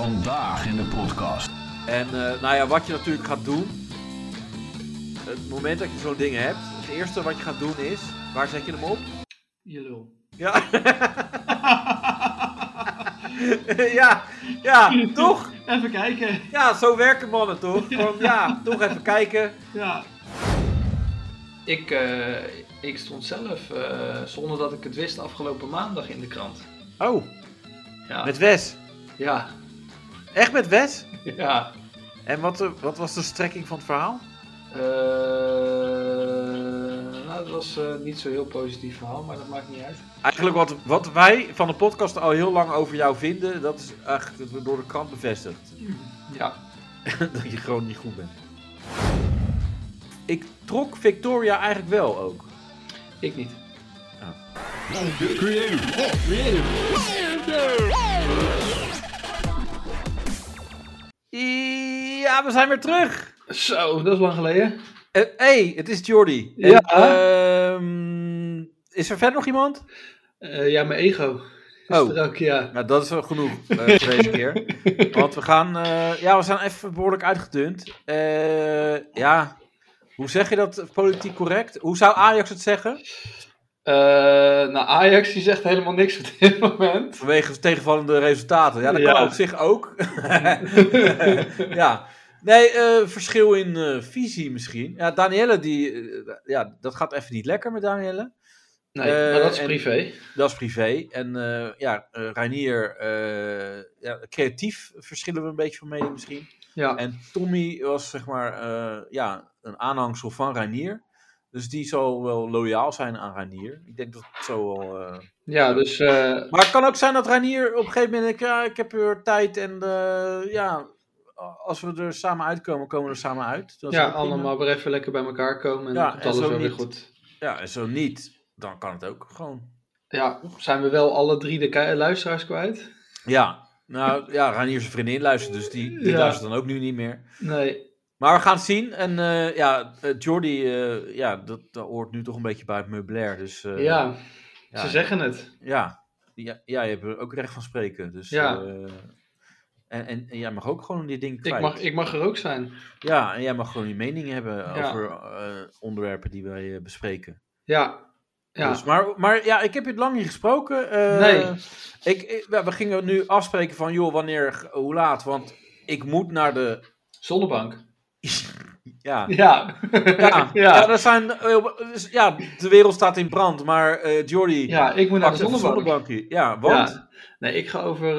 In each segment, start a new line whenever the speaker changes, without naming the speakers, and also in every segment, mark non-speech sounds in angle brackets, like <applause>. Vandaag in de podcast.
En eh, nou ja, wat je natuurlijk gaat doen. Het moment dat je zo'n ding hebt. Het eerste wat je gaat doen is. Waar zet je hem op?
Je lul.
Ja. <laughs> ja, ja, toch?
Even kijken.
Ja, zo werken mannen toch? Gewoon, ja, toch even kijken.
Ja.
Ik, eh, ik stond zelf, eh, zonder dat ik het wist, afgelopen maandag in de krant.
Oh,
Ja,
met Wes.
ja,
Echt met Wes?
ja.
En wat, eh, wat was de strekking van het verhaal?
Eh, nou, dat was eh, niet zo heel positief verhaal, maar dat maakt niet uit.
Eigenlijk wat, wat wij van de podcast al heel lang over jou vinden, dat is echt door de krant bevestigd.
Ja,
<laughs> dat je gewoon niet goed bent. Ik trok Victoria eigenlijk wel ook.
ik niet.
Ja, we zijn weer terug.
Zo, dat is lang geleden.
Hé, Eh, hey, het is Jordi.
Ja.
En, ehm, is er verder nog iemand?
Eh, ja, mijn ego. Is
Oh.
er ook, ja.
Nou, dat is wel genoeg eh, voor <laughs> deze keer. Want we gaan... eh, ja, we zijn even behoorlijk uitgedund. Eh, ja, hoe zeg je dat politiek correct? Hoe zou Ajax het zeggen?
Eh, nou, Ajax die zegt helemaal niks op dit moment.
Vanwege tegenvallende resultaten. Ja, dat kan
Ja.
op zich ook. <laughs> ja. Nee, eh, verschil in eh, visie misschien. Ja, Danielle, die, eh, ja, dat gaat even niet lekker met Danielle.
Nee,
Eh,
maar dat is
en-
privé.
Dat is privé. En eh, ja, eh Reinier, eh, ja, creatief verschillen we een beetje van mening misschien.
Ja,
En Tommy was zeg maar eh, ja, een aanhangsel van Reinier. Dus die zal wel loyaal zijn aan Reinier. Ik denk dat het zo wel... eh,
ja dus eh,
maar het kan ook zijn dat Reinier op een gegeven moment denkt, ja, ik heb weer tijd en eh, ja, als we er samen uitkomen, komen we er samen uit. Dat is
ja,
ook prima.
allemaal weer even lekker bij elkaar komen en
Ja,
dan komt
en
alles
zo
wel weer
niet.
goed.
Ja, en zo niet, dan kan het ook gewoon.
Ja, zijn we wel alle drie de ki- luisteraars kwijt?
Ja, nou ja, Reinier zijn vriendin luistert, dus die, die
Ja.
luistert dan ook nu niet meer.
Nee.
Maar we gaan het zien en eh, ja, eh, Jordi, eh, ja, dat, dat hoort nu toch een beetje bij het meubilair, dus eh,
ja,
ja,
ze zeggen het.
ja, ja, ja, je hebt er ook recht van spreken, dus...
Ja.
eh, en, en, en jij mag ook gewoon die dingen kwijt.
Ik mag, ik mag er ook zijn.
Ja, en jij mag gewoon je mening hebben
Ja.
over eh, onderwerpen die wij eh, bespreken.
Ja. Ja.
Dus, maar, maar ja, ik heb je lang niet gesproken. Eh,
Nee.
Ik, ik- we we gingen nu afspreken van, joh, wanneer, hoe laat? Want ik moet naar de...
Zonnebank. <laughs>
Ja,
Ja.
ja,
Ja.
ja,
ja.
dat zijn, heel- dus ja de wereld staat in brand, maar eh Jordi...
ik moet naar
pak
de
even een
zonnebank.
zonnebankje. Ja, want...
Ja. Nee, ik ga over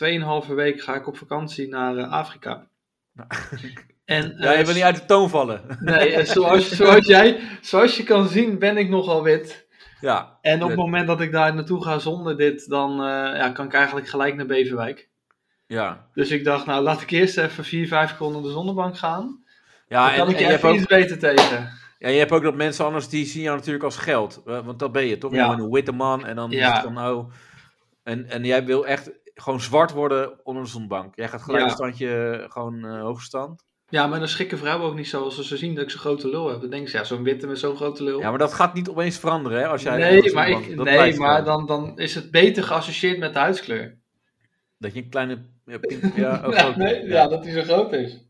eh 2,5 week ga ik op vakantie naar eh,
<laughs>
Afrika. En,
Ja, je
eh,
wil niet uit de toon vallen. <laughs>
Nee, eh, zoals, zoals, jij, zoals je kan zien ben ik nogal wit.
Ja,
En op
Ja.
het moment dat ik daar naartoe ga zonder dit, dan eh, ja, kan ik eigenlijk gelijk naar Beverwijk.
ja.
Dus ik dacht, nou laat ik eerst even 4, 5 keer onder de zonnebank gaan. Dan
Ja, en,
kan ik
en
je
je hebt
even
ook,
iets beter tegen.
ja, je hebt ook dat mensen anders, die zien jou natuurlijk als geld. Eh, Want dat ben je, toch? Je
Ja.
bent een witte man en dan
Ja.
is het van, oh... En, en jij wil echt gewoon zwart worden onder de zonbank. Jij gaat gelijk
Ja.
een standje, eh, gewoon eh hoogstand.
Ja, maar dan schrikken vrouwen ook niet zo als ze zien dat ik zo'n grote lul heb. Dan denken ze, ja, zo'n witte met zo'n grote lul.
Ja, maar dat gaat niet opeens veranderen, hè? Als jij onder
nee,
de
maar,
zonbank-
ik,
dat
nee,
blijft gewoon.
maar dan, dan is het beter geassocieerd met de huidskleur.
Dat je een kleine... Ja, pink,
<laughs>
ja, oh,
Ja,
groot.
nee,
ja.
ja, dat hij zo groot is.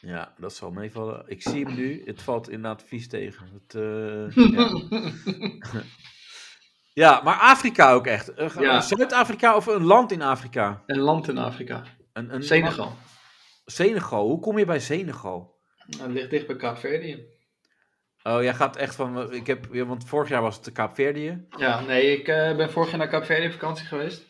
Ja, dat zal meevallen. Ik zie hem nu. Het valt inderdaad vies tegen. Het,
<laughs>
eh, ja. ja, maar Afrika ook echt. Eh,
Ja.
Zuid-Afrika of een land in Afrika?
Een land in Afrika.
Een, een,
Senegal.
Senegal. Hoe kom je bij Senegal?
Dat Nou, ligt dicht bij Kaapverdië.
Oh, jij gaat echt van... eh, Ik heb, ja, want vorig jaar was het de Kaapverdië.
Ja, nee, ik eh, ben vorig jaar naar Kaapverdië op vakantie geweest.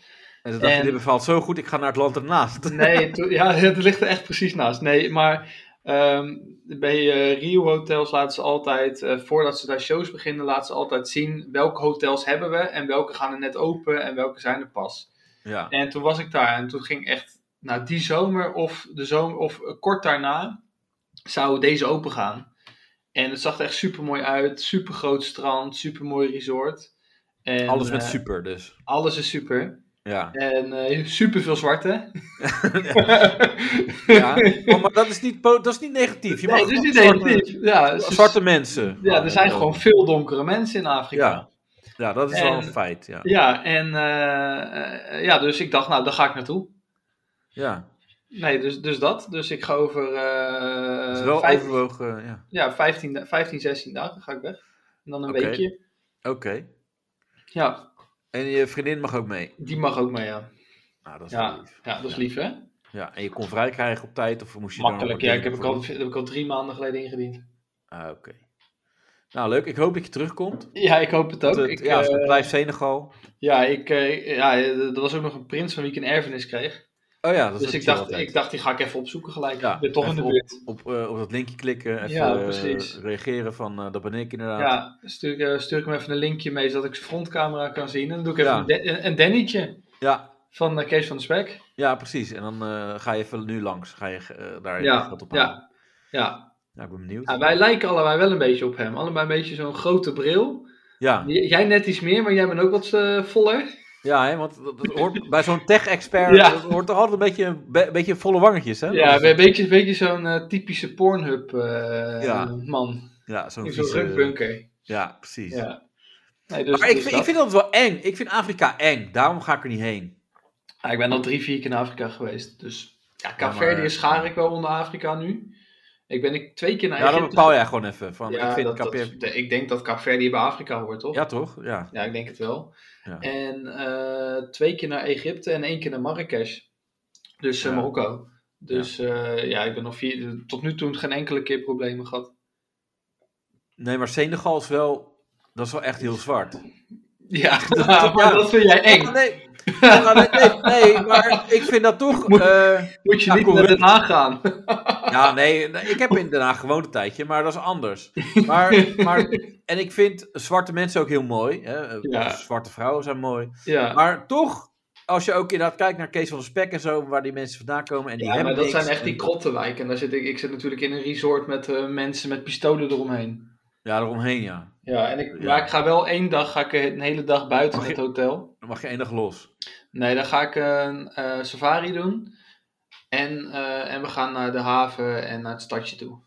En toen dacht je,
En-
dit bevalt zo goed. Ik ga naar het land ernaast.
<laughs> Nee, to- ja, het ligt er echt precies naast. Nee, maar ehm, bij eh, Rio hotels laten ze altijd, eh, voordat ze daar shows beginnen, laten ze altijd zien welke hotels hebben we en welke gaan er net open en welke zijn er pas.
Ja.
En toen was ik daar en toen ging echt, nou die zomer of, de zomer, of eh, kort daarna zou deze open gaan. En het zag er echt super mooi uit, super groot strand, super mooi resort. En,
Alles met
eh,
super dus.
Alles is super. <laughs>
Ja.
En super veel zwarte.
<laughs> ja. Oh, maar dat is, niet, po- dat is niet negatief. Je mag
Nee, het is niet
zwarte-
negatief. Ja, ze-
Zwarte mensen. Oh,
ja, er zijn gewoon veel donkere mensen in Afrika.
Ja. Ja, dat is wel
En-
een feit. Ja.
Ja, en eh, eh, ja, dus ik dacht, nou, daar ga ik naartoe.
Ja,
Nee, dus, dus dat. Dus ik ga over, eh,
het is wel
vijf-
overwogen. Ja.
ja, 15, da- 15, 16 dagen ga ik weg. En dan een
Oké.
weekje.
Oké.
Ja,
En je vriendin mag ook mee.
die mag ook mee, ja.
Nou, dat is wel
Ja,
lief.
ja dat is lief, hè?
Ja, en je kon vrij krijgen op tijd of moest je
Makkelijk,
daar
ja.
nog
Ik heb ik,
dingen
al, dat heb ik al drie maanden geleden ingediend.
voor doen? Ah, oké. Nou, leuk. Ik hoop dat je terugkomt.
Ja, ik hoop het ook.
Want het-
ik,
ja,
eh,
het blijft Senegal.
ja, ik, eh, ja, er was ook nog een prins van wie ik een erfenis kreeg.
Oh ja, dat
Dus
is
ik dacht, ik dacht, die ga ik even opzoeken gelijk.
Ja,
ik ben toch in de
even
buurt.
Op, eh, op dat linkje klikken, even
Ja,
eh,
precies.
reageren van eh, dat ben ik inderdaad.
Ja, stuur ik, eh, stuur ik hem even een linkje mee, zodat ik zijn frontcamera kan zien. En dan doe ik even
Ja.
een, de- een- een dennetje
ja,
van eh, Kees van de Spek.
ja, precies. En dan eh, ga je even nu langs. Ga je eh, daar even
Ja,
wat op halen.
ja, ja.
Ja, ik ben benieuwd.
Ja, wij lijken allebei wel een beetje op hem. Allebei een beetje zo'n grote bril.
Ja,
J- Jij net iets meer, maar jij bent ook wat eh, voller.
ja hè, want dat, dat
<laughs>
hoort, bij zo'n tech-expert
Ja.
dat hoort toch altijd een beetje, een be- beetje volle wangetjes, hè?
Ja, een beetje, een beetje zo'n eh, typische
Ja.
Pornhub-man.
ja zo'n
zo'n
vieze-
rukbunker.
Ja, precies.
Ja. Nee, dus,
maar ik,
dus
vind-
dat.
ik vind dat wel eng. Ik vind Afrika eng. Daarom ga ik er niet heen.
Ja, ik ben al drie, vier keer in Afrika geweest. Dus ja,
maar-
Caverdië schaar ik wel onder Afrika nu. Ik ben ik twee keer naar
ja, dan
Egypte
bepaal jij gewoon even. Van,
Ja,
ik vind
dat- dat-
Cape-
de- ik denk dat Caverdië bij Afrika hoort, toch?
Ja, toch? Ja.
Ja, ik denk het wel.
Ja.
En eh, twee keer naar Egypte en één keer naar Marrakesh. Dus eh,
Ja.
Marokko. Dus ja. ja, ik ben nog vier, tot nu toe geen enkele keer
<laughs>
problemen gehad.
Nee, maar Senegal is wel... Dat is wel echt heel zwart.
<laughs> Ja, maar dat vind jij eng.
Ja, nee. Ja, nee, nee, nee, maar ik vind dat toch...
Moet-
eh,
Moet je
Ja,
niet
correct.
naar Den
<laughs>
Haag gaan.
ja, nee, nee, ik heb in Den Haag gewoond een tijdje, maar dat is anders. Maar, maar, en ik vind zwarte mensen ook heel mooi. Hè? Eh,
Ja.
Zwarte vrouwen zijn mooi.
ja,
Maar toch, als je ook inderdaad kijkt naar Kees van de Spek en zo, waar die mensen vandaan komen en die
ja
hebben
maar dat
niks
zijn echt
en-
die krottenwijken. En daar zit ik, ik zit natuurlijk in een resort met eh, mensen met pistolen eromheen.
Ja, daaromheen ja.
Ja, en ik,
Ja.
maar ik ga wel één dag, ga ik een hele dag buiten
Mag
in
je-
het hotel.
Dan mag je één dag los.
Nee, dan ga ik een eh, safari doen. En, eh, en we gaan naar de haven en naar het stadje toe.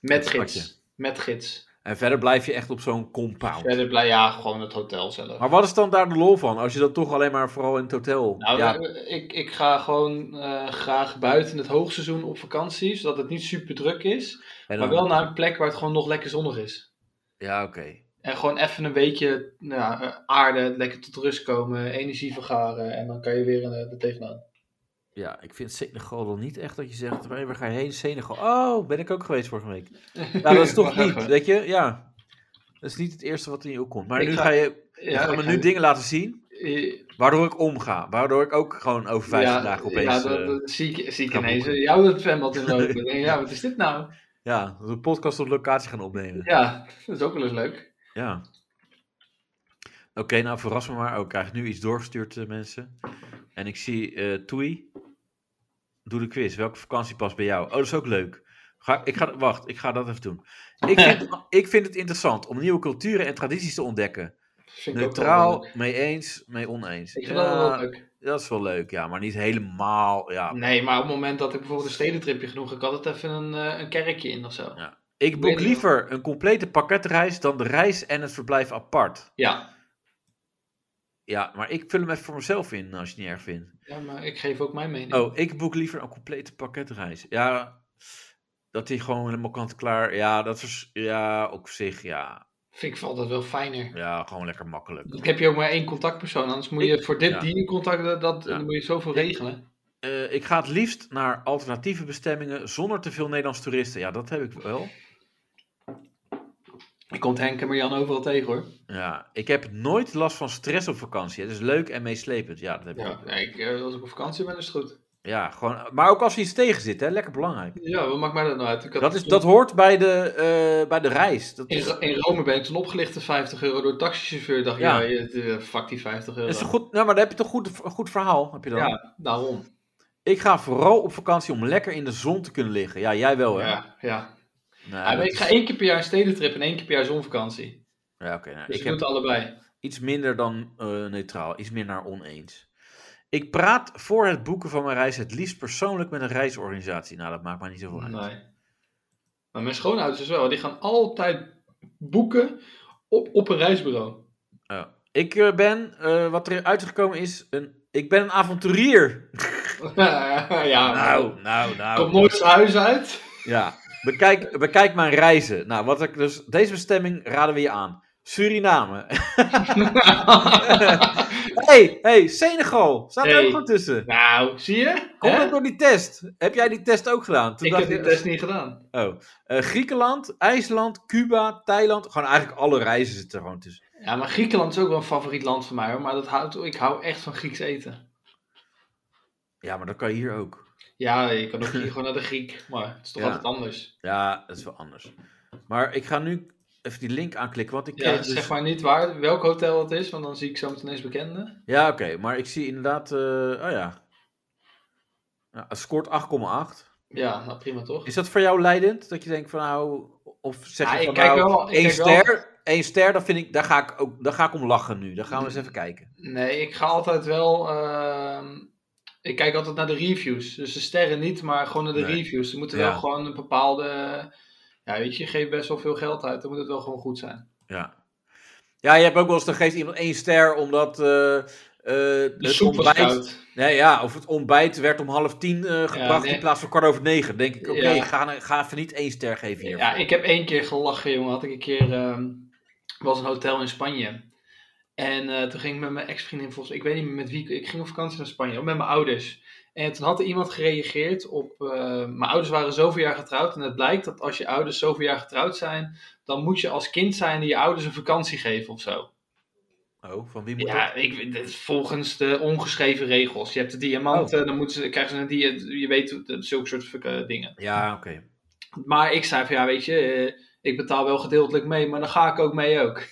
Met
Het
gids.
stadje.
Met gids.
En verder blijf je echt op zo'n compound.
Verder blij, ja, gewoon het hotel zelf.
Maar wat is dan daar de lol van, als je dat toch alleen maar vooral in het hotel...
Nou,
ja,
we- ik, ik ga gewoon eh, graag buiten het hoogseizoen op vakantie, zodat het niet super druk is.
en
Maar
dan-
wel naar een plek waar het gewoon nog lekker zonnig is.
Ja, oké.
En gewoon even een weekje nou, ja, eh, aarde, lekker tot rust komen, energie vergaren en dan kan je weer eh, er tegenaan.
Ja, ik vind Senegal dan niet echt dat je zegt, hey, waar ga je heen? Senegal. Oh, ben ik ook geweest vorige
<laughs>
week. Nou, dat is toch
Wacht
niet,
even.
weet je? Ja. Dat is niet het eerste wat in je opkomt. Maar
Ik
nu
ga-
ga, je, je
Ja,
gaat me
ik
nu
ga-
dingen laten zien,
eh,
waardoor ik omga. Waardoor ik ook gewoon over 50 dagen opeens...
Ja, dat,
eh,
dat zie ik, zie ik
gaan
ineens.
boeken.
Jou het zwembad in
<laughs>
lopen. Ik denk, ja, wat is dit nou?
Ja, dat we een podcast op locatie gaan opnemen. Ja.
Ja, dat is ook wel eens leuk.
Oké, nou verras me maar. Oh, ik krijg nu iets doorgestuurd, eh, mensen. En ik zie eh Toei. Doe de quiz. Welke vakantie past bij jou? Oh, dat is ook leuk. Ga, ik ga, wacht, ik ga dat even doen. Ik
<laughs>
vind, ik vind het interessant om nieuwe culturen en tradities te ontdekken.
Vind ik ook wel
Neutraal,
leuk.
mee eens, mee oneens.
Ik vind dat wel
Ja,
leuk. Mm.
dat is wel leuk, ja. Maar niet helemaal, ja.
Nee, maar op het moment dat ik bijvoorbeeld een stedentripje genoeg had, ik altijd even een, eh, een kerkje in of zo.
Ja. Ik boek
Weet ik
liever een complete pakketreis dan de reis en het verblijf apart.
Ja.
Ja, maar ik vul hem even voor mezelf in, als je het niet erg vindt.
ja, maar ik geef ook mijn mening.
Oh, ik boek liever een complete pakketreis. Ja, dat die gewoon helemaal kant-en-klaar. Ja, dat is. Ja, op zich, ja.
Vind ik altijd wel fijner.
Ja, gewoon lekker makkelijk.
Ik heb je ook maar één contactpersoon, anders moet je voor dit,
ja.
die contact, dat,
Ja.
dan moet je zoveel regelen.
Eh, ik ga het liefst naar alternatieve bestemmingen zonder te veel Nederlands toeristen. Ja, dat heb ik wel.
Ik komt Henk en Marjan overal tegen hoor.
Ja, ik heb nooit last van stress op vakantie. Het is leuk en meeslepend. Ja, dat heb ik
Ja,
ook.
nee, ik, eh, als ik op vakantie ben, is het goed.
Ja, gewoon. Maar ook als er iets tegen zit, hè, lekker belangrijk.
Ja, wat maakt mij dat nou uit? Ik had-
Dat, is, dat hoort bij de, eh, bij de reis. Dat
In,
is,
Ro- in Rome ben ik toen opgelicht de 50 euro door een taxichauffeur. Dacht, ja,
Ja.
ja eh, fuck die 50 euro.
dat is een goed, nou, maar dan heb je toch goed, een goed verhaal. Heb je dan.
ja, daarom.
Ik ga vooral op vakantie om lekker in de zon te kunnen liggen. Oh, Ja, jij wel, hè?
Ja, ja.
Nee,
Ja, maar
dat
ik ga
is-
één keer per jaar een stedentrip en één keer per jaar zonvakantie.
Ja, oké. nou,
Dus ik,
ik
doe
heb
het allebei.
iets minder dan eh, neutraal. Iets meer naar oneens. Ik praat voor het boeken van mijn reis het liefst persoonlijk met een reisorganisatie. Nou, dat maakt mij niet zoveel uit.
Nee. Maar mijn schoonouders dus wel. Die gaan altijd boeken op, op een reisbureau. <laughs>
Oh. Ik eh, ben, eh, wat er uitgekomen is, een, ik ben een avonturier.
ja,
Nou, nou, nou.
komt nooit zijn huis uit.
Ja, bekijk, bekijk mijn reizen. Nou, wat ik dus, deze bestemming raden we je aan.
<laughs>
Suriname. hey, hey, Senegal. Staat er
Hey.
ook gewoon tussen.
nou, zie je?
Komt
Hè?
ook door die test. Heb jij die test ook gedaan? Toen
Ik
dacht
heb die
je-
test niet gedaan.
Oh. Eh, Griekenland, IJsland, Cuba, Thailand. Gewoon eigenlijk alle reizen zitten er gewoon tussen.
Ja, maar Griekenland is ook wel een favoriet land van mij hoor. Maar dat houdt, ik hou echt van Grieks eten.
Ja, maar dat kan je hier ook.
Ja, je kan ook hier gewoon naar de Griek. Maar het is toch
Ja.
altijd anders.
Ja, dat is wel anders. Maar ik ga nu even die link aanklikken, want ik
Ja,
kreeg dus...
zeg maar niet waar welk hotel het is, want dan zie ik zo meteen eens bekenden.
Ja, oké, maar ik zie inderdaad... eh, oh ja. ja. Het scoort 8,8.
Ja, nou prima toch?
Is dat voor jou leidend? Dat je denkt van nou... Of zeg
Ja,
je
ik
van
kijk
nou,
wel- ik
één
kijk wel.
ster... één ster, dat vind ik, daar, ga ik ook, daar ga ik om lachen nu. Daar gaan we eens even kijken.
Nee, ik ga altijd wel. ehm, ik kijk altijd naar de reviews. Dus de sterren niet, maar gewoon naar de
Nee.
reviews. Er moeten
Ja.
wel gewoon een bepaalde. Ja, weet je, je geeft best wel veel geld uit. Dan moet het wel gewoon goed zijn.
Ja. Ja, je hebt ook wel eens, dan geeft iemand één ster omdat... eh, eh,
De
het
soep was
ontbijt-
koud.
Nee, ja, of het ontbijt werd om half tien eh, gebracht
nee.
in plaats van kwart over negen. denk ik, oké,
Ja.
ga, ga even niet één ster geven hier.
Ja, ik heb één keer gelachen, jongen. Had ik een keer. ehm, was een hotel in Spanje. En eh, toen ging ik met mijn ex-vriendin, volgens ik weet niet meer met wie, ik ging op vakantie naar Spanje, ook met mijn ouders. En toen had er iemand gereageerd op, eh, mijn ouders waren zoveel jaar getrouwd en het blijkt dat als je ouders zoveel jaar getrouwd zijn, dan moet je als kind zijn die je ouders een vakantie geven of zo.
Oh, van wie moet dat?
Ja, ik, weet- dit is volgens de ongeschreven regels. Je hebt de
Oh.
diamanten, dan moeten ze, krijgen ze een diamant, je weet, zulke soort eh, dingen.
Ja, oké.
Maar ik zei van ja, weet je, eh, ik betaal wel gedeeltelijk mee, maar dan ga ik ook mee ook.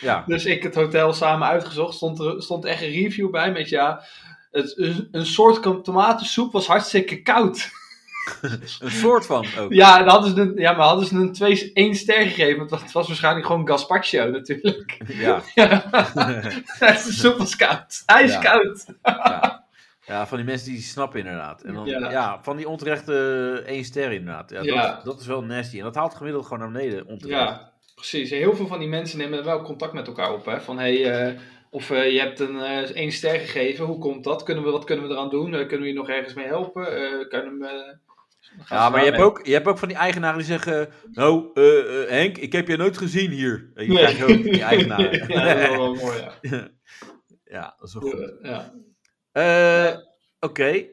Ja.
Dus ik het hotel samen uitgezocht. Stond er stond echt een review bij met ja. Het, een, een soort kam- tomatensoep was hartstikke koud. <laughs>
Een soort van ook.
Ja, en hadden ze een, ja maar hadden ze een 2 één ster gegeven. Want het was waarschijnlijk gewoon gazpacho natuurlijk. <laughs>
Ja.
de soep was koud. Hij is
Ja.
koud.
ja. Ja, van die mensen die snappen inderdaad. En dan,
Ja.
ja. van die onterechte één ster inderdaad. Ja,
Ja.
Dat, dat is wel nasty. En dat haalt gemiddeld gewoon naar beneden onterecht.
Ja, precies. Heel veel van die mensen nemen wel contact met elkaar op. Hè? Van hey, eh, of eh, je hebt een eh, één ster gegeven. Hoe komt dat? Kunnen we, wat kunnen we eraan doen? Eh, kunnen we je nog ergens mee helpen? Eh, kunnen we, Dan gaan ze
Ja, maar je hebt,
daarmee.
ook, je hebt ook van die eigenaren die zeggen... Nou, eh, eh, Henk, ik heb je nooit gezien hier. En je
Nee.
krijgt ook
<laughs>
die eigenaren.
ja, dat is wel wel mooi, ja.
<laughs> ja, dat is wel goed.
Ja, ja.
Eh, Oké,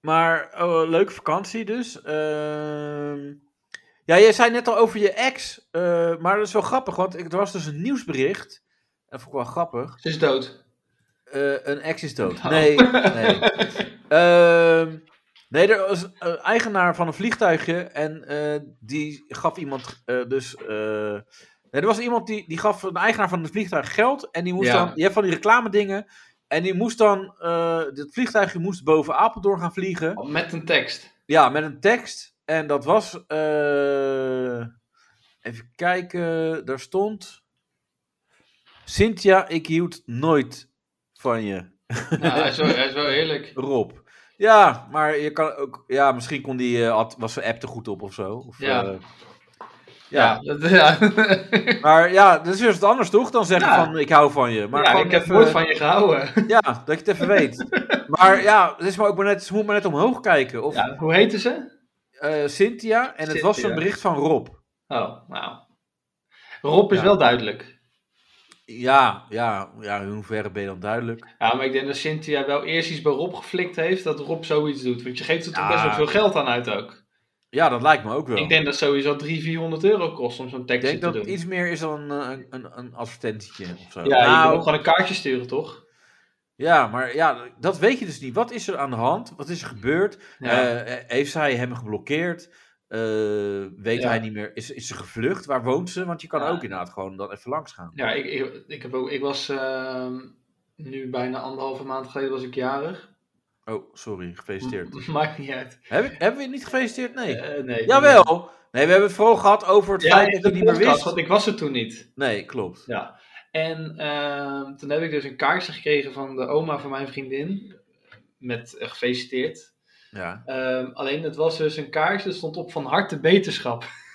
maar oh, leuke vakantie dus. Ehm, ja, jij zei net al over je ex, eh, maar dat is wel grappig, want ik- er was dus een nieuwsbericht. Dat vond ik wel grappig.
Ze is dood.
Eh, een ex is dood.
Nou.
Nee,
<laughs>
nee. Ehm, nee, er was een eigenaar van een vliegtuigje en eh, die gaf iemand eh, dus... eh, nee, er was iemand die, die gaf een eigenaar van het vliegtuig geld en die moest
Ja.
dan... Je hebt van die reclame dingen en die moest dan... eh het vliegtuigje moest boven Apeldoorn gaan vliegen.
Met een tekst.
Ja, met een tekst. En dat was... eh, even kijken, daar stond... Cynthia, ik hield nooit van je.
Ja, Nou, hij, is wel, hij is wel eerlijk.
Rob. Ja, maar je kan ook. Ja, misschien kon die. eh, had, was zijn app er goed op of zo. Of,
Ja.
eh,
Ja,
<laughs> ja.
dat, ja.
<laughs> maar ja, dat is dus wat anders toch? Dan zeggen
Ja.
van ik hou van je. Maar
Ja,
gewoon
ik heb
even-
nooit van je gehouden.
Ja, dat je het even
<laughs>
weet. Maar ja, het is maar ook maar net, ze moet maar net omhoog kijken. Of
Ja, hoe heette ze?
eh, Cynthia, en het was
Cynthia.
een bericht van Rob.
Oh, nou. Rob is
Ja.
wel duidelijk.
Ja, ja, ja, in hoeverre ben je dan duidelijk?
Ja, maar ik denk dat Cynthia wel eerst iets bij Rob geflikt heeft dat Rob zoiets doet. Want je geeft er toch
Ja.
best wel veel geld aan uit ook.
Ja, dat lijkt me ook wel.
Ik denk dat sowieso 300, 400 euro kost om zo'n
Ik
tekstje
denk
te
dat
doen.
het iets meer is dan eh, een, een, een advertentietje of zo.
Ja, je
Nou,
kan ook gewoon een kaartje sturen, toch?
Ja, maar ja, dat weet je dus niet. Wat is er aan de hand? Wat is er gebeurd?
Ja.
Eh, heeft zij hem geblokkeerd? Eh, weet
Ja.
hij niet meer? Is, is ze gevlucht? Waar woont ze? Want je kan
Ja.
ook inderdaad gewoon dan even langs gaan.
Ja, ik, ik, ik, heb ook, ik was ehm, nu bijna anderhalve maand geleden was ik jarig.
Oh, sorry, gefeliciteerd.
<laughs> Maakt niet uit.
Heb ik- hebben we het niet gefeliciteerd? Nee.
Mm. Eh, nee,
Jawel! Nee, we hebben het vooral gehad over het
Ja,
feit
in
dat je
de
niet meer
podcast,
wist.
want ik was er toen niet.
Nee, klopt.
Ja. En ehm, toen heb ik dus een kaartje gekregen van de oma van mijn vriendin. Met eh, gefeliciteerd.
Ja.
Ehm, alleen het was dus een kaartje dat stond op van harte beterschap. <laughs>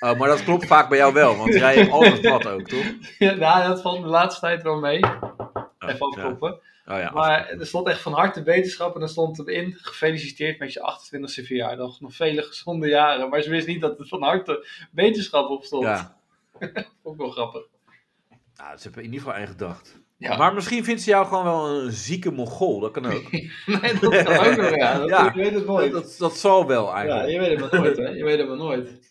Oh, maar dat klopt vaak bij jou wel, want jij hebt altijd wat ook, toch?
ja, nou, dat valt de laatste tijd wel mee. even afkloppen.
Oh ja,
Maar er stond echt van harte wetenschap en er stond erin gefeliciteerd met je 28e verjaardag. Nog vele gezonde jaren. Maar ze wist niet dat het van harte wetenschap op stond.
ja.
Ook wel grappig. <laughs>
Nou, ze hebben in ieder geval aan gedacht.
Ja.
Maar misschien vindt ze jou gewoon wel een zieke mongool. Dat kan
<laughs>
ook.
Nee, dat kan ook nog, ja.
<laughs>
Dat,
Ja.
Je weet het nooit.
dat, dat zal wel
ja,
eigenlijk.
je weet het maar nooit, hè. Je weet het maar nooit.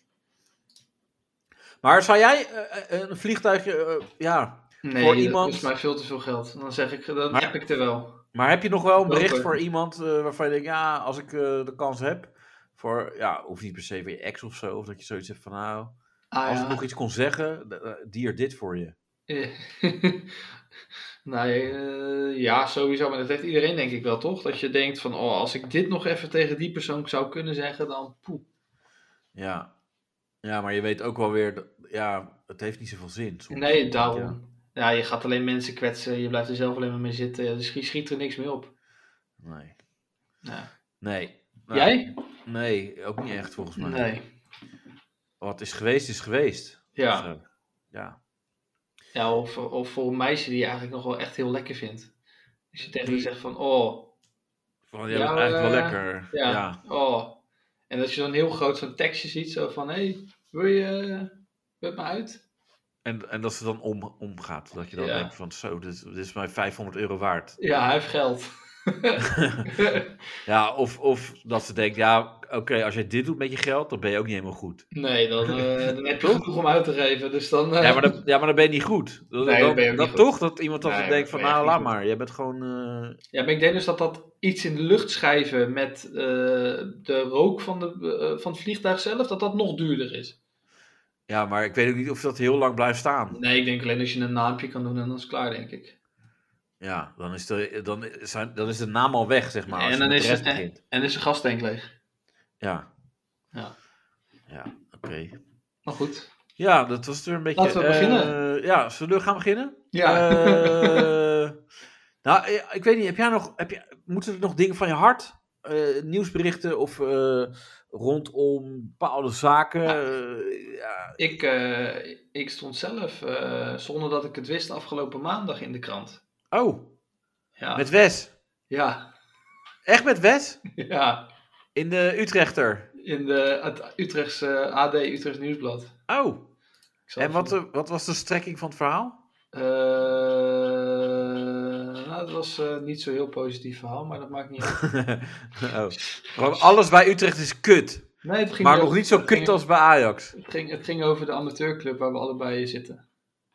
Maar zou jij eh, eh, een vliegtuigje... eh, ja.
Nee,
Voor
dat
iemand-
kost mij veel te veel geld. Dan zeg ik, dan
Maar-
heb ik er wel.
Maar heb je nog wel een
Welke?
bericht voor iemand eh, waarvan je denkt... Ja, als ik eh, de kans heb... Voor, ja, hoeft niet per se voor je ex of zo. Of dat je zoiets hebt van nou...
Ah,
Als ik
ja.
nog iets kon zeggen, d- eh, dier dit voor je.
Ja. <laughs> nee, eh, ja, sowieso. Maar dat heeft iedereen denk ik wel, toch? Dat je denkt van, oh, als ik dit nog even tegen die persoon zou kunnen zeggen, dan poeh.
Ja. Ja, maar je weet ook wel weer... dat- Ja, het heeft niet zoveel zin. soms.
Nee, daarom. Ja. je gaat alleen mensen kwetsen. Je blijft er zelf alleen maar mee zitten. Ja, Dus je schiet er niks mee op.
Nee.
Ja.
Nee. Nou,
Jij?
Nee, ook niet echt volgens mij.
Nee.
Wat is geweest, is geweest.
Ja.
Zo. Ja.
ja of, of voor een meisje die je eigenlijk nog wel echt heel lekker vindt. Dus je tegen haar
Die-
zegt van, oh,
Want jij
Ja,
bent eigenlijk wel
eh,
lekker.
ja,
Ja.
oh. En dat je dan heel groot zo'n tekstje ziet, zo van, hé, hey, wil je eh, met me uit?
En, en dat ze dan om, omgaat. Dat je dan
Ja.
denkt van zo, dit, dit is mij 500 euro waard.
Ja, hij heeft geld.
<laughs>
<laughs>
Ja, of, of dat ze denkt, ja, oké, als jij dit doet met je geld, dan ben je ook niet helemaal goed.
nee, dan, eh, dan heb je genoeg om uit te geven. Dus dan... eh,
Ja, maar
<laughs>
dan, ja, maar dan ben je niet goed. Dat,
Nee, dan
dat-
ben je ook
dat
niet goed.
toch, dat iemand dan
Nee,
denkt
dan
van
ben je
nou,
echt
laat
niet
maar. Jij bent gewoon... eh,
Ja, maar ik denk dus dat dat iets in de lucht schrijven met eh, de rook van, de, eh, van het vliegtuig zelf, dat dat nog duurder is.
Ja, maar ik weet ook niet of dat heel lang blijft staan.
Nee, ik denk alleen als je een naampje kan doen en dan is het klaar, denk ik.
Ja, dan is de, dan zijn, dan is de naam al weg, zeg maar. als
en
je
dan
met de
is,
rest
het, en,
begint.
en is de gastank leeg.
Ja.
Ja.
Ja, oké.
Maar Nou, goed.
Ja, dat was er een beetje...
Laten we
eh,
beginnen.
Ja, zullen we gaan beginnen?
Ja.
Eh, <laughs> nou, eh, ik weet niet, heb jij nog... Heb je, moeten er nog dingen van je hart? Eh, nieuwsberichten of eh, rondom bepaalde zaken? Eh, ja.
ik, eh, ik stond zelf, eh, zonder dat ik het wist, afgelopen maandag in de krant.
Oh,
Ja.
met Wes.
Ja. <laughs>
Echt met Wes?
ja.
In de Utrechter.
In de, het Utrechtse AD, Utrechts Nieuwsblad.
Oh,
Ik zal
en wat,
even-
eh, wat was de strekking van het verhaal?
Eh, nou, dat was eh, niet zo heel positief verhaal, maar dat maakt niet uit.
oh. Want Alles bij Utrecht is kut.
Nee, het ging
Maar
over-
nog niet zo
het ging-
kut als bij Ajax.
Het ging, het ging over de amateurclub waar we allebei zitten.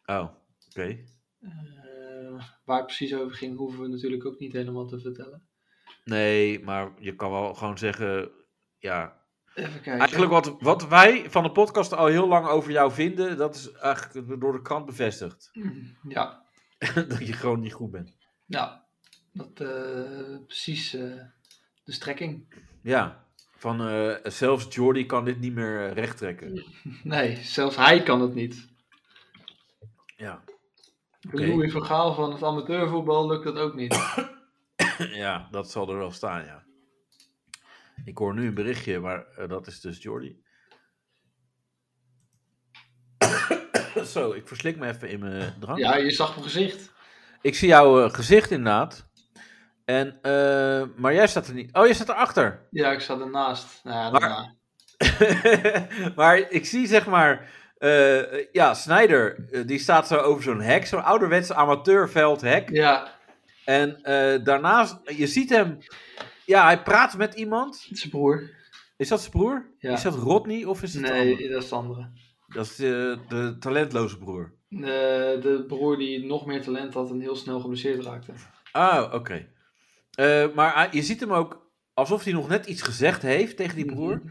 Oh, oké.
Eh, waar het precies over ging, hoeven we natuurlijk ook niet helemaal te vertellen.
Nee, maar je kan wel gewoon zeggen... Ja,
Even kijken.
eigenlijk wat, wat wij van de podcast al heel lang over jou vinden... dat is eigenlijk door de krant
<laughs>
bevestigd.
Ja,
dat je gewoon niet goed bent.
nou, dat eh, precies eh, de strekking. <laughs>
Ja, van eh, zelfs Jordi kan dit niet meer eh, rechttrekken.
Nee, zelfs hij kan het niet.
Ja, <clears throat>
Okay. Louis Vergaal van het amateurvoetbal lukt dat ook niet.
ja, dat zal er wel staan, ja. Ik hoor nu een berichtje, maar eh, dat is dus Jordi. <coughs> Zo, ik verslik me even in mijn drank.
Ja, je zag mijn gezicht.
Ik zie jouw eh, gezicht inderdaad. En, eh, maar jij staat er niet. Oh, jij staat erachter.
Ja, ik zat ernaast. Nou, ja,
Maar-
daarna.
<laughs> maar ik zie zeg maar. eh, ja, Snyder, eh, die staat zo over zo'n hek. Zo'n ouderwets amateurveldhek.
Ja,
En eh, daarnaast, je ziet hem. Ja, hij praat met iemand.
het is zijn broer.
Is dat zijn broer?
Ja.
Is dat Rodney of is het de andere?
Nee, dat is de andere.
Dat is de, de talentloze broer.
De, Eh, de broer die nog meer talent had en heel snel geblesseerd raakte.
Ah, oké. Eh, maar hij- je ziet hem ook alsof hij nog net iets gezegd heeft tegen die
Mhm.
broer.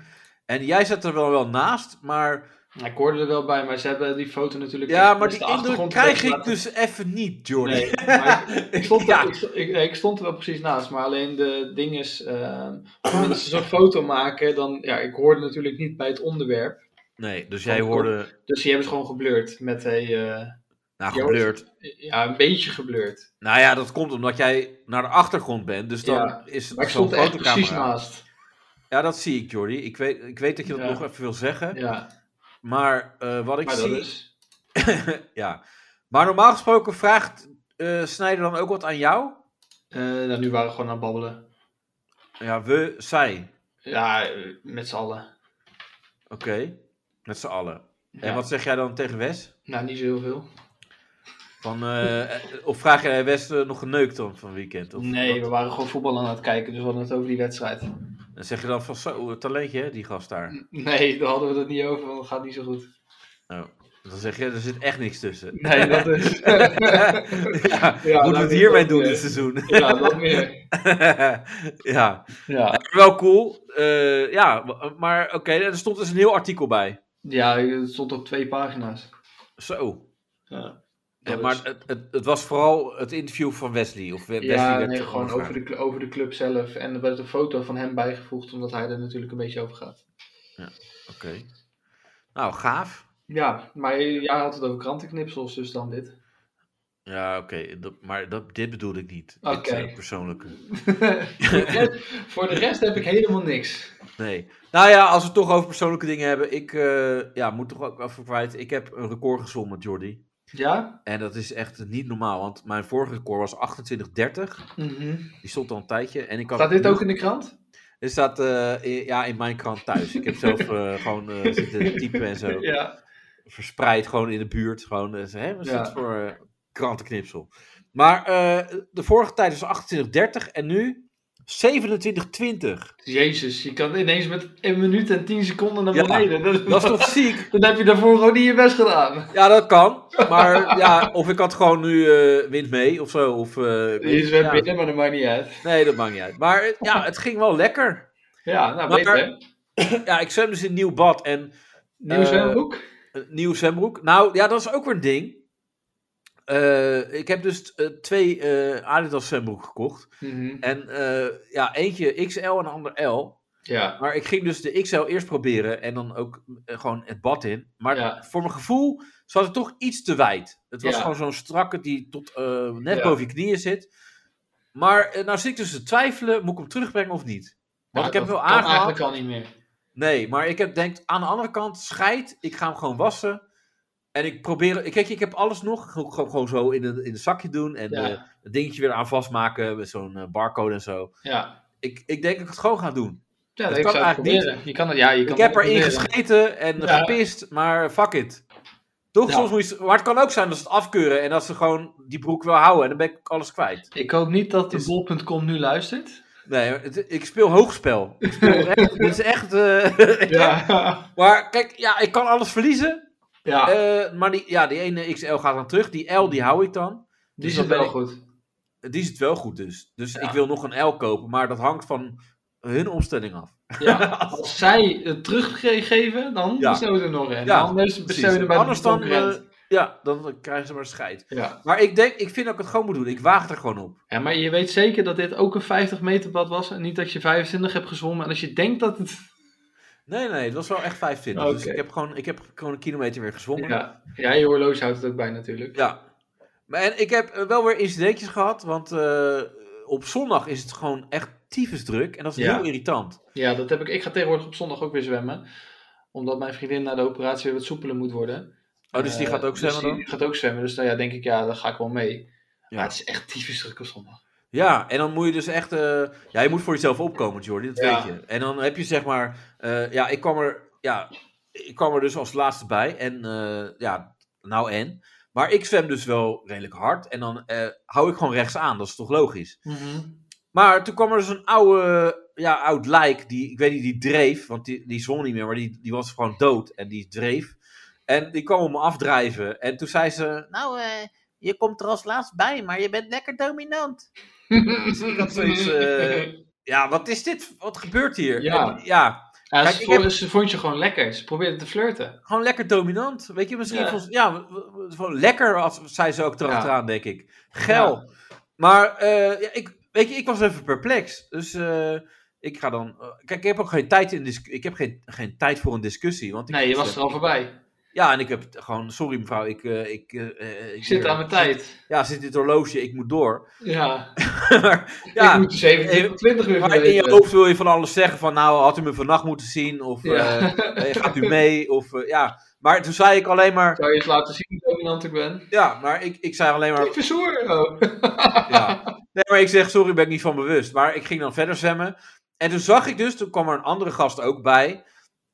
En jij zat er wel, wel naast, maar...
Nou, Ik hoorde er wel bij, maar ze hebben die foto natuurlijk...
Ja,
dus
maar
de
die indruk
achtergrond
krijg
laten-
ik dus even niet, Jordi.
Nee,
<laughs>
maar ik, ik stond er,
Ja.
ik, sto- ik, nee, ik stond er wel precies naast, maar alleen de ding is... ehm, als ze zo'n foto maken, dan... Ja, ik hoorde natuurlijk niet bij het onderwerp.
Nee, dus jij
Van,
hoorde...
Dus die hebben ze gewoon geblurred met... Hey, eh,
Nou,
Jordi.
gebeurd.
ja, een beetje geblurred.
Nou ja, dat komt omdat jij naar de achtergrond bent. Dus dan
Ja,
is
Maar ik
het zo'n
stond er echt precies
fotocamera.
naast.
Ja, dat zie ik, Jordi. Ik weet, ik weet dat je dat
Ja.
nog even wil zeggen.
Ja,
Maar eh, wat ik
maar dat
<laughs> zie...
is...
ja. Maar normaal gesproken vraagt eh, snijden dan ook wat aan jou?
Eh, nou, nu waren we gewoon aan het babbelen.
Ja, we, zij.
Ja, eh, met z'n allen.
Oké, met z'n allen.
Ja.
En wat zeg jij dan tegen Wes?
Nou, niet zo heel veel.
Van, eh, eh, of vraag jij Wes eh, nog geneukt dan van weekend? Of
nee, we
wat?
waren gewoon voetbal aan het kijken, dus we hadden het over die wedstrijd.
Dan zeg je dan van, zo, eh, talentje hè, die gast daar.
<laughs> Nee, daar hadden we het niet over, want het gaat niet zo goed.
Nou, dan zeg je, er zit echt niks tussen.
Nee, dat is...
ja, moeten we
nou,
het hiermee
dat,
doen
eh,
dit seizoen? <laughs>
<laughs> ja, dat meer.
ja,
Ja,
wel cool. Eh, ja, w- maar oké, er stond dus een heel artikel bij.
ja het stond op twee pagina's.
Zo.
Ja,
Eh, maar het, het, het was vooral het interview van Wesley. Of Wesley
ja,
werd
nee,
er
gewoon
gevraagd.
over de, cl- over de club zelf. En er werd een foto van hem bijgevoegd, omdat hij er natuurlijk een beetje over gaat.
Oké. Nou, gaaf.
Ja, maar jij had het over krantenknipsels, dus dan <laughs> dit.
Ja, oké. dat- Maar dat, dit bedoelde ik niet.
Oké.
Dit eh, persoonlijke.
voor, de rest, voor de rest heb ik helemaal niks.
Nee. Nou ja, als we het toch over persoonlijke dingen hebben. Ik eh, ja, moet toch ook even kwijt. Ik heb een record gezongen met Jordi.
Ja?
En dat is echt niet normaal. Want mijn vorige record was 28-30.
Mhm.
Die stond al een tijdje. En ik had
Staat dit ook in de krant?
Dit staat eh, in- ja, in mijn krant thuis. Ik heb
<laughs>
zelf eh, gewoon eh, zitten typen en zo.
Ja.
Verspreid gewoon in de buurt. Gewoon, eh, zo, hè, wat is
Ja.
dat voor eh, krantenknipsel? Maar eh, de vorige tijd was 28,30 en nu 27,20.
Jezus, je kan ineens met een minuut en tien seconden naar
Ja,
beneden. Dat,
Dat is
<laughs>
toch ziek?
Dan heb je daarvoor gewoon niet je best gedaan.
Ja, dat kan. Maar ja, of ik had gewoon nu eh, wind mee of zo. Of, eh, ik weet
Je
niet.
zwemt
Ja,
binnen, maar dat maakt niet uit.
nee, dat maakt niet uit. Maar eh, ja, het ging wel lekker.
Ja, nou
Maar-
beter. hè?
Ja, ik zwem dus in een nieuw bad en
Nieuw
eh,
zwemboek?
Een nieuw zwembroek. Nou, ja, dat is ook weer een ding. Eh, ik heb dus eh, twee eh, Adidas zwembroeken gekocht.
Mhm.
En eh, ja, eentje XL en een ander L.
Ja.
Maar ik ging dus de XL eerst proberen en dan ook eh, gewoon het bad in. Maar
Ja.
voor mijn gevoel zat het toch iets te wijd. Het was
Ja.
gewoon zo'n strakke die tot eh, net
Ja.
boven je knieën zit. Maar eh, nou zit ik dus te twijfelen, moet ik hem terugbrengen of niet? Want
Ja,
ik heb hem wel
dat kan
aangehaald.
eigenlijk al niet meer.
Nee, maar ik heb denk aan de andere kant, scheid, ik ga hem gewoon wassen. En ik probeer, ik- kijk, ik heb alles nog, gewoon, gewoon- gewoon zo in een, in een zakje doen en eh,
Ja.
het dingetje weer aan vastmaken met zo'n eh, barcode en zo.
Ja.
Ik, ik denk dat ik het gewoon ga doen.
Ja,
Dat
ik
kan
zou het
eigenlijk niet.
proberen. Je kan het, ja, je kan
ik
het
heb erin
proberen.
gescheten en
Ja.
gepist, maar fuck it. Toch,
Ja.
soms moet je, maar het kan ook zijn dat ze het afkeuren en dat ze gewoon die broek wil houden en dan ben ik alles kwijt.
Ik hoop niet dat de
Is-
bol.com nu luistert.
Nee, het- ik speel hoogspel. Ik <laughs> speel echt, dit is echt... eh, <laughs>
Ja. <laughs>
Maar kijk, ja, ik kan alles verliezen.
ja.
Eh, maar die, ja, die ene XL gaat dan terug. Die L
Hmm.
die hou ik dan.
Die
Dus dan
zit
ben
wel
ik-
goed.
Die zit wel goed dus. Dus
Ja.
ik wil nog een L kopen, maar dat hangt van hun opstelling af.
Ja. Als zij het teruggeven, dan
Ja.
bestel je er nog een.
Ja,
Anders bestel je
Precies.
er bij
Anders
de
dan,
concurrent.
eh, ja, dan krijgen ze maar scheid.
ja.
Maar ik denk, ik vind dat ik het gewoon moet doen. Ik waag het er gewoon op.
ja, maar je weet zeker dat dit ook een 50 meter bad was en niet dat je 25 hebt gezwommen. En als je denkt dat het...
Nee, nee, het was wel echt 25. Dus
Oké.
ik heb, gewoon, ik heb gewoon een kilometer weer gezwommen. Ja.
Ja, ja je horloge houdt het ook bij natuurlijk.
Maar, en ik heb eh, wel weer incidentjes gehad, want eh, op zondag is het gewoon echt tyfus druk. En dat is
Ja.
heel irritant.
Ja, dat heb ik. Ik ga tegenwoordig op zondag ook weer zwemmen. Omdat mijn vriendin na de operatie weer wat soepeler moet worden.
Oh, dus die
Eh,
gaat ook zwemmen
dus
dan?
die gaat ook zwemmen. Dus nou ja, denk ik, ja, daar ga ik wel mee.
Ja.
Ja, het is echt typisch druk op zondag.
Ja, en dan moet je dus echt. eh, ja, je moet voor jezelf opkomen, Jordi, dat
Ja.
weet je. En dan heb je zeg maar. eh, ja, ik kwam er. Ja, ik kwam er dus als laatste bij. En eh, ja, nou en. Maar ik zwem dus wel redelijk hard. En dan eh, hou ik gewoon rechts aan. Dat is toch logisch. Maar toen kwam er dus een oude. Ja, oud lijk. Die, ik weet niet, die dreef. Want die, die zwom niet meer. Maar die, die was gewoon dood. En die dreef. En die kwam om me afdrijven. En toen zei ze. Nou, eh, je komt er als laatst bij. Maar je bent lekker dominant. Dus ik had zoiets, eh, Ja, wat is dit? Wat gebeurt hier?
Ja.
En ja,
Ja,
Kijk,
ze,
ik
vond,
heb-
ze vond je gewoon lekker. Ze probeerde te flirten.
gewoon lekker dominant. Weet je, misschien
Ja.
volgens- ja. w- w- gewoon lekker als zei ze ook erachteraan, denk ik. Geil. Maar eh, ja, ik, weet je, ik was even perplex. Dus eh, ik ga dan. eh, kijk, ik heb ook geen tijd in dis- Ik heb geen, geen tijd voor een discussie. Want ik
Nee, je was er al voorbij.
Ja, en ik heb het gewoon, sorry mevrouw, ik, eh, ik, eh, eh,
Ik zit
hier-
aan mijn tijd.
Ja, zit dit horloge, ik moet door.
Ja,
maar, ja,
ik moet dus even 20 weer
maar in je
vergeten.
hoofd wil je van alles zeggen van, nou, had u me vannacht moeten zien, of
Ja.
eh, eh, gaat u mee, of eh, ja. Maar toen zei ik alleen maar,
Zou je eens laten zien hoe dominant ik ben?
ja, maar ik, ik zei alleen maar,
Ik verzoer. Oh.
ja. <laughs> Nee, maar ik zeg, sorry, ben ik niet van bewust. Maar ik ging dan verder zwemmen. En toen zag ik dus, toen kwam er een andere gast ook bij.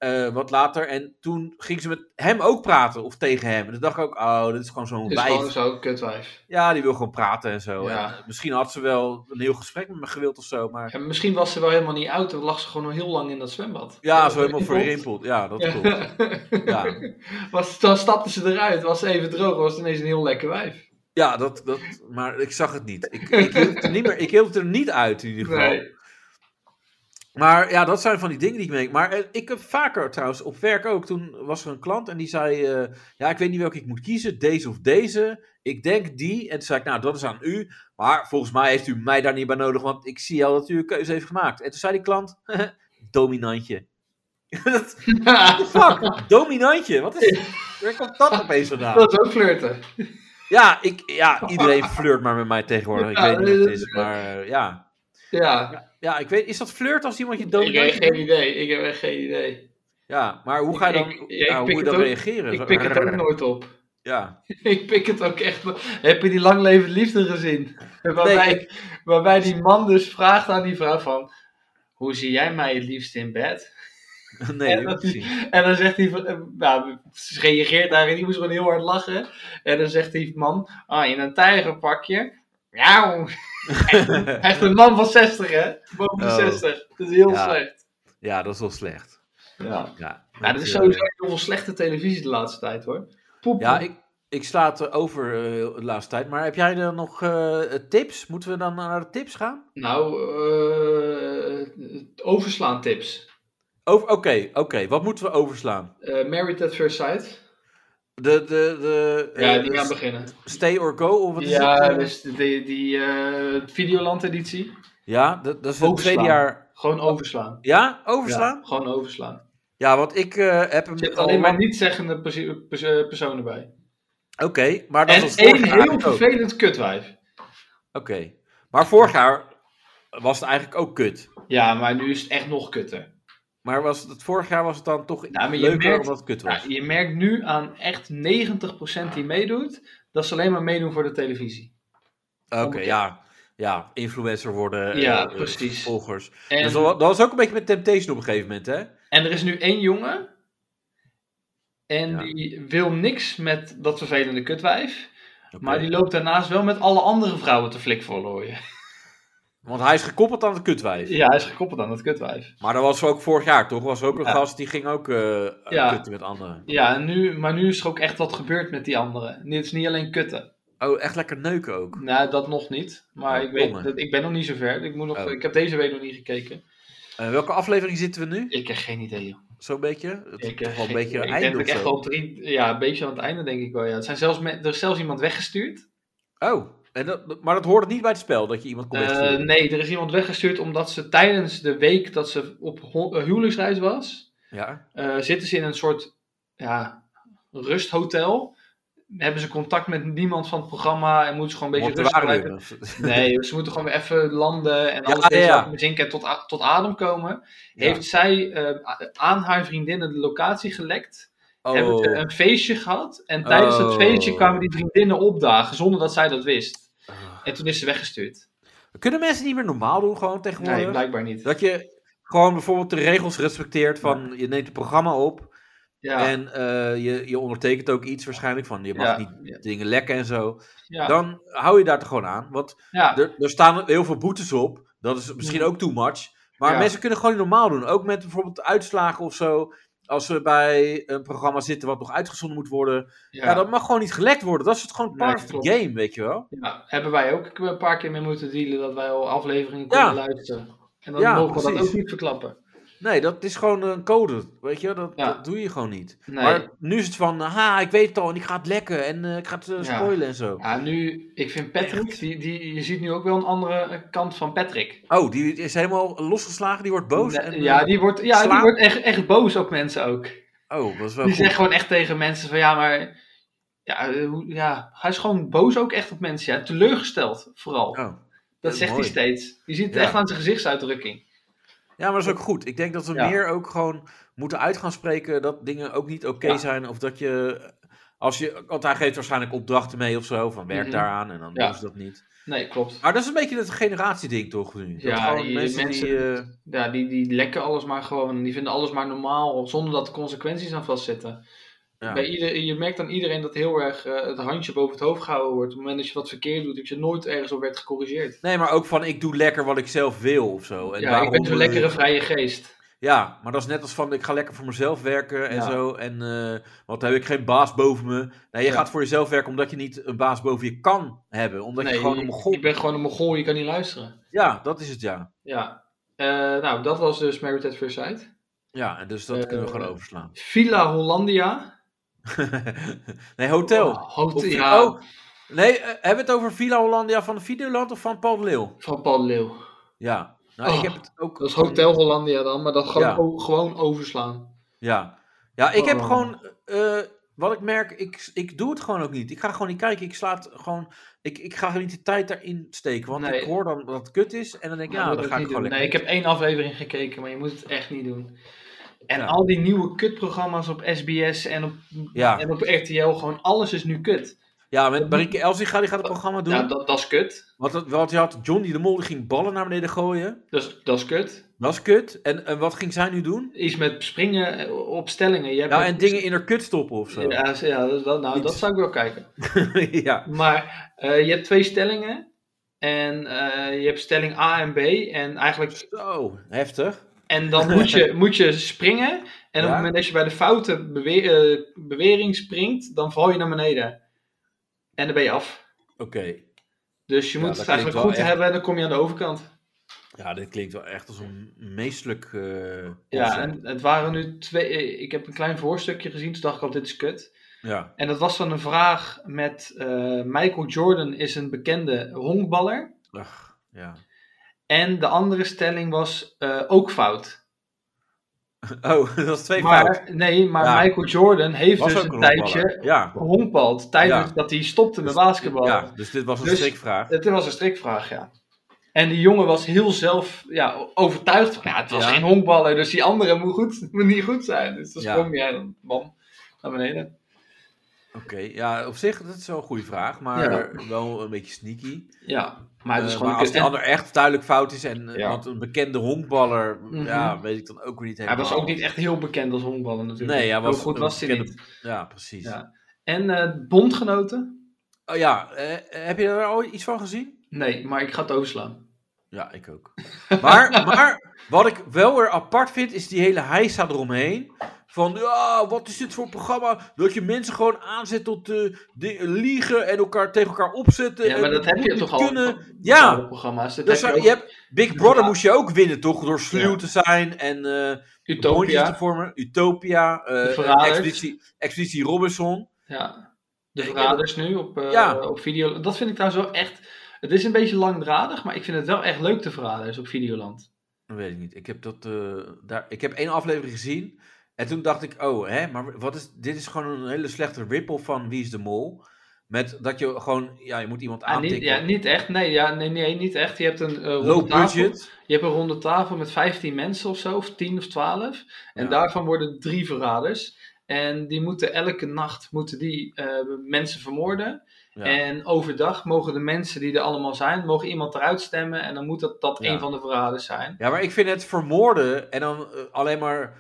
eh, wat later. En toen ging ze met hem ook praten. Of tegen hem. En toen dacht ik ook, oh, dit is gewoon zo'n
<laughs> Is
wijf.
gewoon zo'n kutwijf.
Ja, die wil gewoon praten en zo.
Ja.
En eh, misschien had ze wel een heel gesprek met me gewild of zo. Maar
En misschien was ze wel helemaal niet oud, dan lag ze gewoon al heel lang in dat zwembad.
ja, zo helemaal
Klopt.
verrimpeld. Ja, dat
Ja.
klopt.
<laughs>
Ja,
Was, dan stapte ze eruit, was ze even droog, was het ineens een heel lekker wijf.
ja dat, dat, maar ik zag het niet. Ik, ik, hield het er niet meer, ik hield het er niet uit in ieder geval.
Nee.
Maar ja, dat zijn van die dingen die ik merk. Maar eh, ik heb vaker trouwens, op werk ook, toen was er een klant en die zei, eh, ja, ik weet niet welke ik moet kiezen, deze of deze. Ik denk die. En toen zei ik, nou, dat is aan u. Maar volgens mij heeft u mij daar niet bij nodig, want ik zie al dat u een keuze heeft gemaakt. En toen zei die klant, <laughs> dominantje. <laughs> Dat- Fuck, dominantje. Wat is Waar komt dat opeens vandaan?
<laughs> dat is ook flirten.
Ja, ik, ja, iedereen flirt maar met mij tegenwoordig. Ik
Ja,
weet niet wat
dat
het
is-
is, maar eh, ja.
Ja,
Ja, ik weet, is dat flirt als iemand je
ik heb
dominantje
echt geen idee. Ik heb echt geen idee.
Ja, maar hoe ga je dan,
Ik- ik-
ja, hoe
ik pik
moet je dan
het ook-
reageren? Zo-
Ik pik het
<laughs>
ook nooit op. <laughs>
Ja, <laughs>
Ik pik het ook echt. no- Heb je die langlevend liefde gezien? Waarbij,
Nee,
waarbij die man dus vraagt aan die vrouw van... Hoe zie jij mij het liefst in bed?
nee,
En
dat
dat
heb ik niet gezien.
En dan zegt die... v- eh, Nou, ze reageert daar en die moest gewoon heel hard lachen. En dan zegt die man... Ah, in een tijgerpakje?
<laughs>
Miauw. Echt een man van 60, hè? Boven de
Oh.
60. Dat is heel
Ja.
slecht.
Ja, dat is wel slecht.
Ja.
Ja,
ja,
dat,
dat is
eh,
sowieso heel veel slechte televisie de laatste tijd, hoor. Poep.
ja ik, ik sla het eh, over eh, de laatste tijd. Maar heb jij dan nog eh, tips? Moeten we dan naar de tips gaan?
Nou, eh overslaan tips.
Over- Oké, oké. Wat moeten we overslaan?
Eh Married at First Sight.
De, de, de,
Ja,
eh,
die gaan beginnen.
Stay or go? Of wat is
Ja,
het, eh?
dus die, die eh, Videoland-editie.
ja, dat, dat is het
Overslaan.
tweede jaar.
Gewoon overslaan.
Ja, overslaan?
Ja,
Ja,
gewoon overslaan.
want ik eh, heb hem
Er zitten
al
alleen maar
lang-
niet-zeggende perso- perso- personen bij.
Oké, maar dat
en
was
één
vorig jaar
heel
ook.
vervelend kutwijf.
Oké. Maar vorig jaar was het eigenlijk ook kut.
Ja, maar nu is het echt nog kutter.
Maar was het, vorig jaar was het dan toch
Ja, maar je
leuker
merkt-
omdat het kut was.
Ja, je merkt nu aan echt 90% die meedoet, dat ze alleen maar meedoen voor de televisie.
Oké, ja. Ja, influencer worden.
Ja,
eh,
precies.
Volgers.
En,
Dus dat, wa- dat was ook een beetje met Temptation op een gegeven moment, hè?
en er is nu één jongen. En
Ja.
die wil niks met dat vervelende kutwijf.
Oké.
Maar die loopt daarnaast wel met alle andere vrouwen te flik voorlooien.
Want hij is gekoppeld aan het kutwijf.
Ja, hij is gekoppeld aan dat kutwijf.
Maar dat was ook vorig jaar, toch? Was er ook een
Ja.
gast die ging ook eh
Ja.
kutten met anderen.
Ja, en nu, maar nu is er ook echt wat gebeurd met die anderen. Dit is niet alleen kutten.
Oh, echt lekker neuken ook.
Nou, dat nog niet. Maar
Oh,
ik, weet,
jongen.
dat, ik ben nog niet zo ver. Ik, moet nog,
Oh.
ik heb deze week nog niet gekeken.
Eh, welke aflevering zitten we nu?
Ik heb geen idee, joh.
Zo'n beetje? Het
Ik,
is toch
heb
wel een
geen
beetje
idee.
een
ik denk
einde
dat
of
ik echt
zo.
al drie... Ja, een beetje aan het einde denk ik wel, ja. Het zijn zelfs me- er is zelfs iemand weggestuurd.
Oh, en dat, maar dat hoorde niet bij het spel, dat je iemand kon
Eh,
wegsturen.
nee, er is iemand weggestuurd omdat ze tijdens de week dat ze op ho- eh, huwelijksreis was...
Ja,
eh, zitten ze in een soort ja, rusthotel. Hebben ze contact met niemand van het programma en moeten ze gewoon een beetje rust
mortuarium.
blijven.
of-
<laughs> Nee, ze Dus moeten gewoon weer even landen en
Ja,
alles deze
ja.
ja. bezinken en tot, a- tot adem komen.
Ja.
Heeft zij eh, a- aan haar vriendinnen de locatie gelekt? Hebben ze een feestje gehad? En tijdens dat
Oh.
feestje kwamen die vriendinnen opdagen zonder dat zij dat wist.
Ah.
En toen is ze weggestuurd.
Kunnen mensen niet meer normaal doen gewoon tegenwoordig?
Nee, blijkbaar niet.
Dat je gewoon bijvoorbeeld de regels respecteert van je neemt het programma op
Ja,
en eh, je, je ondertekent ook iets waarschijnlijk van je mag
Ja.
niet
Ja.
dingen lekken en zo.
ja,
Dan hou je daar toch gewoon aan, want
ja. Mhm.
er, er staan heel veel boetes op. Dat is misschien ook too much. Maar
Ja.
mensen kunnen gewoon niet normaal doen. Ook met bijvoorbeeld uitslagen of zo. Als ze bij een programma zitten wat nog uitgezonden moet worden. Ja,
ja.
dat mag gewoon niet gelekt worden. Dat is het gewoon
Nee,
part of
klopt.
the game, weet je wel.
Ja, hebben wij ook een paar keer mee moeten dealen dat wij al afleveringen konden
Ja.
luisteren. En dan
Ja,
mogen we dat
precies.
ook niet verklappen.
Nee, dat is gewoon een code. Weet je, wel, dat,
Ja.
dat doe je gewoon niet.
Nee.
Maar nu is het van, ha, ik weet het al en ik ga het lekken en eh, ik ga het eh,
Ja.
spoilen en zo.
Ja, nu, ik vind Patrick, die, die, je ziet nu ook wel een andere kant van Patrick.
Oh, die is helemaal losgeslagen, die wordt boos.
Ja,
en, eh,
ja, die wordt, ja, die
slaat.
wordt echt, echt boos op mensen ook.
Oh, dat is wel
Die
goed.
zegt gewoon echt tegen mensen van ja, maar ja, eh, hoe- ja, hij is gewoon boos ook echt op mensen. Ja. Teleurgesteld vooral.
Oh.
dat
is
zegt
mooi.
hij steeds. Je ziet het
Ja.
echt aan zijn gezichtsuitdrukking.
Ja, maar dat is ook goed. Ik denk dat we
Ja.
meer ook gewoon moeten uit gaan spreken dat dingen ook niet oké
Ja.
zijn. Of dat je, als je, want hij geeft waarschijnlijk opdrachten mee of zo, van werk
Mhm.
daaraan en dan
Ja.
doen ze dat niet.
Nee, klopt.
Maar dat is een beetje het generatieding toch nu? Dat
Ja,
gewoon
die
mensen, die, eh,
Ja, die, die lekken alles maar gewoon. Die vinden alles maar normaal, zonder dat er consequenties aan vastzitten.
ja.
Bij ieder, je merkt aan iedereen dat heel erg eh, het handje boven het hoofd gehouden wordt. Op het moment dat je wat verkeerd doet, dat je nooit ergens op werd gecorrigeerd.
Nee, maar ook van ik doe lekker wat ik zelf wil of zo. En
ja,
waarom-
ik ben zo'n lekkere vrije geest.
Ja, maar dat is net als van ik ga lekker voor mezelf werken en
Ja.
zo. En, eh, want dan heb ik geen baas boven me. Nee, je
Ja.
gaat voor jezelf werken omdat je niet een baas boven je kan hebben. Omdat
Nee,
je gewoon een
je
mogol
bent gewoon een mogol, je kan niet luisteren.
Ja, dat is het ja.
Ja. Eh, nou, dat was dus Married at First Sight.
Ja, en dus dat
Eh,
kunnen we gaan overslaan. <laughs>
Villa Hollandia.
nee, hotel.
Oh, hotel,
Of-
ja.
oh, nee, eh, hebben we het over Villa Hollandia van Videoland of van Paul de Leeuw?
Van Paul de Leeuw.
Ja. Nou,
Oh,
ik heb het ook...
Dat is Hotel Hollandia dan, maar dat gewoon,
Ja.
o- gewoon overslaan.
Ja. Ja, ik heb
Oh.
gewoon... eh, wat ik merk, ik, ik doe het gewoon ook niet. Ik ga gewoon niet kijken. Ik slaat gewoon... Ik, ik ga niet de tijd daarin steken. Want
Nee.
ik hoor dan dat het kut is. En dan denk ik, ja,
Dat
dan
moet
ga ik
niet
gewoon
doen.
lekker.
Nee, ik heb één aflevering gekeken, maar je moet het echt niet doen. En
Ja.
al die nieuwe kutprogramma's op SBS en op,
Ja,
en op RTL, gewoon alles is nu kut.
ja, met Marieke Elsinga, die gaat het programma doen.
Ja, dat, dat is kut.
Want, dat- want je had Johnny de Mol, die ging ballen naar beneden gooien.
Dat is, dat is kut.
Dat is kut. En, en wat ging zij nu doen?
Iets met springen eh, op stellingen. Je hebt
Ja, Nou, en dingen in haar kut stoppen of zo. <laughs> Ja.
Ja, z- ja dat, dat- nou,
Iets.
dat zou ik wel kijken. Maar eh, je hebt twee stellingen. En eh, je hebt stelling A en B. En eigenlijk
Zo, heftig.
En dan moet
<laughs>
je, moet je springen. En op
Ja.
het moment dat je bij de foute bewe- eh, bewering springt, dan val je naar beneden. En dan ben je af.
Oké.
Dus je
Ja,
moet
dat
het
klinkt
eigenlijk
wel
goed
echt-
hebben en dan kom je aan de overkant.
Ja, dit klinkt wel echt als een meestelijk... eh,
Ja,
concept.
en het waren nu twee. eh, Ik heb een klein voorstukje gezien, toen dacht ik al: dit is kut.
ja.
En dat was dan een vraag met eh, Michael Jordan is een bekende honkballer.
Ach, ja.
En de andere stelling was eh, ook fout.
Oh, <laughs> dat is twee
maar
fout.
nee, maar
Ja.
Michael Jordan heeft
Was
dus
ook
een
een
tijdje
honkballer. Ja.
honkbald tijdens
Ja.
dat hij stopte met basketbal.
ja, dus dit was een
Dus-
strikvraag.
Het was een strikvraag, ja. En die jongen was heel zelf ja, overtuigd van, ja, het was
Ja.
geen honkballer, dus die andere moet, goed, <laughs> moet niet goed zijn. Dus dan
Ja.
sprong jij dan, bam, naar beneden.
Oké, ja, op zich, dat is wel een goede vraag, maar wel een beetje sneaky.
Ja, maar het is
Eh,
gewoon
maar
een
als
kut.
de ander echt duidelijk fout is, en, eh,
Ja.
want een bekende honkballer,
Mhm.
ja, weet ik dan ook weer niet
En Hij
helemaal.
was ook niet echt heel bekend als honkballer natuurlijk.
Nee, ja,
Heel
was
goed
een
was hij
bekende-
niet.
Ja, precies.
Ja. En eh, bondgenoten?
Oh ja, eh, heb je daar al iets van gezien?
Nee, maar ik ga het overslaan.
Ja, ik ook. <laughs> Maar, maar wat ik wel weer apart vind, is die hele heisa eromheen. Van, ja, wat is dit voor programma? Dat je mensen gewoon aanzet tot eh, di- liegen en elkaar tegen elkaar opzetten.
Ja, maar
en
dat heb je
Eh, moet
toch
niet
al
kunnen.
van bepaalde
Ja,
programma's. Dat
dat
heb
zou-
je
je
ook.
hebt, Big Brother
Ja.
moest je ook winnen, toch? Door sluw
Ja.
te zijn en eh bondjes te
Utopia.
vormen. Utopia, eh,
De Verraders.
Expeditie, Expeditie Robinson.
Ja. De
Dus Ik-
verraders nu op, eh,
Ja.
op video. Dat vind ik trouwens wel echt. Het is een beetje langdradig, maar ik vind het wel echt leuk, de verraders op Videoland.
Dat weet ik niet. Ik heb, dat, eh, daar, ik heb één aflevering gezien. En toen dacht ik, oh, hè, maar wat is, dit is gewoon een hele slechte rip-off van Wie is de Mol. Met dat je gewoon, ja, je moet iemand
Ah, niet,
aantikken.
ja, niet echt. Nee, ja, nee, nee, niet echt. Je hebt een eh, ronde
Low
tafel.
budget.
Je hebt een ronde tafel met 15 mensen of zo, of 10 of 12. En
Ja.
daarvan worden drie verraders. En die moeten elke nacht moeten die, eh, mensen vermoorden.
Ja.
En overdag mogen de mensen die er allemaal zijn, mogen iemand eruit stemmen. En dan moet dat, dat
Ja.
een van de verraders zijn.
ja, maar ik vind het vermoorden en dan eh, alleen maar,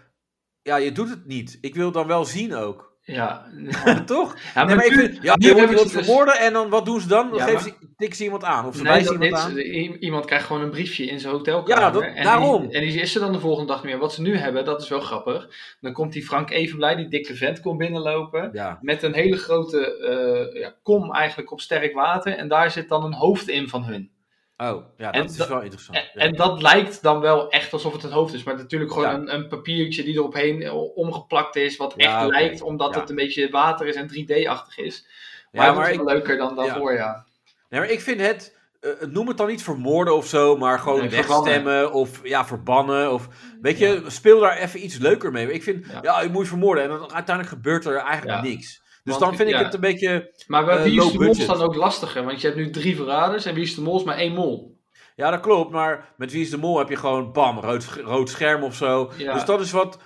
ja, je doet het niet. Ik wil dan wel zien ook. <laughs>
Ja, ja.
Toch?
Ja,
Nee, maar ik vind, ja,
nu
je wordt
hebben ze
iemand
dus-
vermoorden en dan wat doen ze dan? Dan
Ja,
geven ze, tikken ze iemand aan of ze
Nee,
wijzen
dat
iemand
niet.
aan.
I- Iemand krijgt gewoon een briefje in zijn hotelkamer.
Ja, dat-
en die-
daarom.
en die is er dan de volgende dag niet meer. Wat ze nu hebben, dat is wel grappig. Dan komt die Frank Evenblij, die dikke vent, komt binnenlopen.
Ja,
Met een hele grote eh, ja, kom eigenlijk op sterk water. En daar zit dan een hoofd in van hun.
oh, ja, dat
En
is
dat-
wel interessant.
En,
Ja.
en dat lijkt dan wel echt alsof het het hoofd is. Maar natuurlijk gewoon
Ja.
een, een papiertje die erop heen omgeplakt is. Wat
Ja,
echt
oké.
lijkt, omdat
Ja.
het een beetje water is en 3D-achtig is.
Ja,
Maar, dat
maar
is wel leuker dan daarvoor, ja.
Nee, maar ik vind het eh, noem het dan niet vermoorden of zo, maar gewoon
Nee,
wegstemmen of ja, verbannen. Of, weet je, speel daar even iets leuker mee. Ik vind, ja,
Ja.
je moet je vermoorden en dan, uiteindelijk gebeurt er eigenlijk
Ja.
niks. Dus
Want-
dan vind ik
ja.
het een beetje,
Maar bij
Eh,
wie
low
is de mol
budget.
dan ook lastiger? Want je hebt nu drie verraders en wie is de mol is maar één mol.
ja dat klopt, maar met Wie is de Mol heb je gewoon bam, rood, sch- rood scherm of zo.
Ja.
Dus dat is wat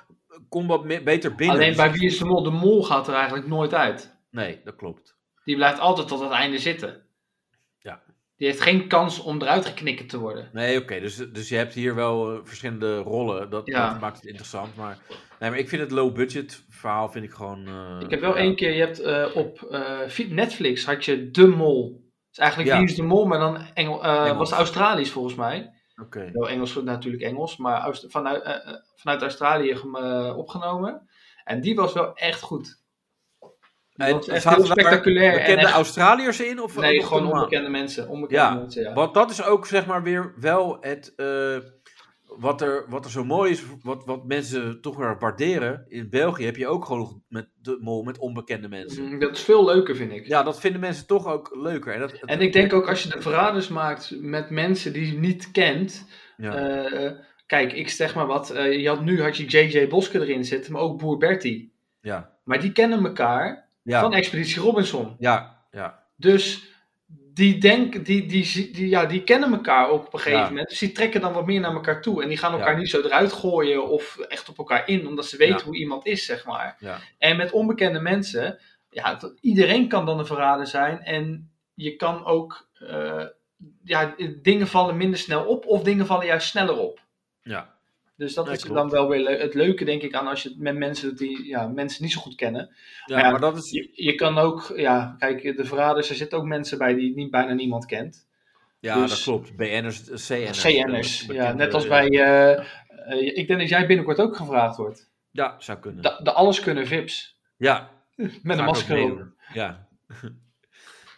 combat me- beter binnen. Dus
Alleen bij wie is de mol, de mol gaat er eigenlijk nooit uit.
Nee, dat klopt.
Die blijft altijd tot het einde zitten.
Ja.
Die heeft geen kans om eruit geknikkerd te worden.
Nee, oké, dus, dus je hebt hier wel eh, verschillende rollen. Dat,
Ja.
dat maakt het interessant, maar, nee, maar ik vind het low budget verhaal vind ik gewoon... eh,
Ik heb wel
ja.
één keer, je hebt eh, op eh, vi- Netflix had je De Mol. Dus eigenlijk
Ja.
Wie is de Mol, maar dan Engel, eh,
Engels.
was het Australisch volgens mij.
Oké.
Wel Engels, natuurlijk Engels, maar Aus- vanuit, eh, eh, vanuit Australië gem- eh, opgenomen. En die was wel echt goed. Die
En
was echt
zaten
heel
daar
spectaculair. en
Bekende
echt-
Australiërs in? Of
nee,
of
gewoon
normaal?
onbekende mensen. Onbekende
Ja.
mensen, ja.
Want dat is ook zeg maar weer wel het. eh, wat, er, wat er zo mooi is, wat, wat mensen toch weer waarderen. In België heb je ook gewoon met de mol met onbekende mensen.
Mm, Dat is veel leuker, vind ik.
Ja, dat vinden mensen toch ook leuker. En, dat, dat-
En ik denk ook als je de verraders maakt met mensen die je niet kent,
ja.
Eh, eh, kijk, ik zeg maar wat. eh, je had, nu had je JJ Boske erin zitten, maar ook Boer Bertie.
ja,
Maar die kennen elkaar
ja,
van Expeditie Robinson.
ja, ja,
Dus die, denk, die, die, zi- die- ja, die kennen elkaar ook op een gegeven
Ja.
moment. Dus die trekken dan wat meer naar elkaar toe. En die gaan elkaar
Ja.
niet zo eruit gooien of echt op elkaar in, omdat ze weten
Ja.
hoe iemand is, zeg maar.
ja.
En met onbekende mensen, ja, dat- iedereen kan dan een verrader zijn. En je kan ook, eh, ja, dingen vallen minder snel op of dingen vallen juist sneller op.
ja.
Dus dat
Ja,
is
klopt.
dan wel weer le- het leuke, denk ik, aan als je het met mensen doet die ja, mensen niet zo goed kennen.
Ja,
Maar ja, dus-
maar dat is.
Je, je kan ook, ja, kijk, de verraders, er zitten ook mensen bij die niet, bijna niemand kent.
Ja,
dus-
dat klopt. eh, BN'ers, CN'ers.
CN'ers. Ja,
Bekende-
net als bij, eh, eh, ik denk dat jij binnenkort ook gevraagd wordt.
Ja, zou kunnen.
De, de alles kunnen vips.
ja,
Met een
vaak ook
masker op.
meedoen. Ja,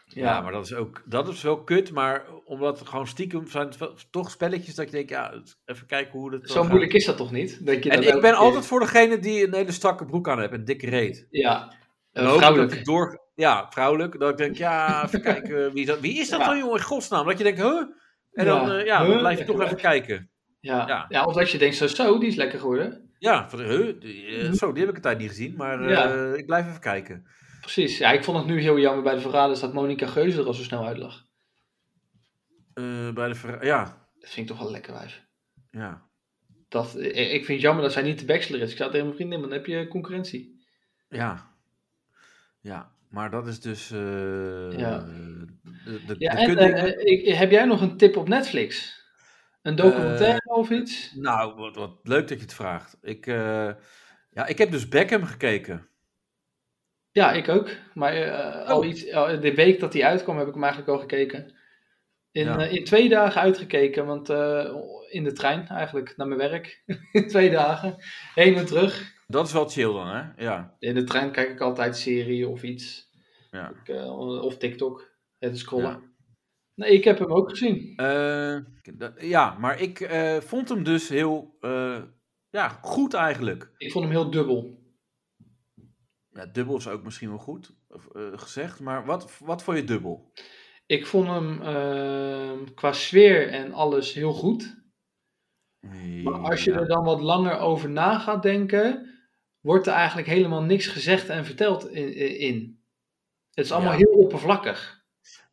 Ja,
Ja,
maar dat is ook dat is wel kut, maar omdat gewoon stiekem zijn het wel- toch spelletjes dat je denkt, ja, het- even kijken hoe dat. dan
zo
gaat.
moeilijk is dat toch niet? Dat je
En
dat
ik
elke
ben
keer-
altijd voor degene die een hele strakke broek aan heeft en dikke reet.
Ja,
Dan
eh,
hoop ik
vrouwelijk.
Dat ik door, ja, vrouwelijk. Dat ik denk, ja, even kijken, wie is dat, wie is dat
Ja.
dan, jongen, in godsnaam? Dat je denkt, huh? En
Ja,
dan, eh, ja, dan
huh?
blijf je toch even kijken.
Ja.
ja.
Ja. of dat je denkt, zo, zo, die is lekker geworden.
Ja, van, huh? Die, eh, zo, die heb ik een tijd niet gezien, maar eh,
Ja.
ik blijf even kijken.
Precies. Ja, ik vond het nu heel jammer bij de verraders dat Monica Geuze er al zo snel uit lag.
Eh, bij de ver- ja,
Dat vind ik toch wel een lekker wijf.
ja,
Dat, ik ik vind het jammer dat zij niet de bachelor is. Ik zou tegen mijn vriendin, maar dan heb je concurrentie.
ja, ja. Maar dat is dus eh,
Ja.
de, de,
Ja,
de
en
kutdingen.
eh, ik- heb jij nog een tip op Netflix? Een documentaire of iets?
Nou, wat, wat leuk dat je het vraagt. Ik, eh, ja, ik heb dus Beckham gekeken.
Ja, ik ook. Maar eh, al
Oh.
iets, al de week dat hij uitkwam heb ik hem eigenlijk al gekeken. In,
Ja.
eh, in twee dagen uitgekeken, want eh, in de trein eigenlijk, naar mijn werk. <laughs> In twee dagen, heen en terug.
Dat is wel chill dan, hè? Ja.
In de trein kijk ik altijd serie of iets.
Ja.
Ik, eh, of TikTok, het scrollen.
Ja.
Nee, ik heb hem ook gezien.
Eh, dat- ja, maar ik eh, vond hem dus heel eh, ja, goed eigenlijk.
Ik vond hem heel dubbel.
Ja, dubbel is ook misschien wel goed of, eh, gezegd, maar wat, wat vond je dubbel?
Ik vond hem ehm, qua sfeer en alles heel goed. Maar als je
Ja.
er dan wat langer over na gaat denken, wordt er eigenlijk helemaal niks gezegd en verteld in. in. Het is allemaal
Ja.
heel oppervlakkig.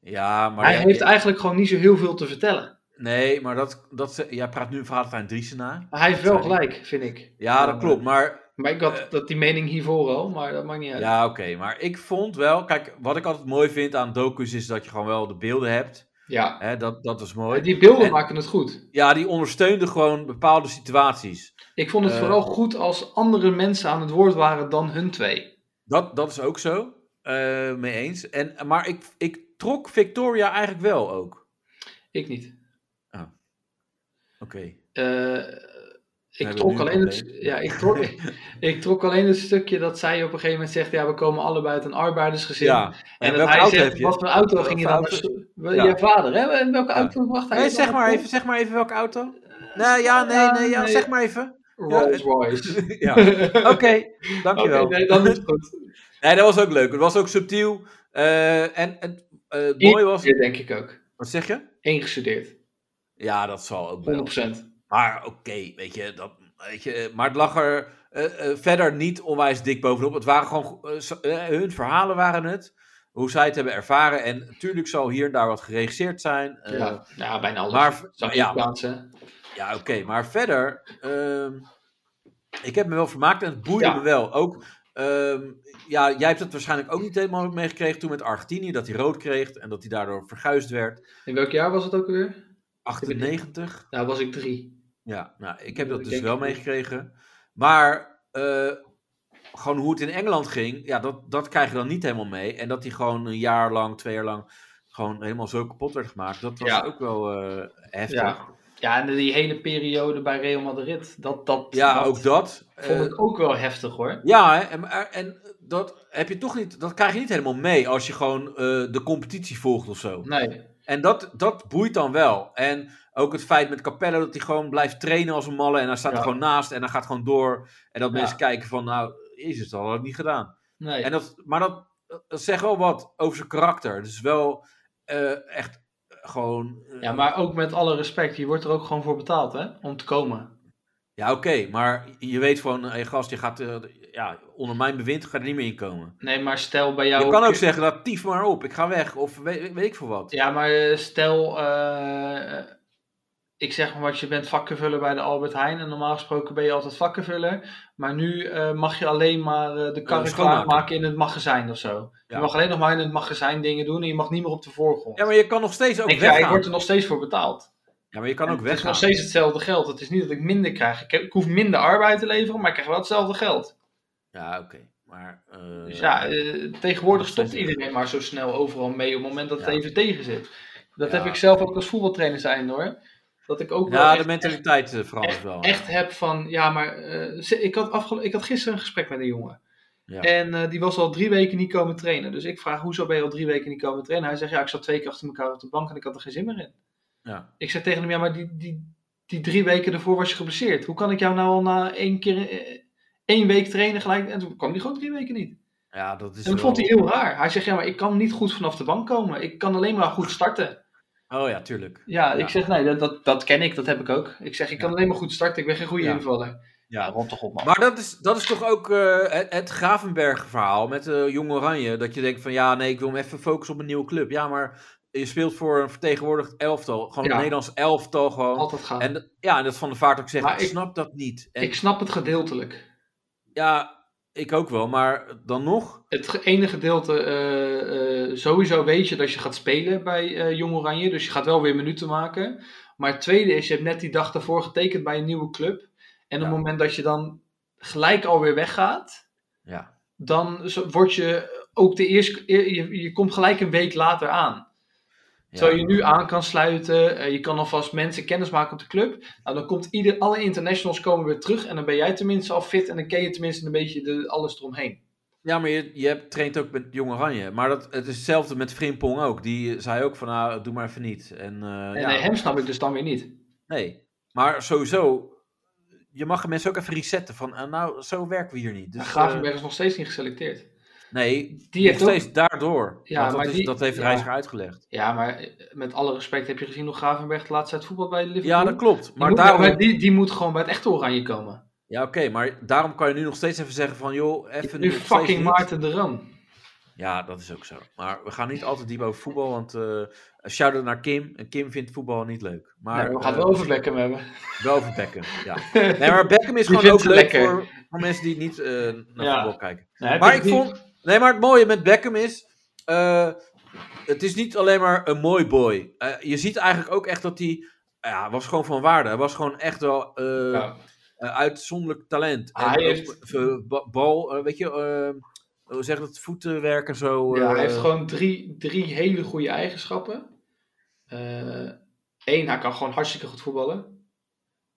Ja, maar...
Hij
jij-
heeft eigenlijk gewoon niet zo heel veel te vertellen.
Nee, maar dat, dat, jij praat nu een verhaal aan Driesen na.
Maar hij heeft wel
Sorry.
gelijk, vind ik.
Ja, dat klopt, maar
Maar ik had dat die mening hiervoor al, maar dat maakt niet uit.
Eh, Ja, oké. Maar ik vond wel... Kijk, wat ik altijd mooi vind aan docu's is dat je gewoon wel de beelden hebt.
Ja.
Hè, dat, dat is mooi.
Die beelden
En-
maken het goed.
Ja, die ondersteunden gewoon bepaalde situaties.
Ik vond het
Eh.
vooral goed als andere mensen aan het woord waren dan hun twee.
Dat, dat is ook zo. eh, mee eens. En, maar ik, ik trok Victoria eigenlijk wel ook.
Ik niet.
Oké.
Eh, ik,
hebben
trok
nu een
alleen het,
probleem.
ja, ik, trok,
<laughs>
ik trok alleen het stukje dat zij op een gegeven moment zegt: Ja, we komen allebei uit een arbeidersgezin.
Ja.
en dat
welke
hij
auto
zegt:
heb je?
Wat voor auto
Welke
ging je dan?
auto-
naartoe? We-
Ja.
Jouw vader, hè? En welke
Ja.
auto wacht hij?
Nee,
dan
zeg maar,
op?
even, zeg maar even welke auto. Nee, ja, nee,
Eh, ja,
nee, ja,
nee.
zeg maar even.
Rolls <laughs> Royce.
Ja, <laughs> oké. dankjewel.
Oké, nee, dan is het
<laughs>
goed.
Nee, dat was ook leuk. Het was ook subtiel. eh, en en eh, het mooie was...
Iedereen, denk ik ook.
Wat zeg je?
ingestudeerd.
Ja, dat zal ook wel.
100%.
Maar oké, weet je, dat, weet je, maar het lag er eh, eh, verder niet onwijs dik bovenop. Het waren gewoon, eh, zo- eh, hun verhalen waren het, hoe zij het hebben ervaren. En natuurlijk zal hier en daar wat geregisseerd zijn. eh,
ja. ja, bijna alles.
maar-
Zag je
ja,
ja, plaatsen.
Ja, oké, maar verder, ehm, ik heb me wel vermaakt en het boeide
Ja.
me wel. Ook, ehm, ja, jij hebt het waarschijnlijk ook niet helemaal meegekregen toen met Argentinië, dat hij rood kreeg en dat hij daardoor verguisd werd.
In welk jaar was het ook weer?
98,
Nou, was ik drie.
Ja, nou, ik heb dat
Ik
dus
denk
wel
het niet.
meegekregen. Maar eh, gewoon hoe het in Engeland ging, ja, dat, dat krijg je dan niet helemaal mee. En dat hij gewoon een jaar lang, twee jaar lang, gewoon helemaal zo kapot werd gemaakt. Dat was
Ja.
ook wel eh, heftig. Ja,
Ja. Ja, en die hele periode bij Real Madrid. Dat, dat, dat
ook dat.
vond
Eh,
ik ook wel heftig hoor.
ja, hè, en, maar- en dat, heb je toch niet, dat krijg je niet helemaal mee als je gewoon eh, de competitie volgt of zo.
Nee,
En dat, dat boeit dan wel. En ook het feit met Capello dat hij gewoon blijft trainen als een malle. En hij staat
Ja.
er gewoon naast en hij gaat gewoon door. En dat
Ja.
mensen kijken van, nou, jezus, dat had ik niet gedaan.
nee.
En dat, maar dat, dat zegt wel wat over zijn karakter. Dus wel eh, echt gewoon... eh,
Ja, maar ook met alle respect, je wordt er ook gewoon voor betaald hè, om te komen.
Ja, oké. maar je weet gewoon, hé gast, je gaat eh, ja, onder mijn bewind ga je er niet meer in komen.
Nee, maar stel bij jou...
je kan ook zeggen, dat tief maar op, ik ga weg. Of weet, weet ik veel wat.
Ja, maar eh, stel, eh, ik zeg maar wat, je bent vakkenvuller bij de Albert Heijn. En normaal gesproken ben je altijd vakkenvuller. Maar nu eh, mag je alleen maar eh, de karren
schoonmaken.
klaarmaken in het magazijn of zo.
Ja.
Je mag alleen nog maar in het magazijn dingen doen en je mag niet meer op de voorgrond.
Ja, maar je kan nog steeds ook
ik, ja, ik
weggaan.
word er nog steeds voor betaald.
Ja, maar je kan ook
het is nog
weggaan.
steeds hetzelfde geld. Het is niet dat ik minder krijg. Ik, heb- ik hoef minder arbeid te leveren, maar ik krijg wel hetzelfde geld.
Ja, oké. Maar... eh,
Dus ja, eh, tegenwoordig stopt
Steeds-
iedereen maar zo snel overal mee op het moment dat het
Ja.
even tegen zit. Dat
Ja.
heb ik zelf ook als voetbaltrainer zijn hoor. Dat ik ook wel
Ja, de
echt,
mentaliteit eh, verandert wel.
echt heb van, ja maar eh, ze- ik, had afgelo- ik had gisteren een gesprek met een jongen.
Ja.
En eh, die was al drie weken niet komen trainen. Dus ik vraag, hoezo ben je al drie weken niet komen trainen? Hij zegt, ja ik zat twee keer achter elkaar op de bank en ik had er geen zin meer in.
Ja.
Ik zeg tegen hem, ja maar die, die, die drie weken ervoor was je geblesseerd. Hoe kan ik jou nou al na één keer... eh, één week trainen gelijk en toen kwam die gewoon drie weken niet.
ja, dat is
En dat
wel-
vond hij heel raar. Hij zegt, ja, maar ik kan niet goed vanaf de bank komen. Ik kan alleen maar goed starten.
Oh ja, tuurlijk.
Ja,
Ja.
ik zeg, nee, dat, dat, dat ken ik, dat heb ik ook. Ik zeg, ik kan
Ja.
alleen maar goed starten, ik ben geen goede
Ja.
invaller.
Ja.
rond toch op, man.
Maar dat is, dat is toch ook eh, het, het Gravenberg-verhaal met eh Jong Oranje. Dat je denkt van ja, nee, ik wil me even focussen op een nieuwe club. Ja, maar je speelt voor een vertegenwoordigd elftal. Gewoon een
Ja.
Nederlands elftal gewoon.
Altijd gaan.
En dat- ja, en dat Van de Vaart ook zegt,
Maar
ik,
ik-
snap dat niet. En
ik snap het gedeeltelijk.
ja, ik ook wel, maar dan nog.
Het ge- ene gedeelte, eh, eh, sowieso weet je dat je gaat spelen bij eh, Jong Oranje. Dus je gaat wel weer minuten maken. Maar het tweede is, je hebt net die dag daarvoor getekend bij een nieuwe club. En op
Ja.
het moment dat je dan gelijk alweer weggaat...
Ja,
dan zo- word je ook de eerste, je, je komt gelijk een week later aan. Terwijl
ja.
je nu aan kan sluiten, eh, je kan alvast mensen kennis maken op de club. Nou, dan komt ieder, alle internationals komen weer terug en dan ben jij tenminste al fit en dan ken je tenminste een beetje de, alles eromheen.
Ja, maar je, je hebt, traint ook met Jong Oranje. Maar dat, het is hetzelfde met Frimpong ook. Die zei ook van, nou, doe maar even niet. En, eh,
En
ja.
eh, hem snap ik dus dan weer niet.
Nee, maar sowieso, je mag de mensen ook even resetten van, ah, nou, zo werken we hier niet. Dus,
Dus, Gravenberg is nog steeds niet geselecteerd.
eh, nee,
Die heeft
nog steeds
ook,
daardoor.
Ja,
want dat,
maar
is-
die-
dat heeft
ja.
Reiziger uitgelegd.
ja, maar eh, met alle respect heb je gezien hoe Gravenberg de laatste tijd voetbal bij Liverpool.
Ja, dat klopt.
Die
Maar
moet-
daarom,
maar die, die moet gewoon bij het echte oranje komen.
ja, oké, maar daarom kan je nu nog steeds even zeggen van, joh, even
Nu
nog steeds
fucking
niet.
Maarten de Ram.
Ja, dat is ook zo. Maar we gaan niet altijd diep over voetbal, want eh shout-out naar Kim. En Kim vindt voetbal niet leuk. Maar
nee, we gaan
eh,
het wel over Beckham hebben.
wel over Beckham, ja.
<laughs>
Nee, maar Beckham is
Die
gewoon ook
vindt ze
leuk
lekker.
voor, voor mensen die niet eh, naar
Ja.
voetbal kijken.
Nee, heb
Maar
je
ik
die-
vond. Nee, maar het mooie met Beckham is. eh, het is niet alleen maar een mooi boy. Eh, je ziet eigenlijk ook echt dat hij. Ja, was gewoon van waarde. Hij was gewoon echt wel. eh,
Ja. Ah,
eh, uitzonderlijk talent.
Hij
En ook,
heeft-
eh, ba- bal, eh, weet je. eh, hoe zeg je dat? Voetenwerk en zo.
Ja,
eh,
hij heeft gewoon drie, drie hele goede eigenschappen. Eén, hij kan gewoon hartstikke goed voetballen.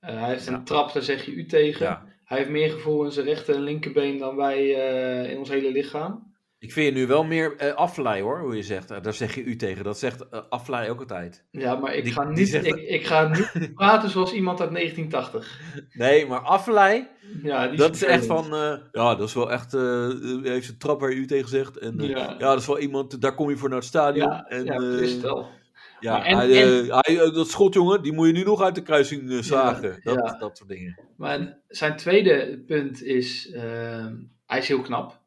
Eh, hij heeft een
Ja.
trap, daar zeg je u tegen.
ja.
Hij heeft meer gevoel in zijn rechter en linkerbeen dan wij eh, in ons hele lichaam.
Ik vind je nu wel meer eh aflei hoor, hoe je zegt. Eh, daar zeg je u tegen. Dat zegt eh, aflei ook altijd.
Ja, maar ik,
Die-
ga,
die
niet,
zegt-
ik, ik ga
<laughs>
niet praten zoals iemand uit 1980.
Nee, maar aflei.
Ja, die
Dat is echt
vervelend.
van, eh, ja, dat is wel echt, eh, eh, heeft een trap waar u tegen zegt. En eh, ja.
Ja.
dat is wel iemand, daar kom je voor naar het stadion.
Ja,
en,
ja
eh,
precies wel.
Ja,
Maar en-
hij, eh, hij, eh, dat schot, jongen, die moet je nu nog uit de kruising eh, zagen. dat,
ja.
dat soort dingen.
Maar zijn tweede punt is, ehm, hij is heel knap.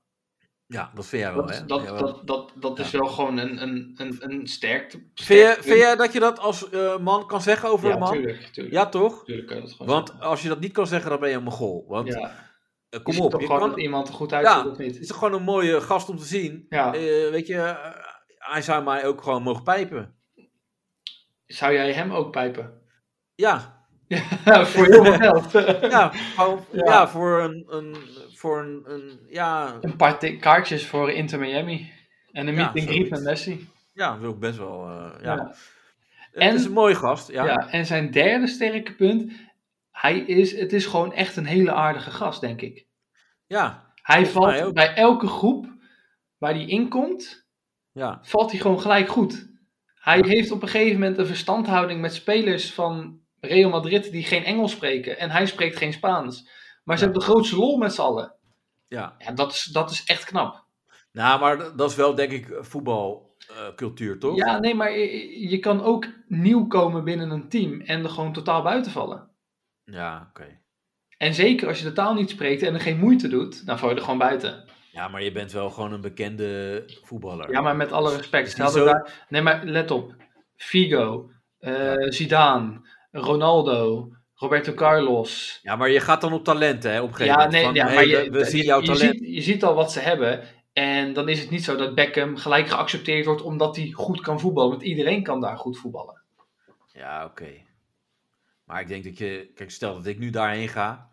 Ja, dat vind jij wel,
Dat,
hè?
dat,
Oh, Ja, wel.
dat, dat, dat is wel gewoon een, een, een, een sterk...
Vind, jij,
sterk
vind jij dat je dat als eh, man kan zeggen over
Ja,
een man?
tuurlijk, tuurlijk.
Ja, toch?
Tuurlijk kan je dat gewoon
Want als je dat niet kan zeggen, dan ben je een mogol. Want
zeggen. Ja.
eh,
Is
kom
het
op,
toch
je
gewoon
kan,
dat iemand er goed uitziet
Ja.
of
het is
niet?
toch gewoon een mooie gast om te zien.
Ja.
Eh, weet je, eh, hij zou mij ook gewoon mogen pijpen.
Zou jij hem ook pijpen? <laughs>
Ja,
Voor
<laughs>
heel veel geld.
ja, gewoon,
<laughs> Ja.
ja. voor een, een, voor een, een ja,
Een paar ti- kaartjes voor Inter Miami. En een
Ja,
meeting
zoiets.
greet met Messi.
ja, wil ik best wel, eh, ja.
Ja.
Het
En-
is een mooie gast,
Ja.
ja.
en zijn derde sterke punt. Hij is, het is gewoon echt een hele aardige gast, denk ik.
Ja,
Hij
Volgens mij
valt
ook.
bij elke groep waar hij inkomt,
ja.
valt hij gewoon gelijk goed. Hij
Ja.
heeft op een gegeven moment een verstandhouding met spelers van Real Madrid die geen Engels spreken. En hij spreekt geen Spaans. Maar ze
Ja.
hebben de grootste lol met z'n allen.
ja.
Ja, dat is, dat is echt knap.
Nou, maar d- dat is wel denk ik voetbalcultuur, toch?
Ja, nee, maar je, je kan ook nieuw komen binnen een team en er gewoon totaal buiten vallen.
Ja, oké.
En zeker als je de taal niet spreekt en er geen moeite doet, dan val je er gewoon buiten.
Ja, maar je bent wel gewoon een bekende voetballer.
Ja, maar met alle respect.
is
Ze
niet
hadden
zo-
daar- Nee, maar let op. Figo, eh, Zidane, Ronaldo, Roberto Carlos.
Ja, maar je gaat dan op talent, hè, op een gegeven
Ja,
moment.
nee,
Van,
ja,
hey,
maar je,
we, we zien jouw
je,
talent.
ziet, je ziet al wat ze hebben. En dan is het niet zo dat Beckham gelijk geaccepteerd wordt omdat hij goed kan voetballen. Want iedereen kan daar goed voetballen.
Ja, oké. Maar ik denk dat je... Kijk, stel dat ik nu daarheen ga...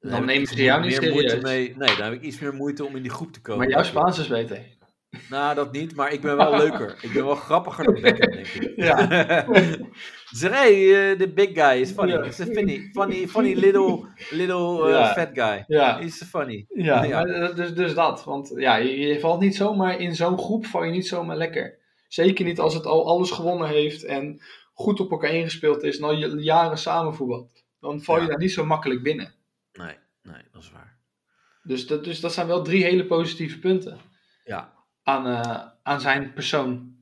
Dan
heb ik
nemen
iets
ze jou niet
meer moeite
serieus.
mee. Nee, dan heb ik iets meer moeite om in die groep te komen.
Maar jouw
denk ik.
Spaans is beter.
Nou, dat niet, maar ik ben
<laughs>
wel leuker. Ik ben wel grappiger dan Beckham, denk ik. <laughs>
Ja.
Zeg, hey, eh, the big guy is funny.
Ja.
It's a funny, funny, funny little, little eh,
Ja.
fat guy.
Ja,
Is funny.
ja,
Ja.
maar, eh, dus, dus dat. Want ja, je, je valt niet zomaar in zo'n groep, val je niet zomaar lekker. Zeker niet als het al alles gewonnen heeft en goed op elkaar ingespeeld is en al je- jaren samen voetbalt. Dan val je
Ja.
daar niet zo makkelijk binnen.
Nee, nee, dat is waar.
Dus dat, dus dat zijn wel drie hele positieve punten
Ja,
aan, eh, aan zijn persoon.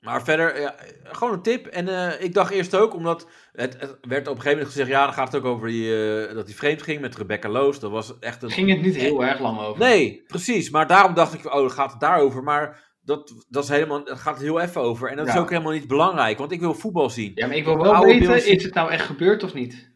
Maar verder, ja, gewoon een tip. En eh, ik dacht eerst ook, omdat het, het werd op een gegeven moment gezegd... ja, dan gaat het ook over die, eh, dat hij vreemd ging met Rebecca Loos. Dat was echt een...
Ging het niet heel erg lang over.
Nee, precies. Maar daarom dacht ik, oh, gaat het daarover? Maar dat, dat is helemaal, dat gaat heel even over. En dat is
Ja.
ook helemaal niet belangrijk, want ik wil voetbal zien.
Ja, maar ik wil wel
Oude
weten,
beelden-
is het nou echt gebeurd of niet?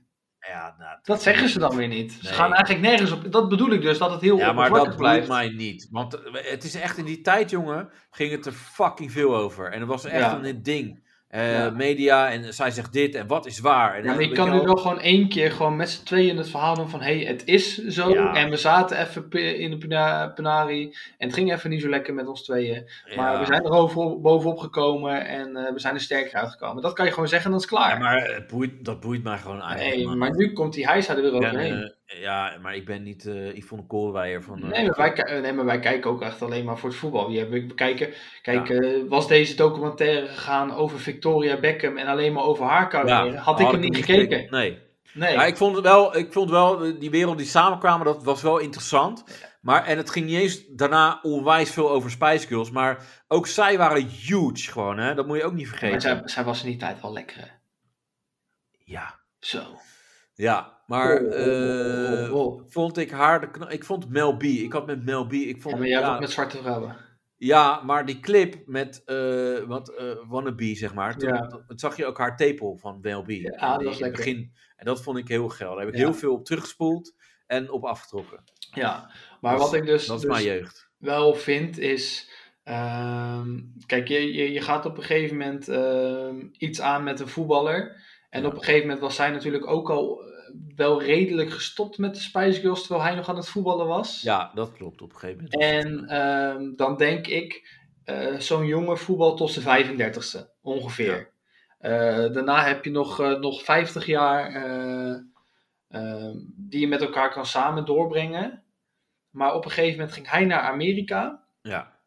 Ja, nou,
Dat zeggen ze dan weer niet. Ze
Nee.
gaan eigenlijk nergens op. Dat bedoel ik dus, dat het heel
ja maar dat
oppervlakkig
blijft
blijft.
mij niet. Want eh, het is echt in die tijd, jongen, ging het er fucking veel over. En het was echt
Ja.
een ding. Eh,
Ja.
Media, en zij zegt dit, en wat is waar? En
Ja, maar
weet
je kan
je
nu
wel-
wel gewoon één keer gewoon met z'n tweeën het verhaal doen van... hé, hey, het is zo
Ja.
en we zaten even pe- in de pena- penari... en het ging even niet zo lekker met ons tweeën. Maar
Ja.
we zijn er over- bovenop gekomen en eh, we zijn er sterker uitgekomen. Dat kan je gewoon zeggen en dan is het klaar.
Ja, maar het boeit, dat boeit mij gewoon eigenlijk.
nee,
man.
maar nu komt die hijsa er weer
ik ben,
overheen.
eh, ja, maar ik ben niet eh, Yvonne Koolweijer van... eh,
Nee maar, wij, ki- eh, nee, maar wij kijken ook echt alleen maar voor het voetbal. Die hebben we kijken. Kijk, eh, was deze documentaire gegaan over Victoria Beckham en alleen maar over haar carrière, had
Oh,
ik hem niet gekeken.
Nee.
Nee.
Ja, ik vond het wel, ik vond wel eh, die wereld die samenkwamen, dat was wel interessant. Maar, en het ging niet eens daarna onwijs veel over Spice Girls. Maar ook zij waren huge gewoon, hè. Dat moet je ook niet
maar
vergeten.
zij, zij was in die tijd wel lekker. hè.
Ja,
Zo.
ja. Maar
Oh, oh,
eh,
oh, oh, oh.
vond ik haar... De kno- ik vond Mel B. Ik had met Mel B... Ik vond,
Ja, maar jij
ja,
hebt ook met zwarte vrouwen.
Ja, maar die clip met eh wat eh, wannabe, zeg maar. Toen,
Ja.
toen zag je ook haar tepel van WLB.
Ja, dat
In-
was
in het
lekker.
Begin. En dat vond ik heel geil. Daar heb ik
Ja.
heel veel op teruggespoeld en op afgetrokken.
Ja, maar
Dat
wat
is-
ik dus,
Dat is
dus
mijn jeugd.
wel vind is. ehm, kijk, je, je, je gaat op een gegeven moment ehm, iets aan met een voetballer. En
Ja.
op een gegeven moment was zij natuurlijk ook al eh, wel redelijk gestopt met de Spice Girls terwijl hij nog aan het voetballen was.
Ja, dat klopt op een gegeven moment.
En ehm, dan denk ik, eh, zo'n jongen voetbal tot zijn 35ste ongeveer. Eh, daarna heb je nog, eh, nog 50 jaar eh, ehm, die je met elkaar kan samen doorbrengen. Maar op een gegeven moment ging hij naar Amerika
Ja,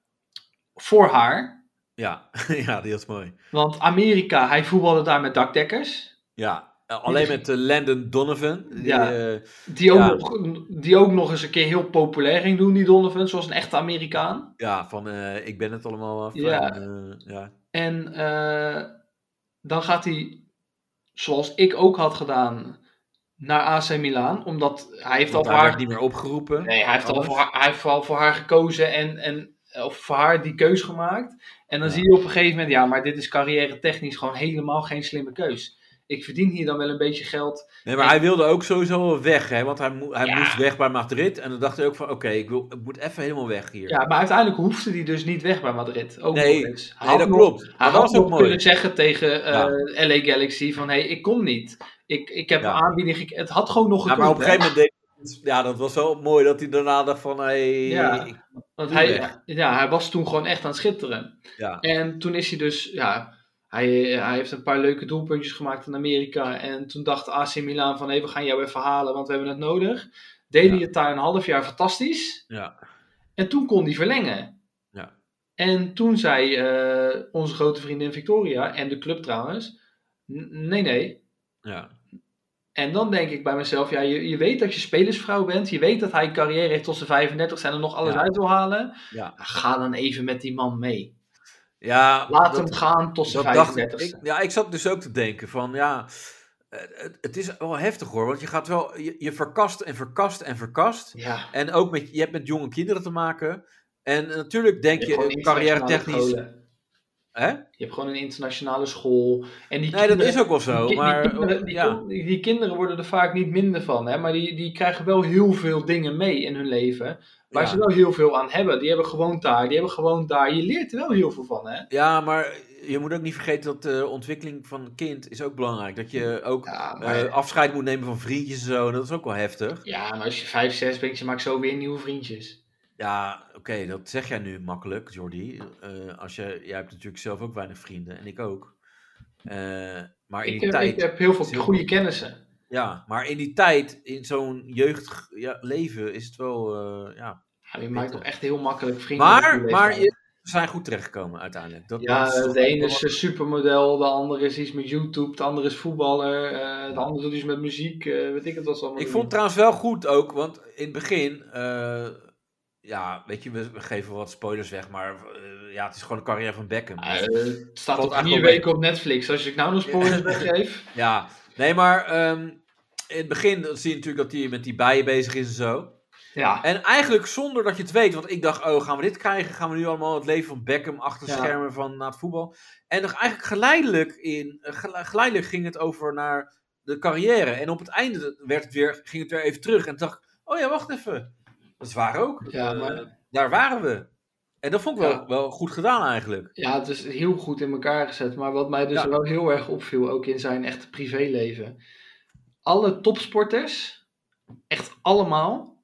voor haar.
ja. <laughs> ja die was mooi.
Want Amerika, hij voetbalde daar met dakdekkers.
Ja, eh, alleen met eh, Landon Donovan. Die,
Ja.
eh,
Die ook,
Ja.
nog, die ook nog eens een keer heel populair ging doen, die Donovan, zoals een echte Amerikaan.
ja, eh, van eh, ik ben het allemaal af.
Ja.
En, eh, ja.
En eh, dan gaat hij, zoals ik ook had gedaan, naar AC Milan. Omdat hij heeft al
Want
voor
hij werd
haar...
niet meer opgeroepen.
Nee, hij heeft, al
Alles.
voor haar, hij heeft al voor haar gekozen en, en of voor haar die keus gemaakt. En dan
Ja.
zie je op een gegeven moment, ja, maar dit is carrière technisch gewoon helemaal geen slimme keus. Ik verdien hier dan wel een beetje geld.
Nee, maar
En-
hij wilde ook sowieso wel weg, hè? Want hij, mo- hij
Ja.
moest weg bij Madrid. En dan dacht hij ook van, oké, ik, wil- ik moet even helemaal weg hier.
Ja, maar uiteindelijk hoefde die dus niet weg bij Madrid. Ook
Nee,
nog eens. Hij
nee,
had
dat
nog-
klopt.
Hij
Maar
had
dat was
nog
ook Ah, mooi.
kunnen zeggen tegen eh, LA Galaxy van, hé, hey, ik kom niet. Ik, ik heb
Ja.
een aanbieding. gek- Het had gewoon nog
Ja,
gekund.
maar op een
hè?
gegeven moment deed Ja, dat was wel mooi dat hij daarna dacht van, hey,
Ja.
ik-
Want
Toen
hij,
weg.
ja, hij was toen gewoon echt aan het schitteren.
Ja.
En toen is hij dus, ja, hij, hij heeft een paar leuke doelpuntjes gemaakt in Amerika. En toen dacht AC Milan van, hé, we gaan jou even halen, want we hebben het nodig. Deed
Ja.
hij het daar een half jaar fantastisch.
Ja.
En toen kon hij verlengen.
Ja.
En toen zei eh, onze grote vriendin Victoria, en de club trouwens, "N- nee, nee,
ja.
en dan denk ik bij mezelf, ja, je, je weet dat je spelersvrouw bent. Je weet dat hij een carrière heeft tot zijn 35 en er nog alles
Ja.
uit wil halen.
Ja.
Ga dan even met die man mee.
ja
Laat
dat-
hem gaan tot zijn
Dat dacht ik.
35
ik. Ja, ik zat dus ook te denken van ja, eh, het, het is wel heftig hoor. Want je gaat wel, je, je verkast en verkast en verkast.
Ja,
En ook met, je hebt met jonge kinderen te maken. En natuurlijk denk je,
gewoon
eh, carrière
internationale
technisch.
scholen.
Hè?
Je hebt gewoon een internationale school. En
Nee,
die
dat
kinderen-
is ook wel zo.
die ki- die
Maar oh,
kinderen- die
ja,
kon- die kinderen worden er vaak niet minder van. Hè? Maar die, die krijgen wel heel veel dingen mee in hun leven. Waar
Ja.
ze wel heel veel aan hebben. Die hebben gewoon daar, die hebben gewoon daar. Je leert er wel heel veel van, hè?
ja, maar je moet ook niet vergeten dat de ontwikkeling van een kind is ook belangrijk. Dat je ook
Ja,
eh, afscheid moet nemen van vriendjes en zo. En dat is ook wel heftig.
Ja, maar als je 5, 6 bent, je maakt zo weer nieuwe vriendjes.
Ja, oké, dat zeg jij nu makkelijk, Jordi. Eh, als je, jij hebt natuurlijk zelf ook weinig vrienden en ik ook. Eh, maar in
Ik
die
heb,
tijd,
ik heb heel
is
veel
heel
goede
goed.
kennissen.
ja, maar in die tijd, in zo'n jeugd ja, leven, is het wel, eh, ja.
Ja, je maakt toch echt heel makkelijk vrienden. op
Maar,
je
maar
leeftijd.
je- we zijn goed terechtgekomen uiteindelijk. Dat,
Ja,
dat is toch
de ene
wel-
is een supermodel, de andere is iets met YouTube, de andere is voetballer, eh, de andere doet iets met muziek, eh, weet ik het wat ze allemaal
Ik
doen.
vond het trouwens wel goed ook, want in het begin, eh, ja, weet je, we, we geven wat spoilers weg, maar eh, ja, het is gewoon de carrière van Beckham.
Eh, het staat
Valt
al vier
eigenlijk wel
weken op Netflix. Als ik nou nog spoilers weggeef.
Ja, nee, maar ehm, in het begin dan zie je natuurlijk dat hij met die bijen bezig is en zo.
Ja,
En eigenlijk zonder dat je het weet, want ik dacht, oh, gaan we dit krijgen? Gaan we nu allemaal het leven van Beckham achter
Ja.
schermen van na het voetbal? En dan eigenlijk geleidelijk, in, eh, gele- geleidelijk ging het over naar de carrière. En op het einde werd het weer, ging het weer even terug. En dacht ik, oh ja, wacht even. Dat is waar ook.
Ja,
Eh,
maar-
daar waren we. En dat vond ik
Ja.
wel, wel goed gedaan eigenlijk.
ja, het is heel goed in elkaar gezet. Maar wat mij dus
Ja.
wel heel erg opviel, ook in zijn echte privéleven. Alle topsporters, echt allemaal,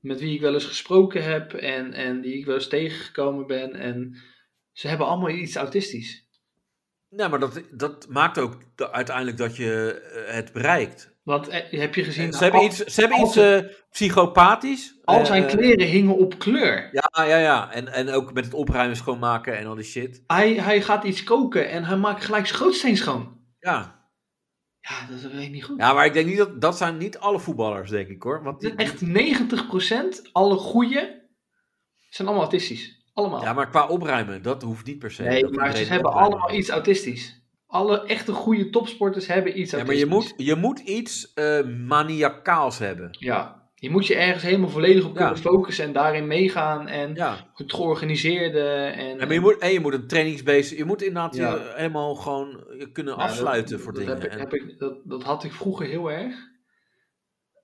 met wie ik wel eens gesproken heb en, en die ik wel eens tegengekomen ben. En ze hebben allemaal iets autistisch.
Nee, maar dat, dat maakt ook de- uiteindelijk dat je eh, het bereikt.
Want eh, heb je gezien,
Ze hebben
al,
iets, ze hebben
als
iets
het-
eh, psychopathisch.
al zijn
Eh,
kleren hingen op kleur.
Ja, ja, ja. En, en ook met het opruimen, schoonmaken en al die shit.
Hij, hij gaat iets koken en hij maakt gelijk zijn gootsteen schoon.
Ja.
Ja, dat weet ik niet goed.
ja, maar ik denk niet dat... Dat zijn niet alle voetballers, denk ik, hoor. Want die-
Echt 90% alle goeie zijn allemaal autistisch. Allemaal.
Ja, maar qua opruimen, dat hoeft niet per se.
nee,
dat
maar ze
iedereen
hebben
opruimt.
allemaal iets autistisch. Alle echte goede topsporters hebben iets
Ja, maar
autistisch.
je moet, je moet iets eh maniacaals hebben.
Ja, je moet je ergens helemaal volledig op kunnen
Ja.
focussen en daarin meegaan en
Ja.
het georganiseerde. En,
En, maar je moet, en je moet een trainingsbeest... Je moet inderdaad
Ja.
je helemaal gewoon je kunnen
Nou,
afsluiten
dat-
voor
dat
dingen.
Heb ik,
En
heb ik, dat, dat had ik vroeger heel erg.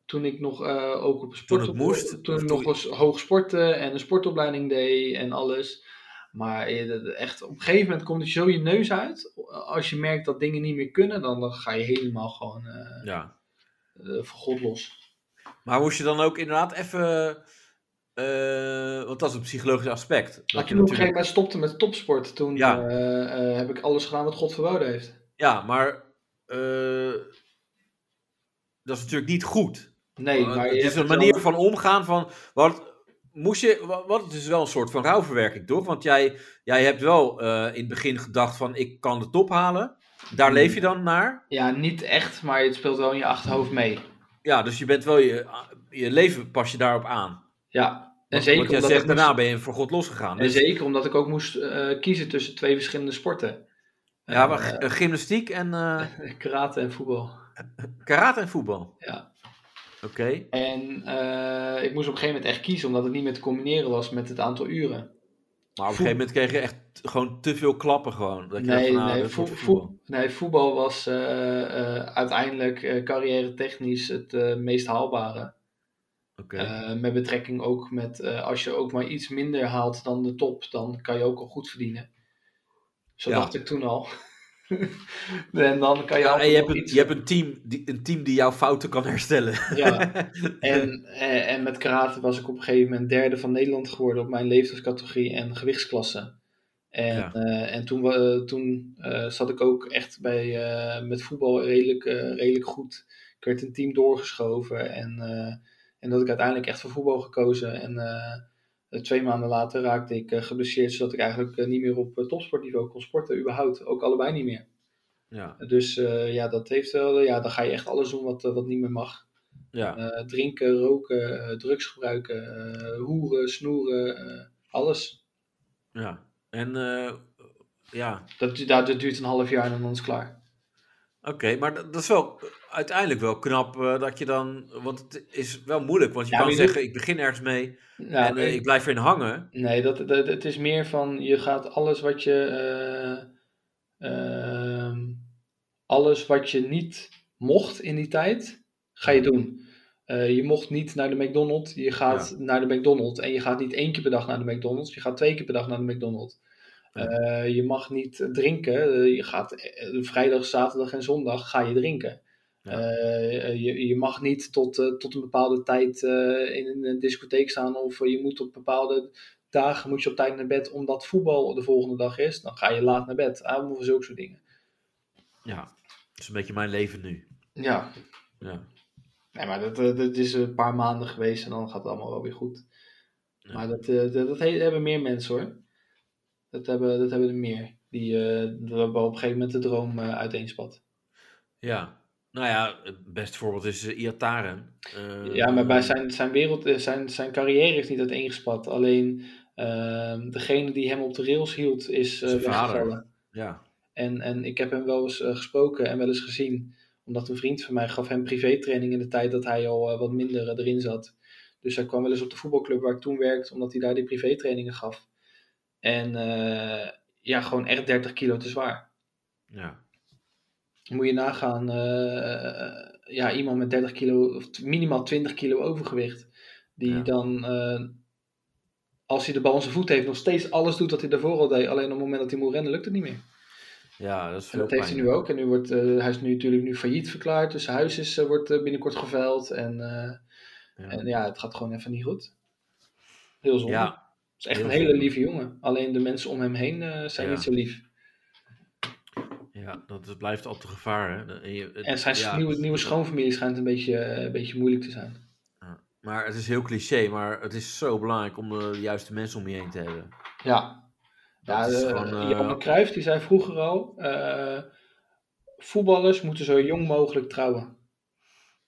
Toen ik nog eh, ook op sport
Toen het moest,
Toen
of
ik
toen
nog
je-
was hoog sporten en een sportopleiding deed en alles. Maar eh, dat- echt, op een gegeven moment komt het zo je neus uit. Als je merkt dat dingen niet meer kunnen, dan, dan ga je helemaal gewoon eh
ja.
eh, voor God los.
Maar moest je dan ook inderdaad even. eh, want dat is een psychologisch aspect. Dat
Maar
je
toen op een
natuurlijk-
gegeven moment stopte met topsport, toen
Ja.
eh, eh, heb ik alles gedaan wat God verboden heeft.
Ja, maar. eh, dat is natuurlijk niet goed.
Nee,
Want
maar je
het Oh, is
hebt
een
wel-
manier van omgaan van. Wat, moest je, wa- wat het is wel een soort van rouwverwerking, toch? Want jij, jij hebt wel eh, in het begin gedacht van ik kan de top halen. Daar
Hmm.
leef je dan naar.
Ja, niet echt, maar het speelt wel in je achterhoofd mee.
Ja, dus je bent wel je, je leven pas je daarop aan.
Ja, en
Want-
zeker
want jij
omdat
zegt
ik moest-
daarna ben je voor God losgegaan.
En
Dus,
zeker omdat ik ook moest eh, kiezen tussen twee verschillende sporten.
Ja,
En,
maar g- eh, gymnastiek en eh,
eh, <laughs> karate en voetbal.
karate en voetbal.
Ja.
Oké.
En eh, ik moest op een gegeven moment echt kiezen, omdat het niet meer te combineren was met het aantal uren.
Maar op een gegeven moment kreeg je echt t- gewoon te veel klappen gewoon. Dat je dacht
nee,
van, nou,
nee,
dit
voet-
wordt
voet-
voetbal.
nee, voetbal was eh, eh, uiteindelijk eh carrière technisch het eh, meest haalbare.
Oké.
Eh, met betrekking ook met eh, als je ook maar iets minder haalt dan de top, dan kan je ook al goed verdienen. Zo
Ja.
dacht ik toen al. <laughs> en dan kan je
Ja,
altijd
en je hebt,
nog
een,
iets-
je hebt een, team die, een team die jouw fouten kan <laughs> herstellen.
Ja. En, eh, en met karate was ik op een gegeven moment derde van Nederland geworden op mijn leeftijdscategorie en gewichtsklasse. En,
Ja.
eh, en toen, wa- toen eh, zat ik ook echt bij, eh, met voetbal redelijk, eh, redelijk goed. Ik werd een team doorgeschoven en, eh, en dat ik uiteindelijk echt voor voetbal gekozen. En eh, twee maanden later raakte ik eh, geblesseerd, zodat ik eigenlijk eh, niet meer op eh, topsportniveau kon sporten, überhaupt. Ook allebei niet meer.
ja,
Dus eh, ja, dat heeft wel, ja, dan ga je echt alles doen wat, eh, wat niet meer mag.
ja.
Eh, drinken, roken, eh, drugs gebruiken, eh, hoeren, snoeren, eh, alles.
ja. En eh, ja,
Dat, du- dat, dat duurt een half jaar en dan is het klaar.
oké. Maar dat, dat is wel uiteindelijk wel knap eh, dat je dan... Want het is wel moeilijk. Want je
Ja,
kan
maar je doet-
zeggen, ik begin ergens mee
Ja,
en eh, ik blijf erin hangen.
Nee, dat, dat, het is meer van je gaat alles wat je. eh, ehm, alles wat je niet mocht in die tijd, ga je doen. Eh, je mocht niet naar de McDonald's, je gaat naar de McDonald's. En je gaat niet één keer per dag naar de McDonald's, je gaat twee keer per dag naar de McDonald's.
Ja.
Eh, je mag niet drinken, eh, je gaat eh, vrijdag, zaterdag en zondag ga je drinken.
Ja.
Eh, je, je mag niet tot, eh, tot een bepaalde tijd eh, in een discotheek staan of eh, je moet op bepaalde dagen moet je op tijd naar bed omdat voetbal de volgende dag is. Dan ga je laat naar bed. Ah, of zulke soort dingen.
Ja, dat is een beetje mijn leven nu.
Ja,
Ja.
nee, maar dat, eh, dat is een paar maanden geweest en dan gaat het allemaal wel weer goed.
Ja.
Maar dat, eh, dat, dat he- hebben meer mensen hoor. Dat hebben, dat hebben er meer. Die eh, dat op een gegeven moment de droom eh uiteenspat.
Ja. Nou ja, het beste voorbeeld is eh, Iataren. Eh,
ja, maar bij zijn, zijn, wereld, eh, zijn, zijn carrière is niet uiteengespat. Alleen ehm, degene die hem op de rails hield is eh
Zijn vader.
weggevallen.
Ja,
En, en ik heb hem wel eens eh, gesproken en wel eens gezien. Omdat een vriend van mij gaf hem privétraining in de tijd dat hij al eh, wat minder eh, erin zat. Dus hij kwam wel eens op de voetbalclub waar ik toen werkte, omdat hij daar die privétrainingen gaf. En eh, ja, gewoon echt 30 kilo te zwaar.
ja.
Moet je nagaan, eh, ja, iemand met 30 kilo, of t- minimaal 20 kilo overgewicht, die
Ja.
dan, eh, als hij de bal in zijn voet heeft, nog steeds alles doet wat hij daarvoor al deed. Alleen op het moment dat hij moet rennen, lukt het niet meer.
ja dat is
En
veel
dat heeft hij
pijn.
nu ook. En nu wordt, eh, hij is nu natuurlijk nu failliet verklaard. Dus zijn huis is, eh, wordt eh, binnenkort geveild. En, eh,
Ja.
en ja, het gaat gewoon even niet goed. Heel zonde.
Ja,
het is echt
heel
een hele
zonde.
lieve jongen. Alleen de mensen om hem heen eh, zijn
Ja.
niet zo lief.
Ja, dat, dat blijft altijd een gevaar. Hè? En, je- het-
En zijn
ja,
nieuwe, nieuwe schoonfamilie schijnt een beetje, eh, een beetje moeilijk te zijn.
Maar het is heel cliché, maar het is zo belangrijk om eh, de juiste mensen om je heen te hebben.
Ja. Ja,
Dat is
eh,
gewoon, eh,
Johan Cruijff die zei vroeger al... eh, voetballers moeten zo jong mogelijk trouwen.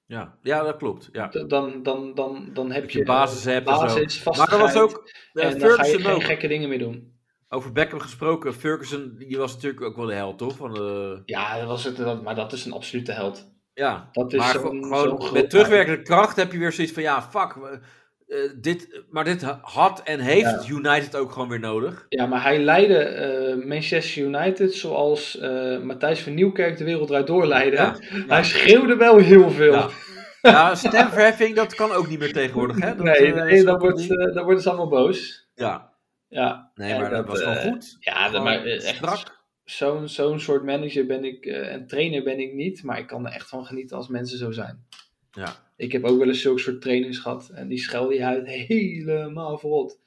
Ja, ja dat klopt. Ja.
D- Dan, dan, dan, dan heb
Dat
je
je basis
eh,
hebt en zo.
basis,
Maar dat was
vastigheid.
ook eh,
en dan ga je
Ferguson
geen
ook.
gekke dingen meer doen.
Over Beckham gesproken. Ferguson, die was natuurlijk ook wel de held, toch? Van de,
Ja, dat was het, dat- maar dat is een absolute held.
ja.
Dat is
maar
zo'n-
gewo-
zo'n
gewoon
groot-
met terugwerkende kracht heb je weer zoiets van, ja, fuck. we- eh, dit, maar dit had en heeft United ook gewoon weer nodig.
Ja, maar hij leidde eh, Manchester United zoals eh, Matthijs van Nieuwkerk de wereld draait doorleidde.
Ja,
Hij schreeuwde wel heel veel.
Ja, Ja, stemverheffing, dat kan ook niet meer tegenwoordig, hè? Dat,
nee,
eh,
nee
snap
dan,
ik
wordt,
niet.
eh, dan worden ze allemaal boos.
Ja,
Ja,
nee,
en
maar dat
dat,
was gewoon
eh,
goed.
ja dat-
Gewoon
maar eh, echt
strak.
zo'n zo'n soort manager ben ik eh, en trainer ben ik niet. Maar ik kan er echt van genieten als mensen zo zijn.
Ja.
Ik heb ook wel eens zulke soort trainers gehad. En die schelde je uit helemaal verrot.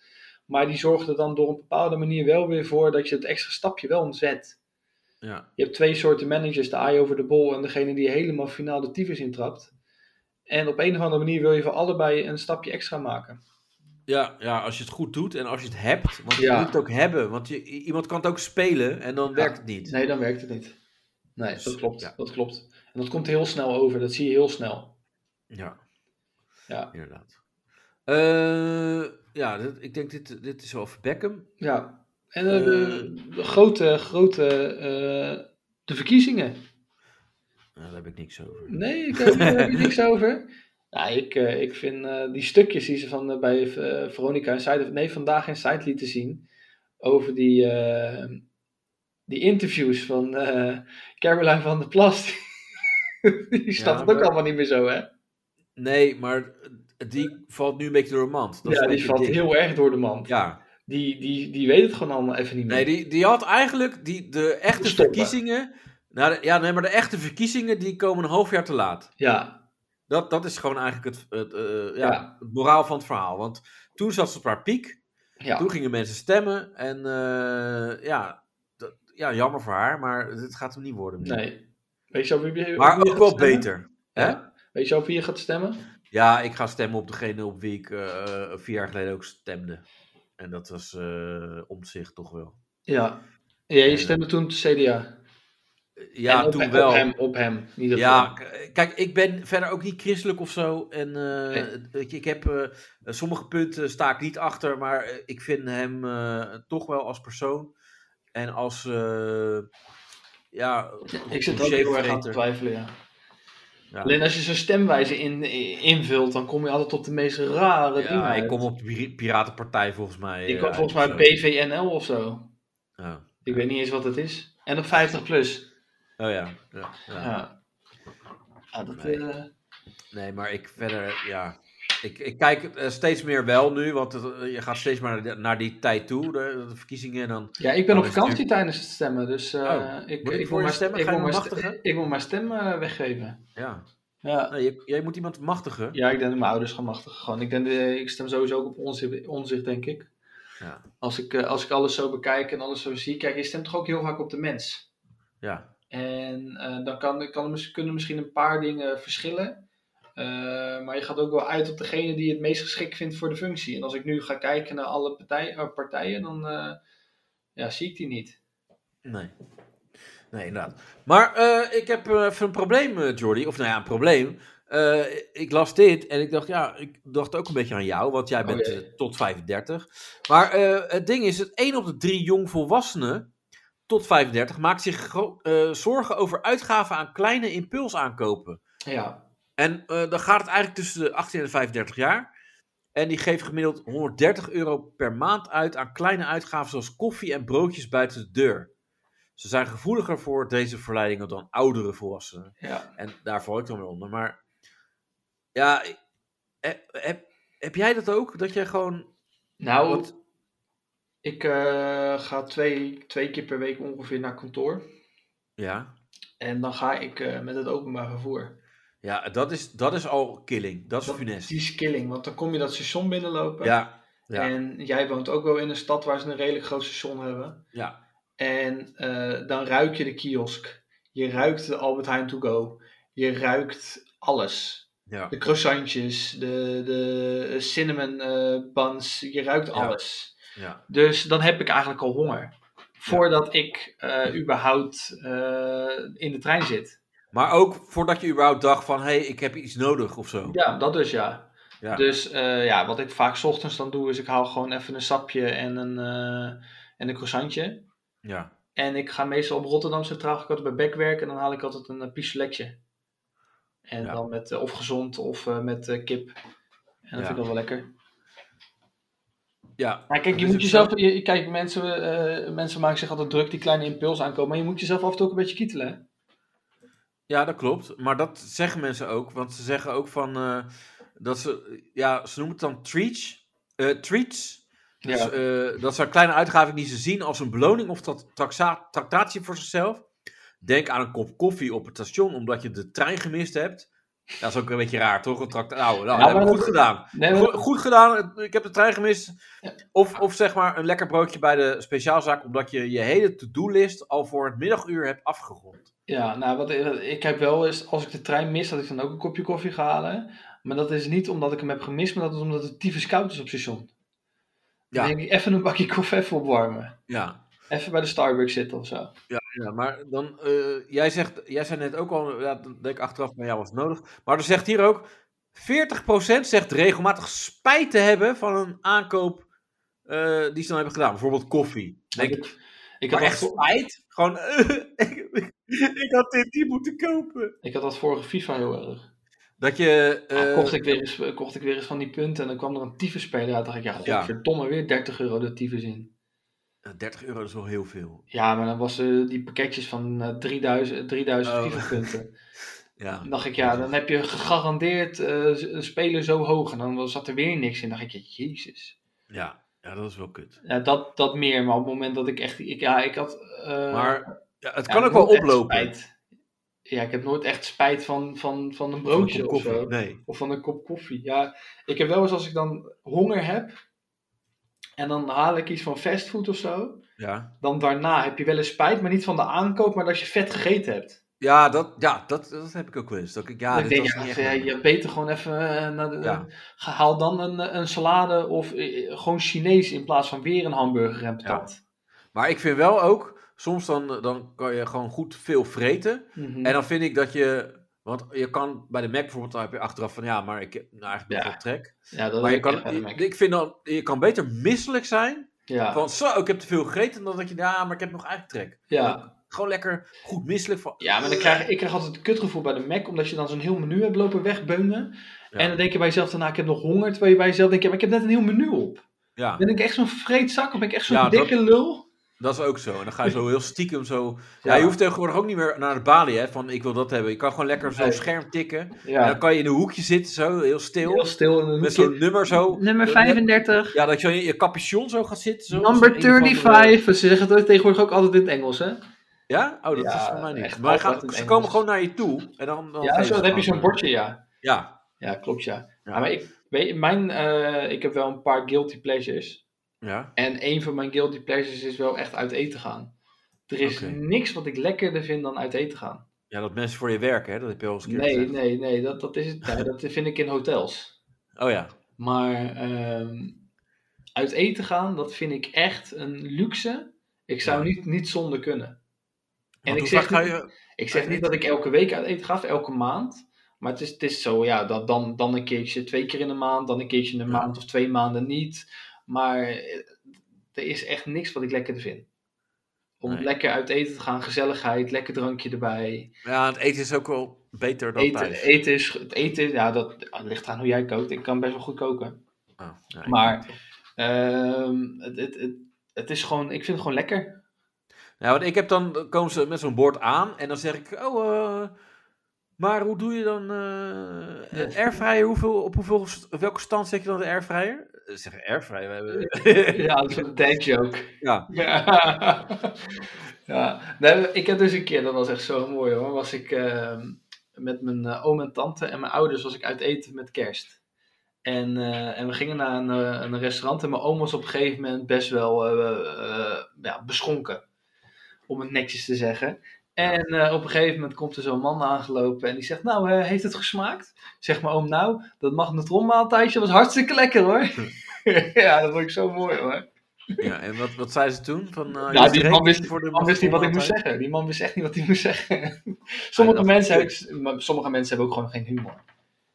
Maar die zorgde dan door een bepaalde manier wel weer voor dat je het extra stapje wel zet.
Ja,
Je hebt twee soorten managers, de eye over de bol en degene die helemaal finaal de tyfus intrapt. En op een of andere manier wil je voor allebei een stapje extra maken.
ja, ja, als je het goed doet en als je het hebt. Want
Ja.
je moet het ook hebben. Want je, i- iemand kan het ook spelen en dan werkt het niet.
Nee, dan werkt het niet. Nee, dat
Dus,
klopt.
ja.
Dat klopt. En dat komt heel snel over, dat zie je heel snel.
Ja.
Ja.
Inderdaad. Eh, ja, dit- ik denk dit, dit is wel voor Beckham.
Ja, En eh, de, de grote, grote, eh, de verkiezingen.
Nou, daar heb ik niks over.
Nee, ik heb daar heb je niks over. Ja, ik, eh, ik vind eh, die stukjes die ze van, eh, bij eh, Veronica en Side, nee, vandaag in Side lieten zien, over die, eh, die interviews van eh, Caroline van der Plas, <laughs> die snapt het ook
maar-
allemaal niet meer zo, hè?
Nee, maar die valt nu een beetje door de mand. Dat is
ja,
een
die
beetje
valt
dik.
heel erg door de mand.
Ja,
Die, die, die weet het gewoon allemaal even niet meer.
nee, die, die had eigenlijk die, de echte
Stoppen.
verkiezingen. Nou, de- ja, nee, maar de echte verkiezingen die komen een half jaar te laat.
Ja,
Dat, dat is gewoon eigenlijk het, het, eh, ja,
Ja.
het moraal van het verhaal. Want toen zat ze op haar piek.
ja.
Toen gingen mensen stemmen. En eh, ja, dat, ja, jammer voor haar, maar het gaat hem niet worden. nu.
nee. Weet je al wie, wie
Maar
wie
ook
je gaat
wel
stemmen?
beter. Hè?
Ja. Weet je al wie je gaat stemmen?
Ja, ik ga stemmen op degene op wie ik eh, eh, vier jaar geleden ook stemde. En dat was eh omzicht toch wel.
Ja. Ja, je
Eh,
stemde toen op de CDA.
Eh, Ja,
En op,
toen
hem-
wel.
Op hem, op hem in ieder geval.
Ja, k- kijk, ik ben verder ook niet christelijk of zo. En eh,
Nee.
weet je, ik heb eh, sommige punten sta ik niet achter, maar eh, ik vind hem eh, toch wel als persoon en als eh, ja,
ik zit ook heel erg aan te
hoezevergeter.
twijfelen, ja.
Ja.
Alleen als je zijn stemwijze in, in- invult, dan kom je altijd op de meest rare dingen
Ja, ik
uit.
kom op de Pir- Piratenpartij volgens mij.
Je
eh,
kwam
uit
volgens
of
mij
zo.
PVNL of zo.
Ja.
Ik weet niet eens wat het is. En op 50 plus.
Oh ja. ja, ja.
Ja. Ja, dat,
Nee.
eh,
Nee, maar ik verder, ja. Ik, ik kijk eh, steeds meer wel nu, want het, eh, je gaat steeds maar naar die, naar die tijd toe, de, de verkiezingen. En dan,
ja, ik ben
Oh,
op
dat is
vakantie tijdens het stemmen, dus eh,
Oh.
ik,
Moet je
ik,
voor
wil
je
mijn-
stemmen?
ik
Ga je
wil mijn
hem
st-
machtigen?
Ik wil mijn stem eh, weggeven.
ja. Nee,
Ja.
Ah, je- jij moet iemand machtigen.
ja, ik denk dat mijn ouders gaan machtigen. Gewoon. Ik, denk, eh, ik stem sowieso ook op onzicht, onzicht denk ik.
Ja.
Als ik, eh, als ik alles zo bekijk en alles zo zie, kijk, je stemt toch ook heel vaak op de mens.
ja.
En eh, dan kan, kan, er mis- kunnen misschien een paar dingen verschillen. Eh, maar je gaat ook wel uit op degene die het meest geschikt vindt voor de functie. En als ik nu ga kijken naar alle partij, eh, partijen, dan eh, ja, zie ik die niet.
Nee. Nee, inderdaad. Maar eh, ik heb eh, even een probleem, eh, Jordi. Of nou ja, een probleem. Eh, ik las dit en ik dacht, ja, ik dacht ook een beetje aan jou, want jij
Oh,
bent
jee.
eh, tot 35. Maar eh, het ding is, het 1 op de drie jongvolwassenen tot 35 maakt zich gro- eh, zorgen over uitgaven aan kleine impulsaankopen.
Ja,
En eh, dan gaat het eigenlijk tussen de 18 en de 35 jaar. En die geeft gemiddeld 130 euro per maand uit aan kleine uitgaven zoals koffie en broodjes buiten de deur. Ze zijn gevoeliger voor deze verleidingen dan oudere volwassenen.
ja.
En daar val ik dan weer onder. Maar ja, ik- heb, heb, heb jij dat ook? Dat jij gewoon.
Nou,
Wat-
ik eh, ga twee, twee keer per week ongeveer naar kantoor.
Ja,
En dan ga ik eh, met het openbaar vervoer.
ja dat, is, dat is al killing. Dat is
Dat-
funest.
Die is killing, want dan kom je dat station binnenlopen.
Ja, ja,
En jij woont ook wel in een stad waar ze een redelijk groot station hebben.
ja,
En eh, dan ruik je de kiosk. Je ruikt de Albert Heijn to go. Je ruikt alles.
ja.
De croissantjes, de, de cinnamon eh, buns. Je ruikt alles.
ja.
Dus dan heb ik eigenlijk al honger. Voordat ik eh, überhaupt eh, in de trein zit.
Maar ook voordat je überhaupt dacht van, hé, hey, ik heb iets nodig of zo.
Ja, dat dus ja.
Ja.
Dus eh, ja, wat ik vaak 's ochtends dan doe, is ik haal gewoon even een sapje en een, eh, en een croissantje.
ja.
En ik ga meestal op Rotterdam Centraal, ga ik altijd bij Bekwerk en dan haal ik altijd een uh, pistoletje. En
Ja.
dan met, eh, of gezond of eh, met eh, kip. En dat
Ja.
vind ik wel wel lekker.
Ja,
Maar kijk,
Dat
je
is
moet
ook
jezelf, je- kijk mensen, eh, mensen maken zich altijd druk, die kleine impuls aankomen. Maar je moet jezelf af en toe ook een beetje kietelen. hè?
ja, dat klopt. Maar dat zeggen mensen ook. Want ze zeggen ook van eh, dat ze, ja, ze noemen het dan treats. eh, treats. Dus,
Ja.
eh, dat zijn kleine uitgaven die ze zien als een beloning of tra- traxa- tractatie voor zichzelf. Denk aan een kop koffie op het station omdat je de trein gemist hebt. Dat is ook een beetje raar, toch? Een tract- nou, nou,
Ja,
dat heb ik
maar
goed
dat-
gedaan.
Nee, maar-
Go- goed gedaan, ik heb de trein gemist.
Ja.
Of, of zeg maar een lekker broodje bij de speciaalzaak omdat je je hele to-do-list al voor het middaguur hebt afgerond.
Ja, nou, wat, wat ik heb wel eens, als ik de trein mis, dat ik dan ook een kopje koffie ga halen. Maar dat is niet omdat ik hem heb gemist, maar dat is omdat het tyfus koud is op station.
Ja.
Dan denk ik, even een bakje koffie even opwarmen.
Ja,
Even bij de Starbucks zitten of zo.
ja maar dan, eh, jij, zegt, jij zei net ook al, ja, dat denk ik achteraf, maar ja, was nodig. Maar er zegt hier ook, 40% zegt regelmatig spijt te hebben van een aankoop eh, die ze dan hebben gedaan. Bijvoorbeeld koffie. Denk ik,
Ik
maar
had,
echt
echt...
spijt? Gewoon, <laughs> ik, ik had dit niet moeten kopen.
ik had dat vorige FIFA heel erg.
Dat je...
Ja,
eh,
kocht, ik weer eens, kocht ik weer eens van die punten en dan kwam er een tyfusspeler uit. Dan dacht ik, ja,
Ja.
godverdomme, weer 30 euro de tyfus in.
30 eh, euro is wel heel veel.
Ja, maar dan was eh, die pakketjes van eh, 3000, 3000
Oh.
FIFA-punten.
Ja.
Dan dacht ik, ja, dan heb je gegarandeerd eh, z- een speler zo hoog. En dan zat er weer niks in. Dan dacht ik, ja, jezus.
Ja. ja, dat is wel kut.
Ja, dat, dat meer, maar op het moment dat ik echt... Ik, ja, ik had... eh,
Maar ja, het
ja,
kan ook wel
nooit echt
oplopen.
spijt. Ja, ik heb nooit echt spijt van, van, van een
Van een
broodje
kop
of
koffie.
zo.
Nee.
Of van een kop koffie. Ja, ik heb wel eens als ik dan honger heb. En dan haal ik iets van fastfood of zo.
Ja,
Dan daarna heb je wel eens spijt, maar niet van de aankoop, maar dat je vet gegeten hebt.
ja, dat, ja dat, dat heb ik ook wel eens. Dat ik, ja,
Dat
dit
ik denk,
was
ja,
niet echt
ja,
mijn-
je beter gewoon even eh, naar de,
Ja.
ga- haal dan een, eh, een salade of eh, gewoon Chinees in plaats van weer een hamburger en patat.
Maar ik vind wel ook, soms dan, dan kan je gewoon goed veel vreten.
Mhm.
En dan vind ik dat je, want je kan bij de Mac bijvoorbeeld, dan heb je achteraf van, ja, maar ik heb nou eigenlijk
Ja.
nog wel trek.
ja, dat
Maar je
heb ik echt
kan,
bij de
je-
Mac.
ik vind dan, je kan beter misselijk zijn
ja,
van, zo, ik heb te veel gegeten, dan dat je, ja, maar ik heb nog eigenlijk trek.
ja.
Gewoon lekker goed misselijk van.
Ja, maar dan krijg, ik krijg altijd het kutgevoel bij de Mac, omdat je dan zo'n heel menu hebt lopen wegbeunen.
Ja.
En dan denk je bij jezelf daarna, ik heb nog honger, terwijl je bij jezelf denkt, ja, maar ik heb net een heel menu op.
Ja,
Dan ben ik echt zo'n vreedzak, of ben ik echt zo'n
Ja, dat-
dikke lul.
dat is ook zo. En dan ga je zo heel stiekem zo. Ja, je hoeft tegenwoordig ook niet meer naar de balie, hè, van ik wil dat hebben. Je kan gewoon lekker zo'n
Nee.
scherm tikken. En dan
ja.
kan je in een hoekje zitten, zo, heel stil.
heel stil in een
Met
hoekje.
zo'n nummer zo.
Nummer
Eh,
35,
Ja, dat je in je capuchon zo gaat zitten. Zo, als een
number
een of andere-
35. Ze zeggen het tegenwoordig ook altijd in het Engels, hè?
Ja? Oh, dat
Ja,
is voor mij niet.
echt
Maar
altijd
gaan-
in
ze
Engels.
komen gewoon naar je toe. En dan, dan
Ja,
geven
zo,
ze
dan heb je
gewoon-
zo'n bordje, ja.
Ja,
Ja, klopt, ja. Ja, maar ik, weet, mijn, eh, ik heb wel een paar guilty pleasures.
ja.
En een van mijn guilty pleasures is wel echt uit eten gaan. Er is
Oké.
niks wat ik lekkerder vind dan uit eten gaan.
Ja, dat mensen voor je werken, hè? dat heb je al eens een keer
Nee,
gezegd.
nee, nee, dat, dat is het. Ja, dat vind ik in hotels.
Oh ja.
Maar ehm, uit eten gaan, dat vind ik echt een luxe. Ik zou
Ja.
niet, niet zonder kunnen. En
Want
ik
hoe
zeg,
vaak ga
niet,
je...
ik zeg
uit
niet dat ik elke week uit eten ga, of elke maand. Maar het is, het is zo, ja, dat dan, dan een keertje twee keer in de maand, dan een keertje in een
Ja.
maand of twee maanden niet. Maar eh, er is echt niks wat ik lekkerder vind. Om
Nee.
lekker uit eten te gaan, gezelligheid, lekker drankje erbij.
Ja, het eten is ook wel beter dan
Eten,
thuis.
eten is, het eten, ja, dat ah, ligt aan hoe jij kookt. Ik kan best wel goed koken.
Ah, ja, ik-
Maar ehm, het, het, het, het is gewoon, ik vind het gewoon lekker.
Ja, Nou, want ik heb dan, dan komen ze met zo'n bord aan en dan zeg ik, oh, eh, maar hoe doe je dan eh een airfryer? Hoeveel, op hoeveel, st- op welke stand zet je dan de airfryer? Eh, Zeg airfryer, we hebben...
<laughs> Ja, dat is een dad joke.
ja,
Ja. <laughs> ja. Nee, ik heb dus een keer, dat was echt zo mooi hoor, was ik ehm, met mijn eh, oom en tante en mijn ouders was ik uit eten met kerst. En, eh, en we gingen naar een, eh, een restaurant en mijn oom was op een gegeven moment best wel eh, eh, ja, beschonken. Om het netjes te zeggen. En eh, op een gegeven moment komt er zo'n man aangelopen en die zegt, nou, eh, heeft het gesmaakt? Zeg maar oom, nou, dat magnetronmaaltijdje was hartstikke lekker hoor. <laughs> ja, dat vond ik zo mooi hoor.
<laughs> ja, en wat, wat zei ze toen? Van, eh,
Ja,
je
die
streek
man wist,
voor de
die man wist niet wat ik moest
maaltijd?
zeggen. Die man wist echt niet wat hij moest
<laughs>
zeggen. sommige,
dat-
mensen hebben, maar sommige mensen hebben ook gewoon geen humor.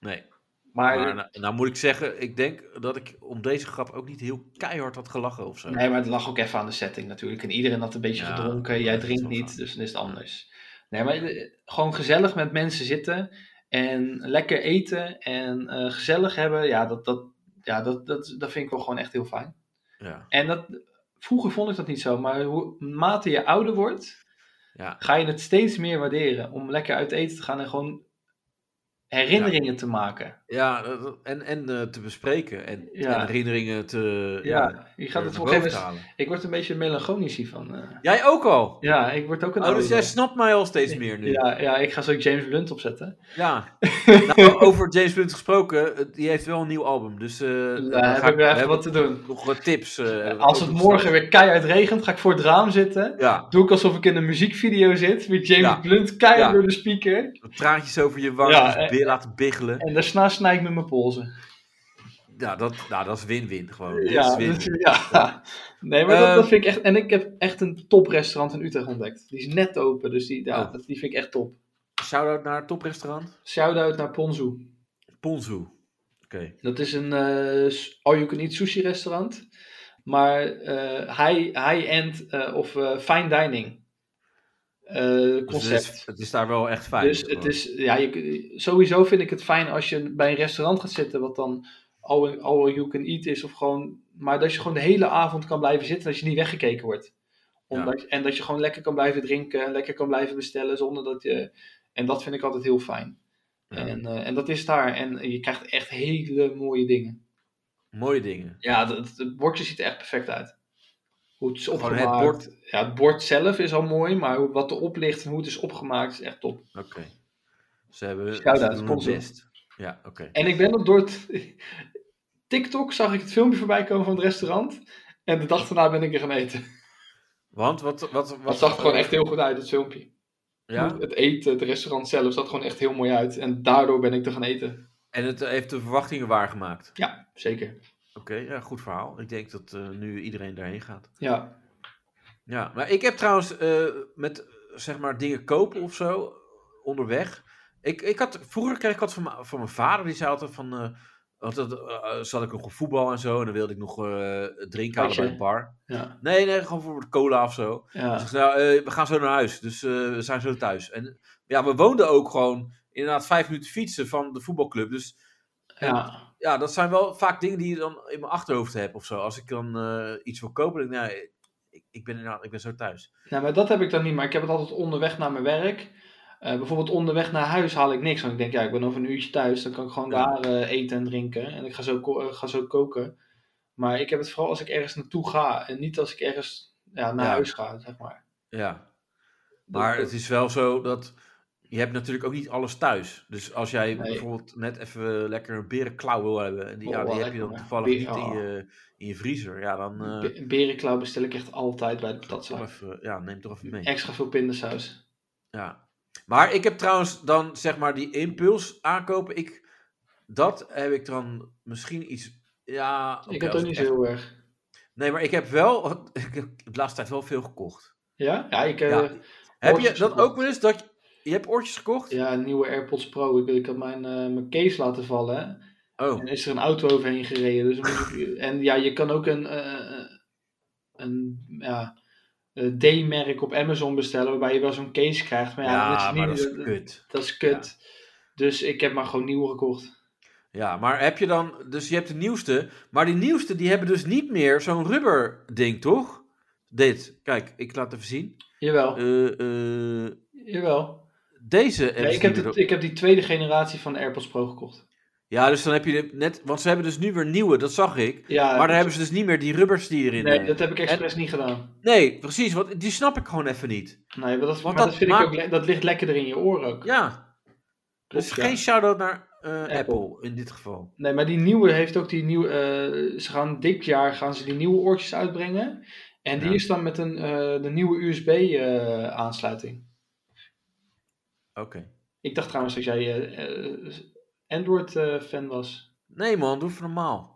Nee.
Maar,
Maar nou, nou moet ik zeggen, ik denk dat ik om deze grap ook niet heel keihard had gelachen of zo.
nee, maar het lag ook even aan de setting natuurlijk. En iedereen had een beetje
Ja,
gedronken. Jij
dat is
drinkt
wel
niet,
zo.
dus dan is het anders. Nee, maar eh, gewoon gezellig met mensen zitten. En lekker eten. En eh, gezellig hebben. Ja, dat, dat, ja dat, dat, dat vind ik wel gewoon echt heel fijn.
Ja.
En dat, vroeger vond ik dat niet zo. Maar hoe, naarmate je ouder wordt...
Ja.
ga je het steeds meer waarderen om lekker uit eten te gaan en gewoon herinneringen te maken.
ja, dat- dat- en, en eh, te bespreken en,
Ja.
en herinneringen te...
Ja, je gaat het
naar
op een
boven
gegeven
te
moment-
halen.
Ik word een beetje melancholisch hiervan. eh.
Jij ook al?
Ja, ik word ook een
Oh, dus jij
ouder.
snapt mij al steeds meer nu.
Ja, ja, ik ga zo James Blunt opzetten. <laughs>
Ja. nou, over James Blunt gesproken, eh, die heeft wel een nieuw album. Dus eh
Daar
dan
heb
ga
ik weer Nou, even
hebben
wat te doen.
nog wat tips. eh, hebben we
Als
ook
het
nog
morgen
straks.
weer keihard regent, ga ik voor het raam zitten.
Ja,
Doe ik alsof ik in een muziekvideo zit met James
Ja.
Blunt keihard
Ja.
door de speaker.
traantjes over je wangen,
Ja,
dus
eh,
weer laten biggelen.
En daarna snij ik met mijn polsen.
Ja, dat, nou, dat is win-win gewoon. Dat
Ja, dus-
is win-win.
dat- ja. <laughs> Nee, maar dat,
Ehm.
dat vind ik echt. En ik heb echt een toprestaurant in Utrecht ontdekt. Die is net open, dus die, ja,
Ja.
dat- die vind ik echt top.
Shout-out naar het toprestaurant.
Shout-out naar Ponzu.
Ponzu. Oké.
Dat is een eh all-you-can-eat sushi restaurant. Maar eh, high- high-end eh, of eh, fine dining eh,
Dus
concept.
het, is, het is daar wel echt fijn.
Dus het is, ja, je, sowieso vind ik het fijn als je bij een restaurant gaat zitten, wat dan all, all you can eat is, of gewoon, maar dat je gewoon de hele avond kan blijven zitten, dat je niet weggekeken wordt. Omdat, En dat je gewoon lekker kan blijven drinken, lekker kan blijven bestellen, zonder dat je, en dat vind ik altijd heel fijn.
Ja.
En, eh, en dat is daar, en je krijgt echt hele mooie dingen.
Mooie dingen.
Ja, dat- het, bordje ziet er echt perfect uit. Hoe het is
Gewoon
opgemaakt.
het bord.
Ja, het bord zelf is al mooi, maar hoe- wat erop ligt en hoe het is opgemaakt is echt top.
Oké. Ze hebben ze
Shout-out,
doen hun
sponsor.
best. Ja, oké.
En ik ben op door het- <laughs> TikTok zag ik het filmpje voorbij komen van het restaurant. En de dag daarna ben ik er gaan eten.
Want wat... wat, wat
Dat zag er gewoon echt heel goed uit, het filmpje.
Ja,
Het eten, het restaurant zelf, zag gewoon echt heel mooi uit. En daardoor ben ik er gaan eten.
en het heeft de verwachtingen waargemaakt.
Ja, zeker.
Oké, ja, goed verhaal. Ik denk dat eh, nu iedereen daarheen gaat.
Ja,
Ja, maar ik heb trouwens eh, met eh, zeg maar dingen kopen of zo eh, onderweg. Ik, ik had, vroeger kreeg ik altijd van, mijn- van mijn vader, die zei altijd van. eh, altijd, eh, zat ik nog op voetbal en zo. En dan wilde ik nog eh, drinken halen bij
Hartje.
een bar.
ja,
Nee, nee, gewoon voor cola of zo. Hij
ja.
zegt, nou, eh, we gaan zo naar huis. Dus eh, we zijn zo thuis. En ja, we woonden ook gewoon inderdaad vijf minuten fietsen van de voetbalclub. Dus
ja.
ja, dat zijn wel vaak dingen die je dan in mijn achterhoofd hebt of zo. Als ik dan eh, iets wil kopen, dan denk ik, nou, ik, ik ben inderdaad, ik ben zo thuis.
Nou, maar dat heb ik dan niet. Maar ik heb het altijd onderweg naar mijn werk. Eh, bijvoorbeeld onderweg naar huis haal ik niks. Want ik denk, ja, ik ben over een uurtje thuis. Dan kan ik gewoon
Ja.
daar eh, eten en drinken. En ik ga zo, ko- eh, ga zo koken. Maar ik heb het vooral als ik ergens naartoe ga. En niet als ik ergens ja, naar
Ja.
huis ga, zeg maar.
Ja, maar het is wel zo dat je hebt natuurlijk ook niet alles thuis. Dus als jij
Nee.
bijvoorbeeld net even lekker een berenklauw wil hebben, en die, ja,
Oh,
die
wel
heb je dan
lekker,
toevallig
ja.
niet in je, in je vriezer, ja, dan eh,
Be- berenklauw bestel ik echt altijd bij de
toch
patatzaak.
even, ja, neem toch even mee.
Extra veel pindasaus.
Ja. Maar ik heb trouwens dan zeg maar die impuls aankopen. Ik, dat heb ik dan misschien iets. Ja, oké,
ik heb
als het
dat niet zo
echt-
heel erg.
Nee, maar ik heb wel. <laughs> Ik heb de laatste tijd wel veel gekocht.
Ja? Ja, ik, eh,
Ja.
ja.
Heb je
oortjes
dat
gekocht.
ook wel eens? Dat je, je hebt oortjes gekocht?
een nieuwe AirPods Pro. Ik, ik had mijn, eh, mijn case laten vallen. hè.
Oh,
En is er een auto overheen gereden. Dus dan
<laughs>
moet ik- en ja, je kan ook een, eh, een ja, eh, D-merk op Amazon bestellen. Waarbij je wel zo'n case krijgt. Maar
ja,
ja, dat is
maar dat
niet,
is kut.
dat is kut. Dus ik heb maar gewoon nieuw gekocht.
Ja, maar heb je dan. Dus je hebt de nieuwste. Maar die nieuwste die hebben dus niet meer zo'n rubber ding, toch? Dit. Kijk, ik laat even zien.
Jawel,
Eh, eh,
jawel.
deze. hebben
Nee,
ze
ik, heb
niet meer
de, ik heb die tweede generatie van de AirPods Pro gekocht.
Ja, dus dan heb je de- net. Want ze hebben dus nu weer nieuwe, dat zag ik.
Ja,
Maar dan hebben ze dus niet meer die rubbers die erin.
Nee,
eh,
dat heb ik expres niet gedaan.
nee, precies. Want die snap ik gewoon even niet.
Nee, maar dat, maar
dat
dat, vind
maakt-
ik ook, le- dat ligt lekkerder in je oren ook.
Ja. Dus
Klopt, ja.
geen shout-out naar eh, Apple.
Apple.
in dit geval.
Nee, maar die nieuwe heeft ook die nieuwe... eh, ze gaan dit jaar gaan ze die nieuwe oortjes uitbrengen. En die
Ja.
is dan met een, eh, de nieuwe eh, USB-aansluiting.
Oké.
ik dacht trouwens dat jij eh, eh, Android-fan was.
Nee, man, doe even normaal.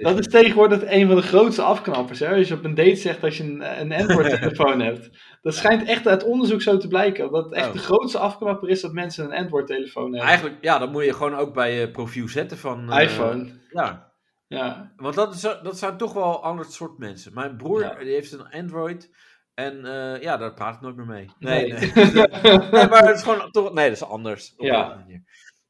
dat is tegenwoordig een van de grootste afknappers. Hè? Als je op een date zegt dat je een, een
<laughs>
Android-telefoon hebt. Dat schijnt echt uit onderzoek zo te blijken. Dat echt
Oh.
de grootste afknapper is dat mensen een Android-telefoon hebben.
Eigenlijk, ja, dat moet je gewoon ook bij je profiel zetten van. eh,
iPhone.
Ja.
Ja.
Want dat, is, dat zijn toch wel ander soort mensen. Mijn broer
Ja.
die heeft een Android. En eh, ja, daar praat ik nooit meer mee. nee. nee.
nee.
nee, maar het is gewoon toch. Nee, dat is anders. Op
Ja.
een andere manier.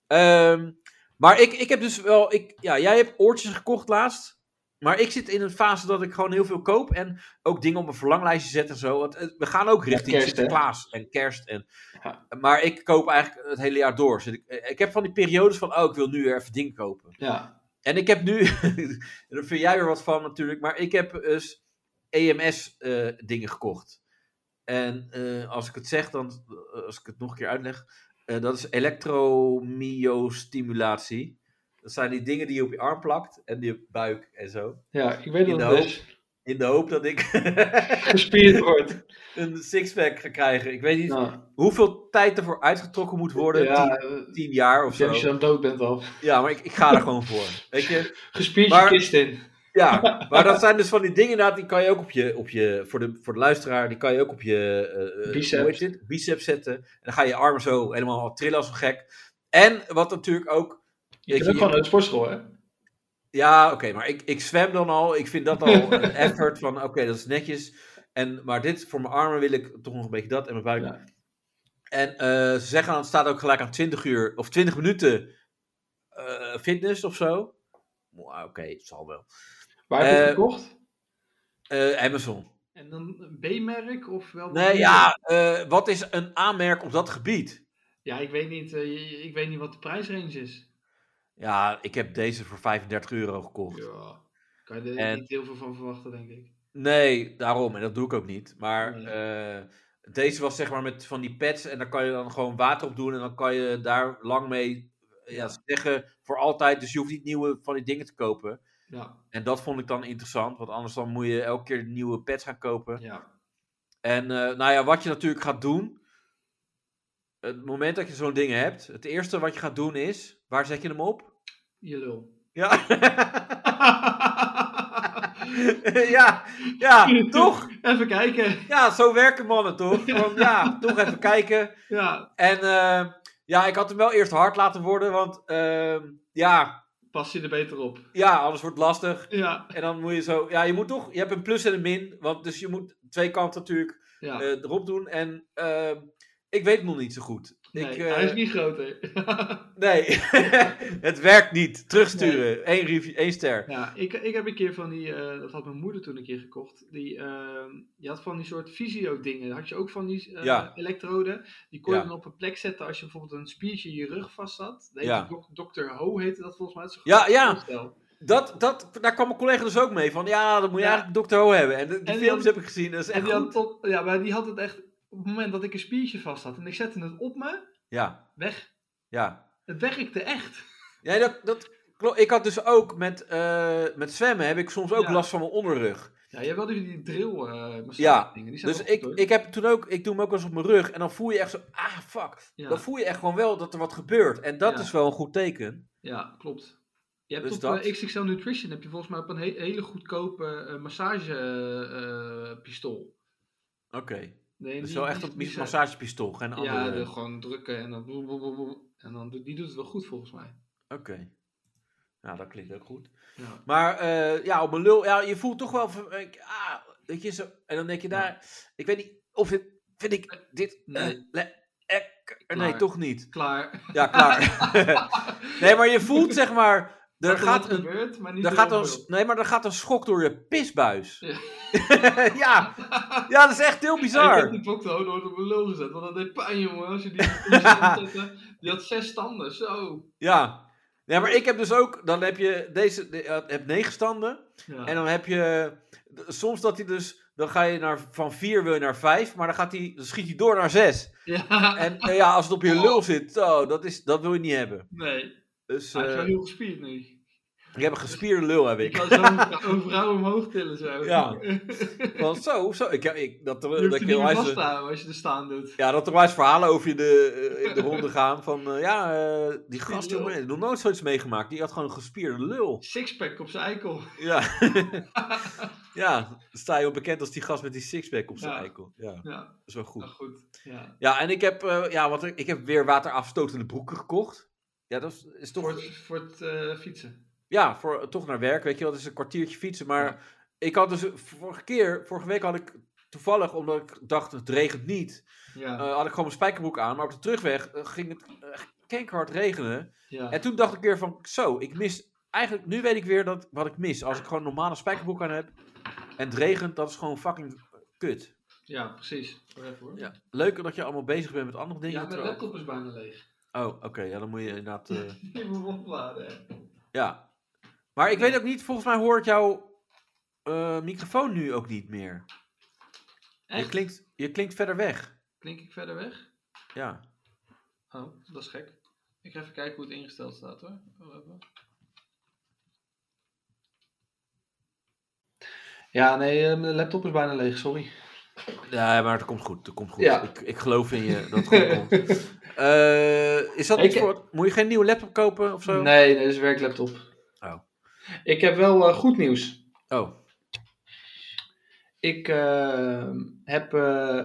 Ehm, maar ik, ik heb dus wel. Ik, ja, jij hebt oortjes gekocht laatst. Maar ik zit in een fase dat ik gewoon heel veel koop. En ook dingen op mijn verlanglijstje zet en zo. Want eh, we gaan ook richting
kerst, hè?
Sinterklaas en kerst. En,
Ja.
Maar ik koop eigenlijk het hele jaar door. Zit ik, eh, ik heb van die periodes van. Oh, ik wil nu weer even dingen kopen.
<laughs> ja.
En ik heb nu. <laughs> daar vind jij er wat van natuurlijk. Maar ik heb dus EMS-dingen eh, gekocht. En eh, als ik het zeg, dan. eh, als ik het nog een keer uitleg. eh, dat is elektromyostimulatie. Dat zijn die dingen die je op je arm plakt. En die op je buik en zo.
ja, ik weet
In
dat
de
het dus
In de hoop dat ik. <laughs>
gespierd wordt.
een sixpack ga krijgen. Ik weet niet
Nou,
hoeveel tijd ervoor uitgetrokken moet worden.
ja,
Tien,
eh,
tien jaar of
als je
zo.
dan dood bent al.
Ja, maar ik, ik ga er gewoon voor. Weet je.
Gespierd
Maar-
je kist in.
Ja, maar dat zijn dus van die dingen inderdaad, die kan je ook op je, op je voor, de, voor de luisteraar, die kan je ook op je eh, eh,
Biceps.
hoe heet dit? biceps zetten. En dan ga je je armen zo helemaal trillen als een gek. En wat natuurlijk ook,
Je
weet
hebt
je,
ook gewoon een sportschool, hè?
Ja, oké, maar ik, ik zwem dan al. Ik vind dat al een effort van, oké, dat is netjes. En, maar dit, voor mijn armen wil ik toch nog een beetje dat en mijn buik.
Ja.
En eh, ze zeggen dan, het staat ook gelijk aan 20 uur of 20 minuten eh, fitness of zo. Maar Oké, het zal wel.
Waar heb je het
Eh,
gekocht?
Eh, Amazon.
En dan een B-merk of wel?
Nee, ja, eh, wat is een aanmerk op dat gebied?
Ja, ik weet, niet, eh, je- ik weet niet wat de prijsrange is.
Ja, ik heb deze voor 35 euro gekocht.
Ja. Kan je er
En-
niet heel veel van verwachten, denk ik.
Nee, daarom. En dat doe ik ook niet. Maar
Nee.
eh, deze was zeg maar met van die pads. En daar kan je dan gewoon water op doen. En dan kan je daar lang mee ja,
Ja.
zeggen voor altijd. Dus je hoeft niet nieuwe van die dingen te kopen.
Ja,
En dat vond ik dan interessant. Want anders dan moet je elke keer nieuwe pads gaan kopen.
ja.
En eh, nou ja, wat je natuurlijk gaat doen. Het moment dat je zo'n ding hebt. Het eerste wat je gaat doen is. Waar zet je hem op?
je <laughs> lul.
Ja. <laughs> ja, ja, toch?
Even kijken.
Ja, zo werken mannen toch? Van, ja, toch even kijken.
Ja,
En eh, ja, ik had hem wel eerst hard laten worden, want ehm, ja,
pas je er beter op.
ja, anders wordt het lastig.
Ja,
En dan moet je zo, ja, je moet toch, je hebt een plus en een min, want dus je moet twee kanten natuurlijk
ja.
eh, erop doen. En ehm, ik weet het nog niet zo goed.
nee,
ik, eh,
hij is niet groter.
nee. <laughs> het werkt niet. Terugsturen, één, review, één ster.
ja, ik, ik heb een keer van die, eh, dat had mijn moeder toen een keer gekocht. Die, eh, je had van die soort fysio-dingen. Had je ook van die eh,
Ja.
elektroden. Die kon je
Ja.
dan op een plek zetten als je bijvoorbeeld een spiertje in je rug vast had. Dat
Ja.
heette dok- Dr. Ho heette dat volgens mij. Dat is een
Ja,
groot
ja.
voorstel.
Dat, dat, daar kwam mijn collega dus ook mee van, ja, dat moet je
Ja.
eigenlijk Dr. Ho hebben. En de, die
En die
films
had-
heb ik gezien, dat is
En
echt
die had
goed.
tot, ja, maar die had het echt op het moment dat ik een spiertje vast had en ik zette het op me,
Ja,
weg.
ja.
Het werkte echt.
Ja, dat, dat klopt. Ik had dus ook met, eh, met zwemmen heb ik soms ook
Ja.
last van mijn onderrug.
Ja, je hebt wel die, die drill eh massage
Ja,
dingen. Die zijn
Dus
wel goed,
ik,
hoor.
ik heb toen ook, ik doe hem ook wel eens op mijn rug. En dan voel je echt zo, ah fuck.
ja,
Dan voel je echt gewoon wel dat er wat gebeurt. En dat
Ja.
is wel een goed teken.
ja, klopt. Je hebt
Dus
op
dat.
eh, XXL Nutrition heb je volgens mij op een he- hele goedkope eh, massagepistool.
Oké.
eh, nee,
Dus
die-
wel
die-
echt dat
die zijn-
massagepistool, geen andere.
Ja, de-
Oké.
gewoon drukken en dan boem, boem, boem, boem. En dan doet- die doet het wel goed volgens mij.
Nou, dat klinkt ook goed.
Ja,
Maar eh, ja, op mijn lul, ja, je voelt toch wel, van, eh, ah, weet je, zo, en dan denk je daar, ik weet niet of dit, vind ik dit,
Nee.
eh, le- lekker. nee,
Klaar.
toch niet.
klaar.
Ja,
<laughs>
klaar. nee, maar je voelt zeg maar. Er
Dat
gaat
wat
een.
gebeurt, maar niet
Er
door
gaat
een
een,
bril.
nee, maar er gaat een schok door je pisbuis.
Ja.
<laughs> ja. ja, dat is echt heel
Ik heb
bizar.
die Bokto nooit op mijn lul gezet, want dat deed pijn, jongen. Als je die die
<laughs>
stand zette, die had zes standen, zo.
Ja. ja, maar ik heb dus ook. Dan heb je deze. de- eh, heb negen standen.
Ja,
En dan heb je. d- Soms dat hij dus. Dan ga je naar, van vier wil je naar vijf. Maar dan, gaat hij, dan schiet hij door naar zes.
<laughs> ja.
En eh, ja, als het op je lul zit. Oh, dat, is, dat wil je niet hebben.
nee,
Dus
hij is
eh,
wel heel gespierd nu.
ik heb een gespierde lul, heb
Ik
ik.
kan zo een vrou- een vrouw omhoog tillen, zo.
Ja.
<laughs> je
Want zo, zo. Ik, ik, dat, eh, dat,
hoeft
dat
er
ik
niet
heel
meer
wijs-
vast te houden als je er staan doet.
Ja, dat er wel eens verhalen over je de, eh, in de ronde gaan. Van eh, ja, eh, die gast,
lul.
jongen, ik heb nog nooit zoiets meegemaakt. Die had gewoon een gespierde lul.
Sixpack op zijn eikel. <laughs>
Ja. ja, dan sta je wel bekend als die gast met die sixpack op zijn
Ja.
eikel. Ja,
Ja,
zo
nou
goed.
goed. Ja.
Ja, en ik heb, eh, ja, wat, ik ik heb weer waterafstotende broeken gekocht. Ja, dat is, is toch.
Voor het, voor het eh, fietsen.
Ja, voor, toch naar werk. Weet je wel, dat is een kwartiertje fietsen. Maar
Ja.
ik had dus vorige keer, vorige week had ik toevallig, omdat ik dacht het regent niet,
Ja,
eh, had ik gewoon mijn spijkerbroek aan. Maar op de terugweg eh, ging het eh, kankerhard regenen.
ja.
En toen dacht ik weer van, zo, ik mis... Eigenlijk, nu weet ik weer dat, wat ik mis. Als ik gewoon een normale spijkerbroek aan heb en het regent, dat is gewoon fucking kut.
ja, precies. Even, hoor.
Ja. Leuk dat je allemaal bezig bent met andere dingen.
Ja, mijn
terwijl-
laptop is bijna leeg. <laughs>
Oh, oké, ja, dan moet je inderdaad... eh,
Ik moet hem opladen. hè.
ja. Maar ik weet ook niet, volgens mij hoort jouw eh, microfoon nu ook niet meer. Je
Echt?
klinkt, je klinkt verder weg.
Klink ik verder weg?
Ja.
Oh, dat is gek. Ik ga even kijken hoe het ingesteld staat hoor. Oh, even. Ja, nee, eh, mijn laptop is bijna leeg, sorry.
Ja, maar dat komt goed, dat komt goed.
Ja.
Ik, ik geloof in je, dat het goed
<laughs>
komt. Eh, is dat
Ik-
iets voor... Moet je geen nieuwe laptop kopen of zo?
Nee, nee, dit is een werklaptop.
Oh.
Ik heb wel eh, goed nieuws.
Oh,
Ik eh, heb eh,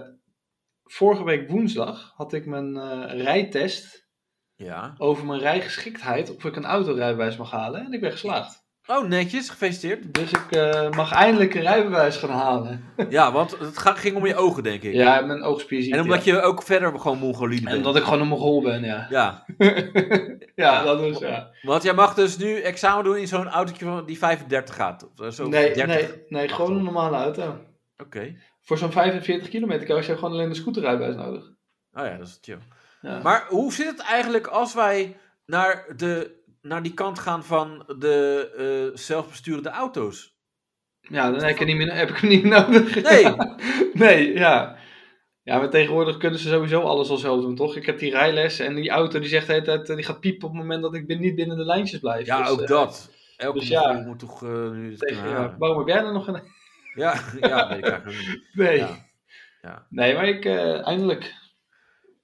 vorige week woensdag had ik mijn eh, rijtest
ja.
over mijn rijgeschiktheid of ik een autorijbewijs mag halen en ik ben geslaagd.
Oh, netjes.
<laughs>
Gefeliciteerd.
Dus ik eh, mag eindelijk een rijbewijs gaan halen.
Ja, want het ga- ging om je ogen, denk ik.
Ja, mijn oogspier ziet.
En omdat
ja.
je ook verder gewoon Mongoliet
En
bent.
omdat ik gewoon een Mongool ben, ja.
Ja,
Ja,
Ja.
dat is ja.
want jij mag dus nu examen doen in zo'n autootje van die 35 gaat. Of eh, Zo
Nee,
30. Oké.
nee, nee, gewoon een normale auto. Voor zo'n 45 kilometer heb je gewoon alleen een scooterrijbewijs nodig.
Oh ja, dat is chill.
Ja.
Maar hoe zit het eigenlijk als wij naar, de, naar die kant gaan van de eh, zelfbesturende auto's?
Ja, dan heb ik, het niet meer, heb ik hem niet meer nodig. <laughs>
Nee.
nee, ja. Ja, maar tegenwoordig kunnen ze sowieso alles al zelf doen, toch? Ik heb die rijles en die auto die zegt de hele tijd, eh, die gaat piepen op het moment dat ik bin- niet binnen de lijntjes blijf.
Ja,
Dus,
ook
eh,
dat. Elke
dus ja.
mevrouw moet toch eh, nu dit
tegen-
kunnen
ja,
halen.
waarom heb jij er nog een? <laughs>
Ja, <laughs> ja, weet ik eigenlijk nog niet.
Nee.
Ja. Ja.
Nee, maar ik eh, eindelijk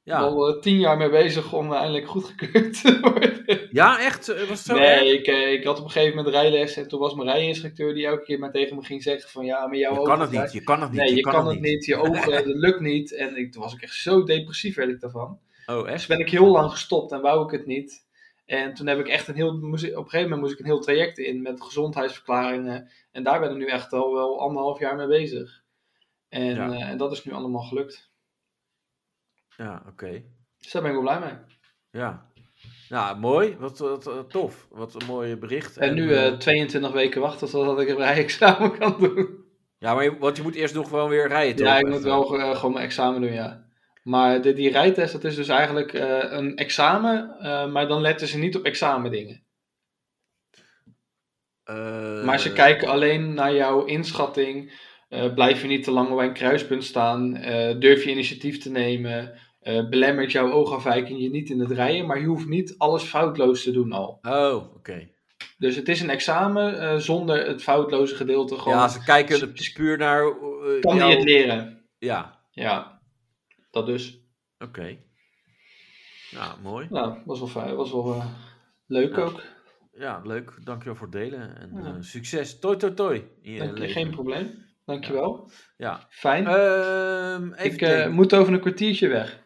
Ja,
al eh, tien jaar mee bezig om eh, eindelijk goedgekeurd te worden.
ja echt? Eh, Was het zo erg?
nee, ik, eh, ik had op een gegeven moment rijles en toen was mijn rijinstructeur die elke keer maar tegen me ging zeggen van ja, maar jouw
Je
ogen
kan het
zijn-
niet, je kan het niet.
Nee, je, kan, het niet. Je
<laughs>
ogen, dat lukt niet. En ik, toen was ik echt zo depressief, werd ik daarvan.
Oh,
Dus
echt?
ben ik heel lang gestopt en wou ik het niet. En toen heb ik echt een heel, moest ik- op een gegeven moment moest ik een heel traject in met gezondheidsverklaringen. En daar ben ik nu echt al wel anderhalf jaar mee bezig. En,
Ja.
eh, en dat is nu allemaal gelukt.
Ja, oké.
Dus daar ben ik wel blij mee.
Ja. Nou, mooi. Wat, wat eh, tof. Wat een mooi bericht.
En nu
eh,
eh 22 weken wachten totdat ik een <laughs> rijexamen kan doen.
ja, maar je, want je moet eerst nog gewoon weer rijden, toch?
Ja, ik
Echt, eh.
moet wel eh, gewoon mijn examen doen, ja. Maar de, die rijtest, dat is dus eigenlijk eh, een examen, eh, maar dan letten ze niet op examendingen.
Eh,
Maar ze kijken alleen naar jouw inschatting. Eh, blijf je niet te lang bij een kruispunt staan? Eh, durf je initiatief te nemen? Eh, belemmert jouw oogafwijking je niet in het rijden? Maar je hoeft niet alles foutloos te doen al.
Oh, oké.
Dus het is een examen eh, zonder het foutloze gedeelte. Gewoon,
Ja, ze kijken
ze-
er puur naar... eh,
kan die
jou-
het leren?
Ja,
Ja, dat dus.
oké. Nou, mooi.
Nou, was wel fijn. Was wel eh, leuk
Ja.
ook.
Ja, leuk. Dankjewel voor het delen. En
Ja.
eh, succes. Toi, toi, toi. In je
Dank je,
leven.
geen probleem. Dankjewel.
Ja.
Fijn.
Ehm, even
ik eh,
denken.
moet over een kwartiertje weg.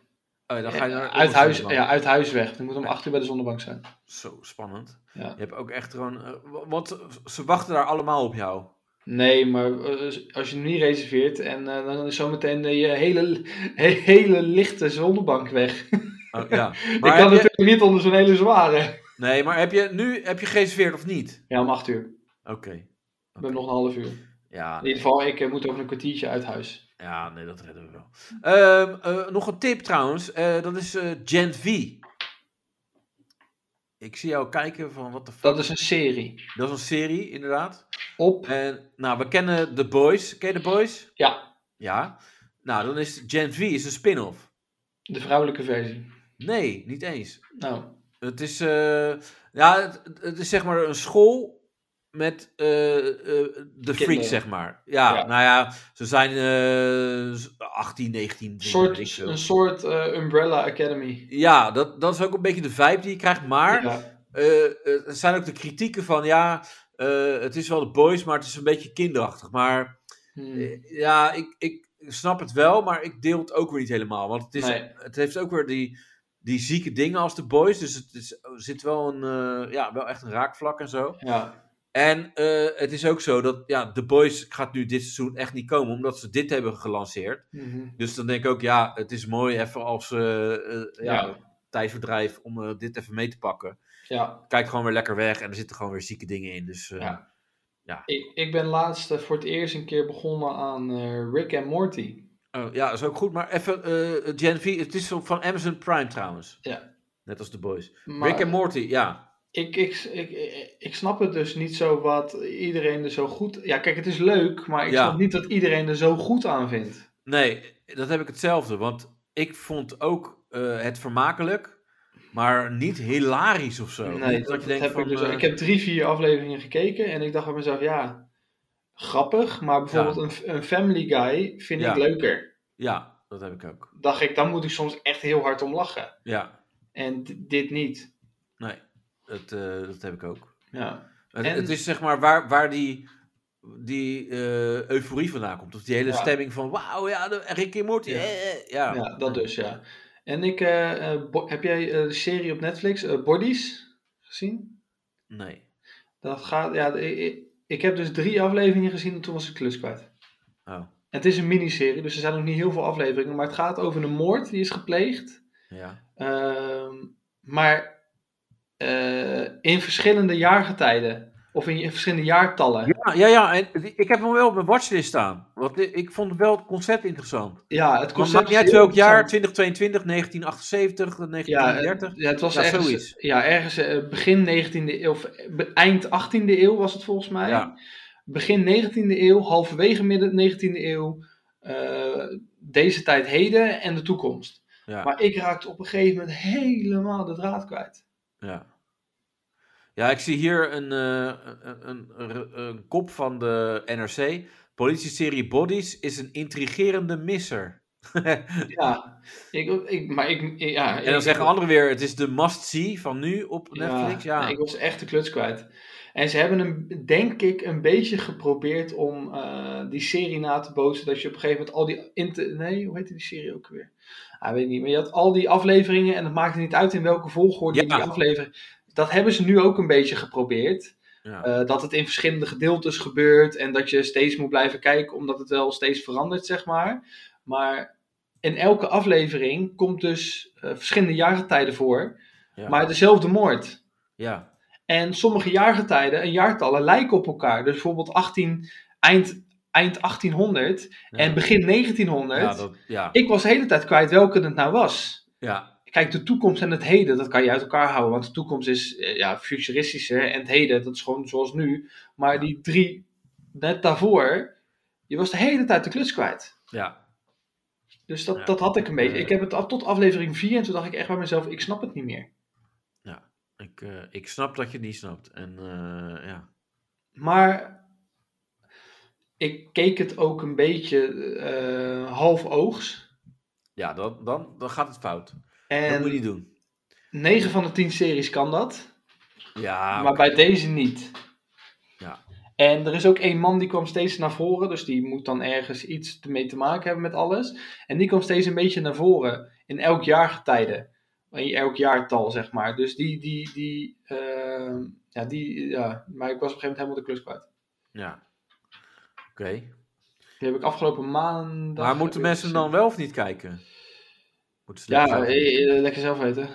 Oh, dan ga je naar
uit, huis,
Oeverzoeterbaan.
ja, uit huis weg. Dan moet om acht uur bij de zonnebank zijn.
Zo spannend.
Ja.
Je hebt ook echt gewoon. eh, wa- want ze wachten daar allemaal op jou.
Nee, maar eh, als je hem niet reserveert en eh, dan is zometeen eh, je hele, he- hele lichte zonnebank weg.
Oh,
<laughs>
ja.
ik
Maar
kan
heb je-
natuurlijk niet onder zo'n hele zware.
Nee, maar heb je nu heb je gereserveerd of niet?
Ja, om acht uur.
Oké.
We hebben nog een half uur.
Ja,
In ieder geval, ik eh, moet over een kwartiertje uit huis.
ja, nee, dat redden we wel. Ehm, eh, nog een tip trouwens. eh, dat is eh, Gen V. Ik zie jou kijken van wat de fuck.
Dat is een serie.
Dat is een serie, inderdaad.
Op.
En nou, we kennen The Boys. Ken je The Boys?
Ja,
Ja. Nou, dan is Gen V is een spin-off.
de vrouwelijke versie.
Nee, niet eens.
Nou,
Het is, eh, ja, het, het is zeg maar een school met eh, eh, de freaks, zeg maar. Ja,
Ja.
nou ja, ze zijn eh 18, 19.
soort,
weet ik veel.
een soort eh, Umbrella Academy.
Ja, dat, dat is ook een beetje de vibe die je krijgt. Maar
Ja,
eh, eh, er zijn ook de kritieken van, ja, eh, het is wel de boys, maar het is een beetje kinderachtig. Maar
Hmm.
eh, ja, ik, ik snap het wel, maar ik deel het ook weer niet helemaal. Want het, is,
Nee.
het heeft ook weer die, die zieke dingen als de boys. Dus het is, er zit wel, een, eh, ja, wel echt een raakvlak en zo.
ja.
En eh, het is ook zo dat ja, The Boys gaat nu dit seizoen echt niet komen, omdat ze dit hebben gelanceerd.
Mhm.
Dus dan denk ik ook, ja, het is mooi even als eh, eh, ja,
Ja.
tijdverdrijf om eh, dit even mee te pakken.
ja.
Kijk gewoon weer lekker weg en er zitten gewoon weer zieke dingen in. Dus eh,
Ja. Ik, ik ben laatst eh, voor het eerst een keer begonnen aan eh, Rick en Morty.
oh, ja, is ook goed. Maar even, eh Gen V, het is van Amazon Prime trouwens.
Ja.
Net als The Boys.
Maar-
Rick en Morty, ja.
Ik, ik, ik, ik snap het dus niet zo wat iedereen er zo goed... Ja, kijk, het is leuk, maar ik
Ja.
snap niet dat iedereen er zo goed aan vindt.
Nee, dat heb ik hetzelfde. Want ik vond ook eh, het vermakelijk, maar niet hilarisch of zo.
nee,
Niet
dat, dat heb ik dus...
eh,
Ik heb drie, vier afleveringen gekeken en ik dacht bij mezelf, ja, grappig. Maar bijvoorbeeld een, een Family Guy vind
Ja.
ik leuker.
Ja, dat heb ik ook.
Dacht ik, dan moet ik soms echt heel hard om lachen.
Ja,
En d- dit niet.
nee, dat, eh, dat heb ik ook.
Ja,
Het,
En-
het is zeg maar waar, waar die, die eh, euforie vandaan komt. Of die hele
Ja.
stemming van wauw, ja, de, Rick en Morty.
Ja.
eh, eh, ja.
ja dat dus, ja. En ik... eh, eh, bo- heb jij eh, de serie op Netflix, eh, Bodies, gezien?
Nee.
Dat gaat, ja, ik, ik- ik heb dus drie afleveringen gezien en toen was ik klus kwijt.
Oh,
Het is een miniserie, dus er zijn nog niet heel veel afleveringen. Maar het gaat over een moord die is gepleegd.
ja.
Ehm, maar eh, in verschillende jaargetijden. Of in, verschillende jaartallen. Ja.
Ja, Ah, ja, ja en die- ik heb hem wel op mijn watchlist staan. Want i- ik vond wel het concept interessant.
het
Het
concept
maakt niet
is
uit
heel
welk jaar,
interessant.
2022, 1978,
Ja, eh,
1930.
ja, het was
Ja,
ergens,
zoiets.
Ja, ergens eh, begin 19e eeuw, of be- eind 18e eeuw was het volgens mij.
Ja.
Begin 19e eeuw, halverwege midden 19e eeuw, eh, deze tijd heden en de toekomst.
Ja.
Maar ik raakte op een gegeven moment helemaal de draad kwijt.
Ja. Ja, ik zie hier een, eh, een, een, een- een kop van de NRC. Politieserie Bodies is een intrigerende misser.
Ja, ik, ik, maar ik... ik- Ja,
en dan zeggen anderen weer, het is de must-see van nu op Netflix. Ja,
nee, ik was echt de kluts kwijt. En ze hebben hem, denk ik, een beetje geprobeerd om eh, die serie na te bootsen. Dat je op een gegeven moment al die. inter- nee, hoe heette die serie ook weer? Ah, weet ik niet. Maar je had al die afleveringen en het maakte niet uit in welke volgorde je
Ja.
die aflevering. Dat hebben ze nu ook een beetje geprobeerd.
ja.
Eh, dat het in verschillende gedeeltes gebeurt en dat je steeds moet blijven kijken, omdat het wel steeds verandert, zeg maar. Maar in elke aflevering komt dus eh, verschillende jaargetijden voor,
Ja.
maar dezelfde moord.
ja.
En sommige jaargetijden en jaartallen lijken op elkaar. Dus bijvoorbeeld 18, eind, eind 1800 en begin 1900.
Ja, dat, ja.
Ik was de hele tijd kwijt welke het nou was.
ja,
Kijk, de toekomst en het heden, dat kan je uit elkaar houden. Want de toekomst is eh, ja, futuristischer en het heden, dat is gewoon zoals nu. Maar die drie net daarvoor, je was de hele tijd de klus kwijt.
ja.
Dus dat,
Ja.
dat had ik een beetje.
Eh.
Ik heb het af- tot aflevering 4 en toen dacht ik echt bij mezelf, ik snap het niet meer.
Ik, eh, ik snap dat je het niet snapt. En eh, ja.
Maar ik keek het ook een beetje eh, half oogs.
Ja, dan, dan, dan gaat het fout. dat moet je
En
niet doen.
9 van de 10 series kan dat,
Ja,
maar bij deze niet.
Ah, Ja.
En er is ook één man die kwam steeds naar voren, dus die moet dan ergens iets mee te maken hebben met alles. En die kwam steeds een beetje naar voren in elk jaargetijde. In elk jaartal, zeg maar. Dus die, die, die, eh, ja, die, ja. Maar ik was op een gegeven moment helemaal de klus kwijt.
ja. Oké.
Die heb ik afgelopen maandag...
Maar moeten
heb ik
mensen
gezien.
dan wel of niet kijken? Moeten ze lekker
Ja,
zelf-
eh, eh, lekker zelf weten.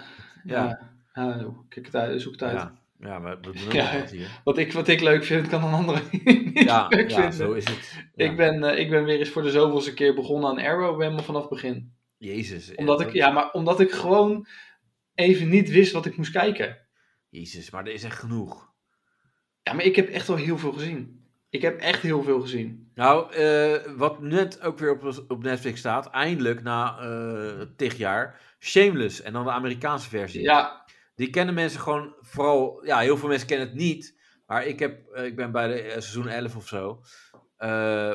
Ja.
Ja. ja, joh, kijk het uit, zoek het uit.
ja. Ja, we, we doen
Ja.
ook wat
<laughs>
hier.
Wat, ik, wat ik leuk vind, kan een ander niet <laughs>
Ja,
leuk
ja
vinden.
zo is het. Ja.
Ik, ben, eh, ik ben weer eens voor de zoveelste keer begonnen aan Arrow helemaal vanaf het begin.
Jezus.
Omdat
eh,
ik, ja, maar omdat ik gewoon even niet wist wat ik moest kijken.
Jezus, maar er is echt genoeg.
Ja, maar ik heb echt wel heel veel gezien. Ik heb echt heel veel gezien.
Nou, eh, wat net ook weer op, op Netflix staat, eindelijk na eh tig jaar, Shameless en dan de Amerikaanse versie.
Ja,
Die kennen mensen gewoon vooral. Ja, heel veel mensen kennen het niet. Maar ik, heb, eh, ik ben bij de eh, seizoen 11 of zo. Eh,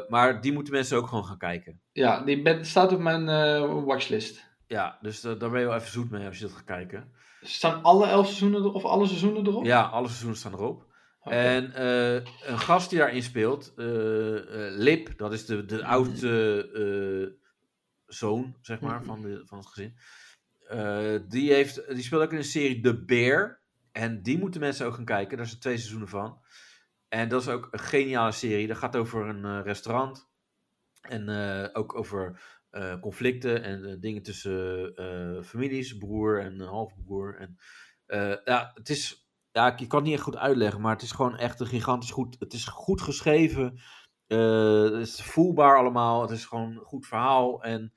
maar die moeten mensen ook gewoon gaan kijken.
ja die ben- staat op mijn eh, watchlist.
Ja, dus eh, daar ben je wel even zoet mee als je dat gaat kijken.
Staan alle elf seizoenen er- of alle seizoenen erop?
Ja, alle seizoenen staan erop.
Oké.
En eh, een gast die daarin speelt, eh, eh, Lip, dat is de, de oudste eh, zoon, zeg maar, van, de, van het gezin. Eh, die, heeft, die speelt ook in een serie The Bear. En die moeten mensen ook gaan kijken. Daar zijn twee seizoenen van. En dat is ook een geniale serie. Dat gaat over een eh, restaurant. En eh, ook over eh, conflicten en eh, dingen tussen eh, families, broer en halfbroer. En, eh, ja, het is ja, ik, ik kan het niet echt goed uitleggen, maar het is gewoon echt een gigantisch goed. Het is goed geschreven. eh, het is voelbaar allemaal. Het is gewoon een goed verhaal. En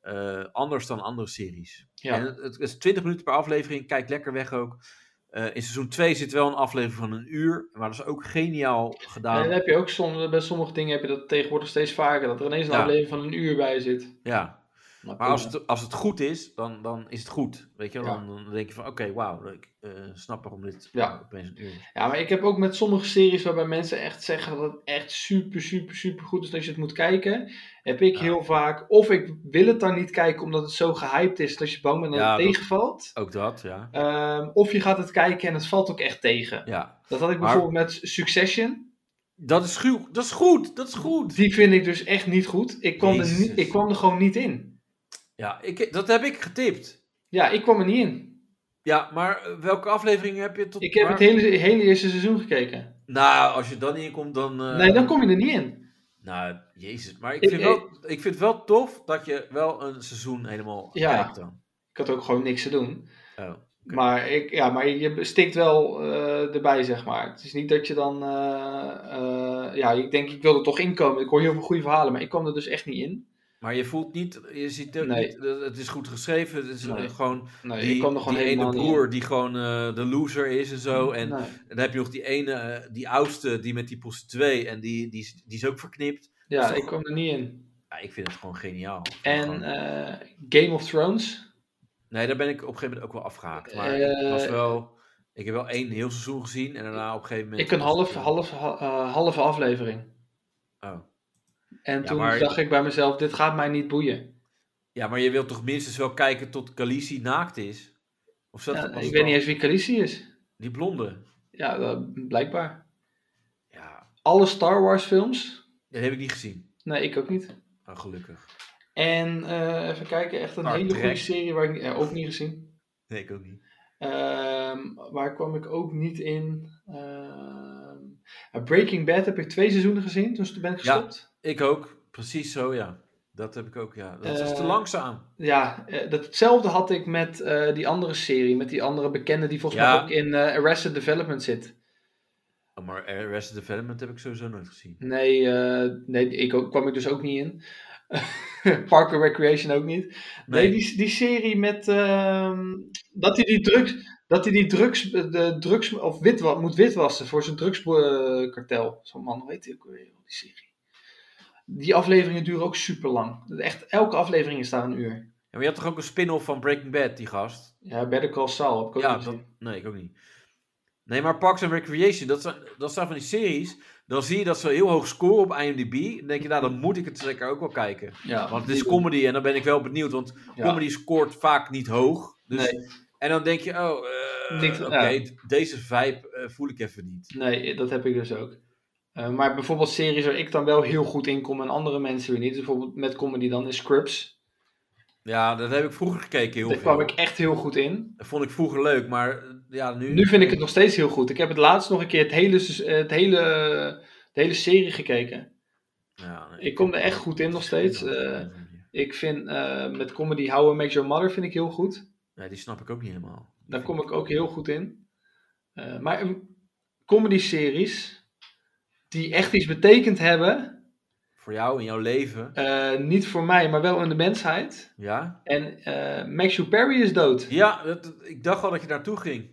eh, anders dan andere series.
Ja.
En het, het is 20 minuten per aflevering. Kijk lekker weg ook. Eh, in seizoen 2 zit wel een aflevering van een uur. Maar dat is ook geniaal
Ja,
gedaan.
dan heb je ook soms, bij sommige dingen heb je dat tegenwoordig steeds vaker. Dat er ineens een
Ja.
aflevering van een uur bij zit.
Ja.
Maar,
Maar als
prima.
het, als het goed is, dan, dan is het goed. Weet je, wel?
Ja.
dan, dan denk je van: oké, wauw, ik eh, snap waarom dit
Ja.
opeens een uur is.
Ja, maar ik heb ook met sommige series waarbij mensen echt zeggen dat het echt super, super, super goed is dat je het moet kijken. Heb ik
Ja.
heel vaak, of ik wil het dan niet kijken omdat het zo gehyped is dat je bang bent dat
Ja,
het
dat-
tegenvalt.
Ook dat, ja.
Ehm, of je gaat het kijken en het valt ook echt tegen.
Ja,
Dat had ik
Maar-
bijvoorbeeld met Succession.
Dat is, goed. dat is goed, dat is goed.
Die vind ik dus echt niet goed. Ik kwam, er,
Jezus.
niet, ik kwam er gewoon niet in.
Ja, ik, dat heb ik getipt.
Ja, ik kwam er niet in.
Ja, maar eh, welke aflevering heb je tot...
Ik heb
waar-
het hele, hele eerste seizoen gekeken.
Nou, als je dan niet komt, dan... eh,
nee, dan kom je er niet in.
Nou, jezus. Maar ik
Ik-
vind, wel, ik vind het wel tof dat je wel een seizoen helemaal
Ja.
kijkt dan.
Ik had ook gewoon niks te doen.
Oh.
Maar, ik, ja, maar je stikt wel eh, erbij, zeg maar. Het is niet dat je dan... eh, eh, ja, ik denk, ik wil er toch inkomen. Ik hoor heel veel goede verhalen, maar ik kwam er dus echt niet in.
Maar je voelt niet, je ziet ook
Nee.
niet, eh, het is goed geschreven. Het is eh,
Nee.
gewoon
Nee,
die,
ik kwam er gewoon
die ene
helemaal
broer
niet
die gewoon eh, de loser is en zo.
in.
En
Nee,
dan heb je nog die ene, eh, die oudste, die met die prostituee. En die, die, is- die is ook verknipt.
ja, ik kwam er niet in.
Ja, ik vind het gewoon geniaal. Ik vind het
En
gewoon-
eh, Game of Thrones.
Nee, daar ben ik op een gegeven moment ook wel afgehaakt. Maar
Eh,
het was wel, ik heb wel één heel seizoen gezien. En daarna op een gegeven moment...
Ik een
was
half,
het-
half, ha- eh, halve aflevering.
Oh.
En
Ja,
toen
maar-
dacht ik bij mezelf, dit gaat mij niet boeien.
Ja, maar je wilt toch minstens wel kijken tot Khaleesi naakt is? Of zat
Ja,
was
ik
het
weet
al-
niet eens wie Khaleesi is.
Die blonde.
Ja, dat- blijkbaar.
Ja,
Alle Star Wars films?
dat heb ik niet gezien.
Nee, ik ook niet.
Oh, gelukkig.
En eh, even kijken, echt een
Star
hele
Trek.
goede serie waar ik eh, ook niet gezien.
Nee, ik ook niet.
Ehm, waar kwam ik ook niet in? Ehm, Breaking Bad heb ik twee seizoenen gezien, dus toen ben ik
Ja.
gestopt.
Ik ook. Precies zo, ja. Dat heb ik ook, ja. Dat is te
Eh,
langzaam.
Ja, eh, datzelfde had ik met eh, die andere serie, met die andere bekende die volgens
Ja.
mij ook in eh, Arrested Development zit.
Oh, Maar Arrested Development heb ik sowieso nooit gezien.
Nee, eh, nee ik ook- kwam ik dus ook niet in. <laughs> Parker Recreation ook niet. Nee,
Nee.
die, die serie met ehm, dat hij die drugs, dat hij die drugs, de drugs of wit, moet witwassen voor zijn drugskartel. Zo'n man, hoe heet hij ook weer die serie? Die afleveringen duren ook super lang. Echt elke aflevering is daar een uur.
Ja, maar je had toch ook een spin-off van Breaking Bad, die gast?
Ja, Better Call Saul. Heb ik ook
Ja,
niet
dat,
gezien.
nee, ik ook niet. Nee, maar Parks and Recreation, dat zijn, dat zijn van die series. Dan zie je dat ze heel hoog scoren op IMDb. Dan denk je, nou, dan moet ik het zeker ook wel kijken.
ja,
Want het is comedy en dan ben ik wel benieuwd. Want
Ja.
comedy scoort vaak niet hoog. Dus,
Nee.
En dan denk je, oh, eh,
Niet-
oké,
ja.
d- deze vibe eh, voel ik even niet.
Nee, dat heb ik dus ook. Eh, maar bijvoorbeeld series waar ik dan wel heel goed in kom en andere mensen weer niet. dus Bijvoorbeeld met comedy dan is Scrubs.
Ja, dat heb ik vroeger gekeken heel
Daar
veel.
kwam ik echt heel goed in.
Dat vond ik vroeger leuk, maar eh, ja, nu...
Nu vind ik het nog steeds heel goed. Ik heb het laatst nog een keer het hele, se- het hele, de hele serie gekeken.
Ja, nee,
Ik kom er echt goed in nog steeds. Eh, ik vind eh, met comedy How I Make Your Mother vind ik heel goed.
nee, die snap ik ook niet helemaal.
Daar kom ik ook heel goed in. Eh, maar een comedy series die echt iets betekend hebben,
Voor jou, in jouw leven,
eh, niet voor mij, maar wel in de mensheid.
ja?
En eh Matthew Perry is dood.
Ja, dat- dat- ik dacht al dat je naartoe ging.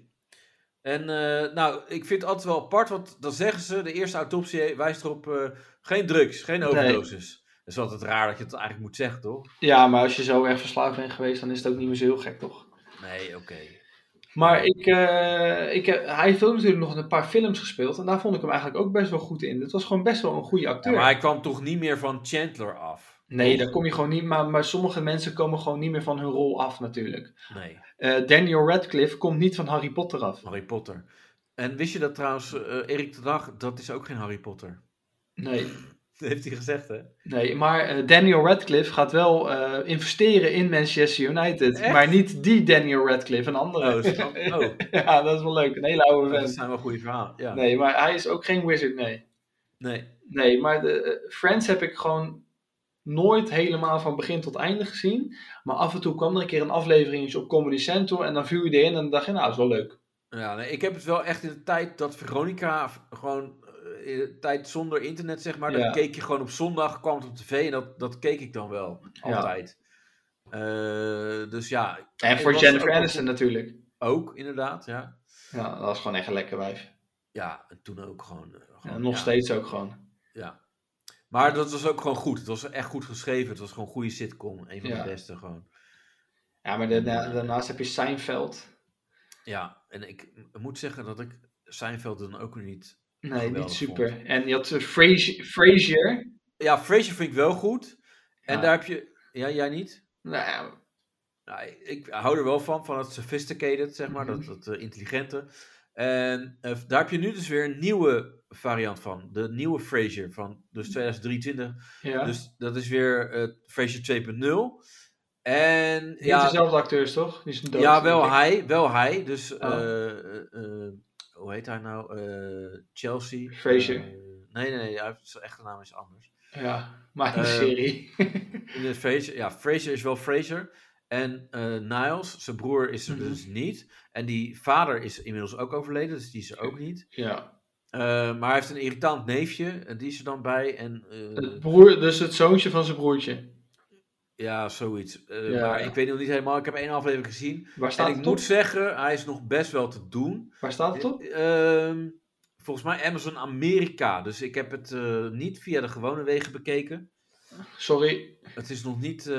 En eh, nou, ik vind het altijd wel apart, want dan zeggen ze, de eerste autopsie wijst erop eh, geen drugs, geen overdoses. Dat is altijd raar dat je het eigenlijk moet zeggen, toch?
Ja, maar als je zo erg verslaafd bent geweest, dan is het ook niet meer zo heel gek, toch?
Nee, oké.
Maar ik, eh, ik, heb- hij heeft ook natuurlijk nog in een paar films gespeeld. En daar vond ik hem eigenlijk ook best wel goed in. Het was gewoon best wel een goede
Ja,
acteur.
maar hij kwam toch niet meer van Chandler af?
Nee, daar kom je gewoon niet. Maar, maar sommige mensen komen gewoon niet meer van hun rol af, natuurlijk.
Nee,
Eh, Daniel Radcliffe komt niet van Harry Potter af.
Harry Potter. En wist je dat trouwens, eh, Erik de Dag, dat is ook geen Harry Potter. <laughs>
Nee,
Dat heeft hij gezegd, hè?
nee maar eh, Daniel Radcliffe gaat wel eh, investeren in Manchester United.
Echt?
Maar niet die Daniel Radcliffe, een andere.
Oh, snap- oh
<laughs> ja, dat is wel leuk. Een hele oude
dat
vent.
zijn wel goede verhalen. Ja. Nee.
Nee, maar hij is ook geen wizard, nee. Nee, maar de, eh, Friends heb ik gewoon nooit helemaal van begin tot einde gezien. Maar af en toe kwam er een keer een aflevering op Comedy Central en dan viel je erin en dan dacht je, nou, dat is wel leuk.
Ja, nee, ik heb het wel echt in de tijd dat Veronica v- gewoon eh, in de tijd zonder internet, zeg maar.
Ja.
Dat keek je gewoon op zondag, kwam het op tv en dat, dat keek ik dan wel.
Ja.
Altijd. Eh, dus ja,
En
Ik
voor
was
Jennifer
ook wel
Aniston natuurlijk.
ook inderdaad. Ja,
Ja, dat was gewoon echt een lekker wijf.
ja en toen ook gewoon. eh, gewoon
En nog
ja,
steeds ook gewoon.
Ja. Maar dat was ook gewoon goed. Het was echt goed geschreven. Het was gewoon een goede sitcom. Een van
Ja.
de beste gewoon.
Ja, maar daarna- daarnaast heb je Seinfeld.
Ja, en ik m- moet zeggen dat ik Seinfeld dan ook weer niet...
Nee,
Geweldig
niet super. En je had eh, Frasi- Frasier.
Ja, Frasier vind ik wel goed. En
Ja.
daar heb je... Ja, jij niet?
Nou, ja,
Nou, ik- ik hou er wel van, van het sophisticated, zeg maar, dat,
Mhm.
dat eh, intelligente. En eh, daar heb je nu dus weer een nieuwe variant van. De nieuwe Frasier van dus 2023.
Mhm. ja.
Dus dat is weer eh Frasier 2.0. En
Niet
ja,
dezelfde acteurs, toch? Die is dood,
ja wel,
denk ik.
hij, wel hij. Dus
Oh.
eh, eh, eh, hoe heet hij nou? Eh, Chelsea.
Fraser.
Eh, nee, nee, nee, hij heeft- zijn echte naam is anders.
Ja, maar in de
Eh,
serie. <laughs>
In de Fraser, ja, Fraser is wel Fraser. En eh, Niles, zijn broer, is er
Mhm.
dus niet. En die vader is inmiddels ook overleden, dus die is er ook niet.
ja.
Eh, maar hij heeft een irritant neefje, en die is er dan bij. En eh,
Het broer, dus het zoontje van zijn broertje.
ja, zoiets. Eh,
Ja.
Maar ik weet nog niet helemaal, ik heb één aflevering gezien.
Waar
En
staat
ik
het
moet
op?
zeggen, hij is nog best wel te doen.
Waar staat het op?
Ehm, volgens mij Amazon Amerika. Dus ik heb het eh, niet via de gewone wegen bekeken.
Sorry.
Het is nog niet eh,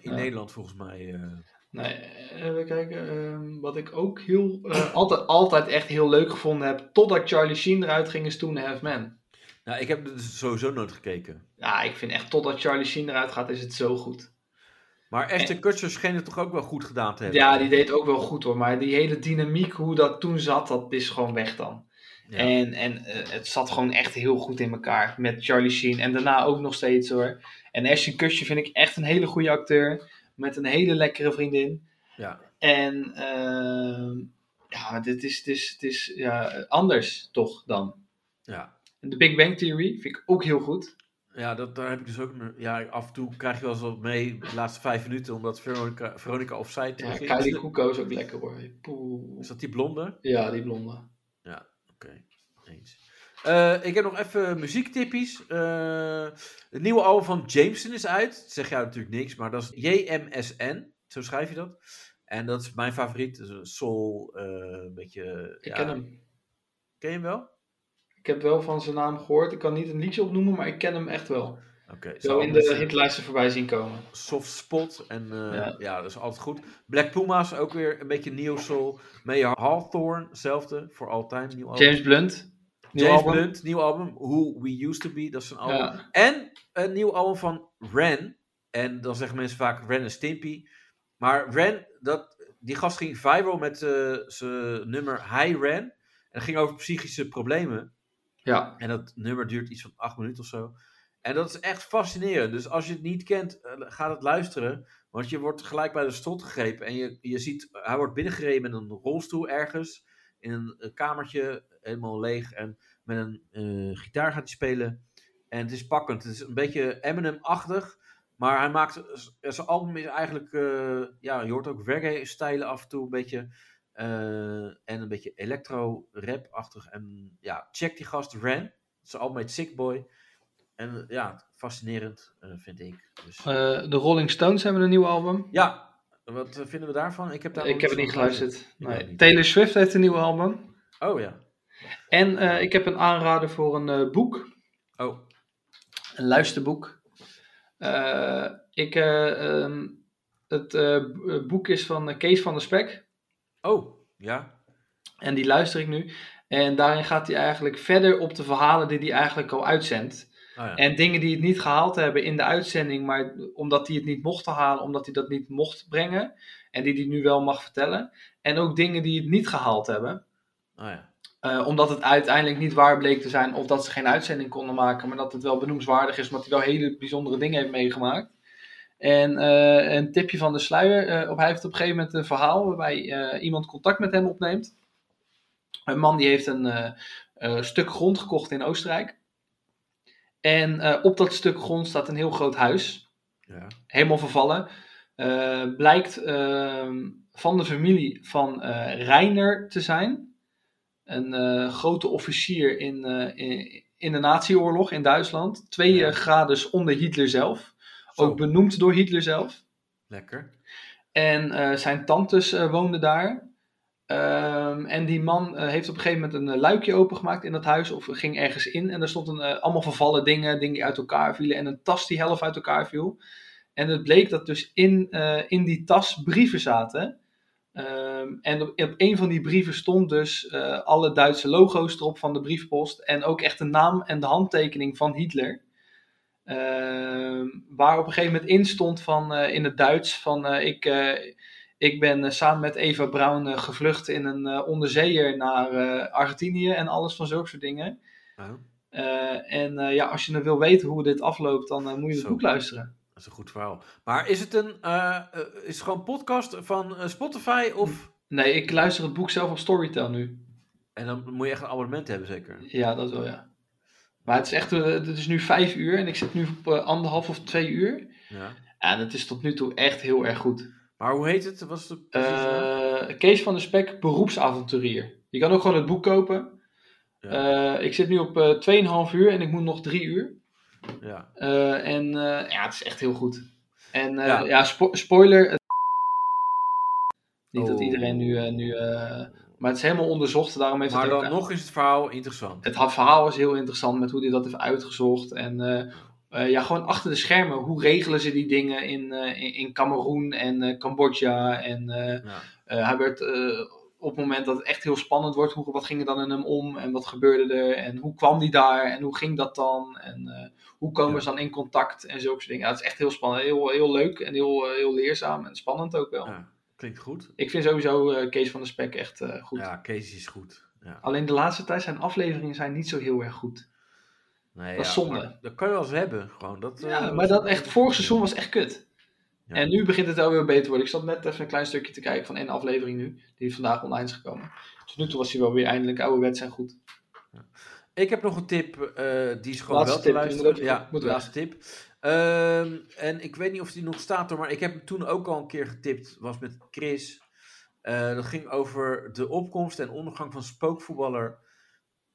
in
Ja.
Nederland volgens mij. eh.
Nee, even kijken. ehm, wat ik ook heel, eh, altijd, altijd echt heel leuk gevonden heb, totdat Charlie Sheen eruit ging, is Toen Half Men.
Nou, ik heb het dus sowieso nooit gekeken.
Ja, ik vind echt totdat Charlie Sheen eruit gaat, is het zo goed.
Maar Ashton Kutcher scheen het toch ook wel goed gedaan te hebben.
Ja, die deed ook wel goed hoor, maar die hele dynamiek, hoe dat toen zat, dat is gewoon weg dan.
Ja.
En, en eh, het zat gewoon echt heel goed in elkaar met Charlie Sheen. En daarna ook nog steeds hoor. En Ashton Kutcher vind ik echt een hele goede acteur. Met een hele lekkere vriendin.
Ja.
En ehm, ja, dit is, dit is, dit is ja, anders toch dan.
Ja.
En de Big Bang Theory vind ik ook heel goed.
Ja, dat, daar heb ik dus ook. een- Ja, af en toe krijg je wel eens wat mee de laatste vijf minuten, omdat Veronica, Veronica opzij
Ja,
terug is.
Kylie Cuoco is ook lekker hoor. Poeh.
Is dat die blonde?
Ja, die blonde.
Oké, eens. Eh, ik heb nog even muziektippies. Eh, het nieuwe album van Jameson is uit. Dat zeg jou natuurlijk niks, maar dat is JMSN. Zo schrijf je dat. En dat is mijn favoriet. Dat is een soul, eh, een beetje...
Ik
ja,
ken hem.
Ken je hem wel?
Ik heb wel van zijn naam gehoord. Ik kan niet een liedje opnoemen, maar ik ken hem echt wel.
Oké.
Zo
zou Oh.
in
altijd,
de
eh,
hitlijsten voorbij zien komen.
Soft spot. En eh,
Ja.
ja. dat is altijd goed. Black Puma's ook weer een beetje neo soul. Mayor Hawthorne, hetzelfde. Voor altijd. Nieuw album.
James Blunt. Nieuw
James
album.
Blunt, Oh. nieuw album. Who We Used To Be, dat is een album.
Ja.
En een nieuw album van Ren. En dan zeggen mensen vaak Ren en Stimpy. Maar Ren, dat, die gast ging viral met eh, zijn nummer Hi Ren. En dat ging over psychische problemen.
Ja,
En dat nummer duurt iets van acht minuten of zo. En dat is echt fascinerend. Dus als je het niet kent, eh, ga het luisteren. Want je wordt gelijk bij de strot gegrepen. En je, je ziet, hij wordt binnengereden met een rolstoel ergens. In een, eh, kamertje, helemaal leeg. En met een eh, gitaar gaat hij spelen. En het is pakkend. Het is een beetje Eminem-achtig. Maar hij maakt, eh, zijn album is eigenlijk, eh, ja, je hoort ook reggae-stijlen af en toe een beetje. Eh, en een beetje electro-rap-achtig. En ja, check die gast, Ren. Zijn album heet Sick Boy. En ja, fascinerend eh, vind ik. Dus,
eh, de Rolling Stones hebben een nieuw album.
ja, wat eh, vinden we daarvan? Ik heb, daar nog
ik heb het
van
niet geluisterd.
Ik ook
Nee.
niet.
Taylor Swift heeft een nieuw album.
Oh ja.
En eh, ik heb een aanrader voor een eh, boek,
Oh,
een luisterboek. Eh, ik, eh, ehm, het eh, b- eh, boek is van eh, Kees van der Spek
oh, ja.
en die luister ik nu. En daarin gaat hij eigenlijk verder op de verhalen die hij eigenlijk al uitzendt.
Oh, ja.
En dingen die het niet gehaald hebben in de uitzending, maar omdat hij het niet mocht halen, omdat hij dat niet mocht brengen. En die hij nu wel mag vertellen. En ook dingen die het niet gehaald hebben,
Oh, ja.
eh, omdat het uiteindelijk niet waar bleek te zijn of dat ze geen uitzending konden maken, maar dat het wel benoemswaardig is, omdat hij wel hele bijzondere dingen heeft meegemaakt. En eh, een tipje van de sluier, eh, op, hij heeft op een gegeven moment een verhaal waarbij eh, iemand contact met hem opneemt. Een man die heeft een eh, eh, stuk grond gekocht in Oostenrijk. En eh, op dat stuk grond staat een heel groot huis
ja.
helemaal vervallen. Eh, blijkt ehm, van de familie van eh Reiner te zijn. Een eh, grote officier in, eh, in, in de nazi-oorlog in Duitsland. Twee
Ja.
eh, grades onder Hitler zelf.
Zo,
Ook benoemd door Hitler zelf.
lekker.
En eh, zijn tantes eh, woonden daar. Ehm, en die man eh, heeft op een gegeven moment een eh, luikje opengemaakt in dat huis. Of ging ergens in. En daar stonden eh, allemaal vervallen dingen. Dingen die uit elkaar vielen. En een tas die half uit elkaar viel. En het bleek dat dus in, eh, in die tas brieven zaten. Ehm, en op, op een van die brieven stond dus eh, alle Duitse logo's erop van de briefpost. En ook echt de naam en de handtekening van Hitler. Ehm, waar op een gegeven moment in stond van, eh, in het Duits van eh, ik, eh, ik ben eh, samen met Eva Braun eh, gevlucht in een eh, onderzeeër naar eh, Argentinië en alles van zulke soort dingen.
Oh,
Eh, en eh, ja, als je dan wil weten hoe dit afloopt, dan eh, moet je het
Zo.
boek luisteren.
dat is een goed verhaal. Maar is het een eh, eh, is
Mm.
het gewoon podcast van eh, Spotify of...
Nee, ik luister het boek zelf op Storytel nu.
En dan moet je echt een abonnement hebben, zeker.
Ja, dat wel, ja. Maar het is echt, eh, het is nu vijf uur en ik zit nu op eh, anderhalf of twee uur.
Ja.
En het is tot nu toe echt heel erg goed.
Maar hoe heet het? Was het precies nou?
Eh, Kees van der Spek, beroepsavonturier. Je kan ook gewoon het boek kopen. Eh, ik zit nu op eh 2,5 uur en ik moet nog drie uur.
ja.
Eh, en eh, ja, het is echt heel goed. En eh,
Ja.
ja, spo- spoiler. het- Niet dat
Oh.
iedereen nu. eh, nu eh, maar het is helemaal onderzocht, daarom heeft
Maar
het ook-
dan nog is het verhaal interessant.
Het ha- verhaal is heel interessant met hoe hij dat heeft uitgezocht. En eh, eh, ja, gewoon achter de schermen. Hoe regelen ze die dingen in, eh in- in Cameroen en eh, Cambodja? En eh,
Ja.
eh, hij werd eh, op het moment dat het echt heel spannend wordt, hoe, wat ging er dan in hem om en wat gebeurde er en hoe kwam die daar en hoe ging dat dan en eh, hoe komen
Ja.
ze dan in contact en zulke soort dingen. Ja, het is echt heel spannend, heel, heel leuk en heel, eh, heel leerzaam en spannend ook wel.
Ja. Klinkt goed.
Ik vind sowieso eh, Kees van der Spek echt eh, goed.
Ja, Kees is goed. Ja.
Alleen de laatste tijd zijn afleveringen zijn niet zo heel erg goed.
Nee,
Dat is
ja,
zonde.
maar Dat kan je wel eens hebben. Gewoon. Dat,
Ja,
eh,
maar dat echt vorig seizoen was echt kut.
Ja.
En nu begint het wel weer beter te worden. Ik zat net even een klein stukje te kijken van één aflevering nu. Die vandaag online is gekomen. Tot nu toe was hij wel weer eindelijk ouderwets en goed.
Ik heb nog een tip, eh, die is gewoon
Laatste
wel
tip,
te luisteren.
inderdaad.
ja,
Moet
de
weg.
laatste tip. Ehm, en ik weet niet of die nog staat hoor, maar ik heb hem toen ook al een keer getipt, was met Chris. Eh, dat ging over de opkomst en ondergang van spookvoetballer.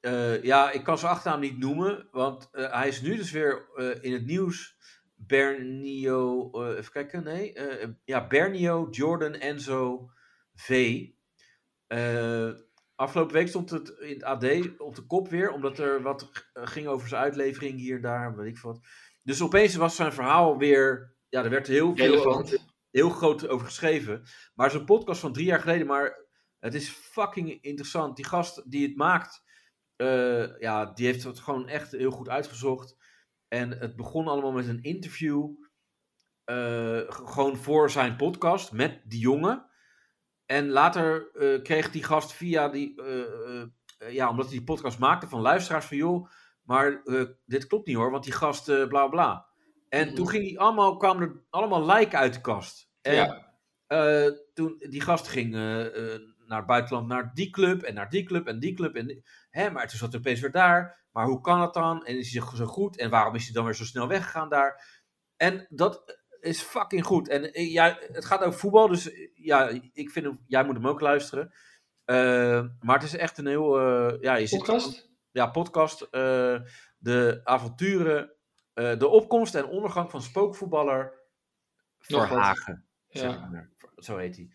Eh, ja, ik kan zijn achternaam niet noemen, want eh, hij is nu dus weer eh, in het nieuws. Bernio, eh, even kijken, nee. eh, ja, Bernio, Jordan, Enzo, V. Eh, Afgelopen week stond het in het AD op de kop weer, omdat er wat eh, ging over zijn uitlevering hier en daar, weet ik veel wat. Dus opeens was zijn verhaal weer, ja, er werd heel veel,
Relevant.
heel groot over geschreven. Maar zijn podcast van drie jaar geleden, maar het is fucking interessant. Die gast die het maakt, eh, ja, die heeft het gewoon echt heel goed uitgezocht. En het begon allemaal met een interview, eh, g- gewoon voor zijn podcast met die jongen. En later eh, kreeg die gast via die, eh, eh, eh, ja, omdat hij die podcast maakte van luisteraars van joh, maar eh, dit klopt niet hoor, want die gast eh, bla bla. En
Mhm.
toen ging die allemaal, kwamen er allemaal lijken uit de kast. En
ja.
eh, toen die gast ging eh, eh, naar het buitenland, naar die club en naar die club en die club. En, die- hè, maar toen zat hij opeens weer daar. Maar hoe kan het dan? En is hij zo goed? En waarom is hij dan weer zo snel weggegaan daar? En dat is fucking goed. En eh, ja, het gaat over voetbal, dus eh, ja, ik vind hem, jij moet hem ook luisteren. Eh, maar het is echt een heel. eh, ja, je zit-
Podcast?
ja, podcast. eh, de avonturen. eh, de opkomst en ondergang van spookvoetballer
Nog wat.
Verhagen zeg
Ja.
maar. Zo heet hij.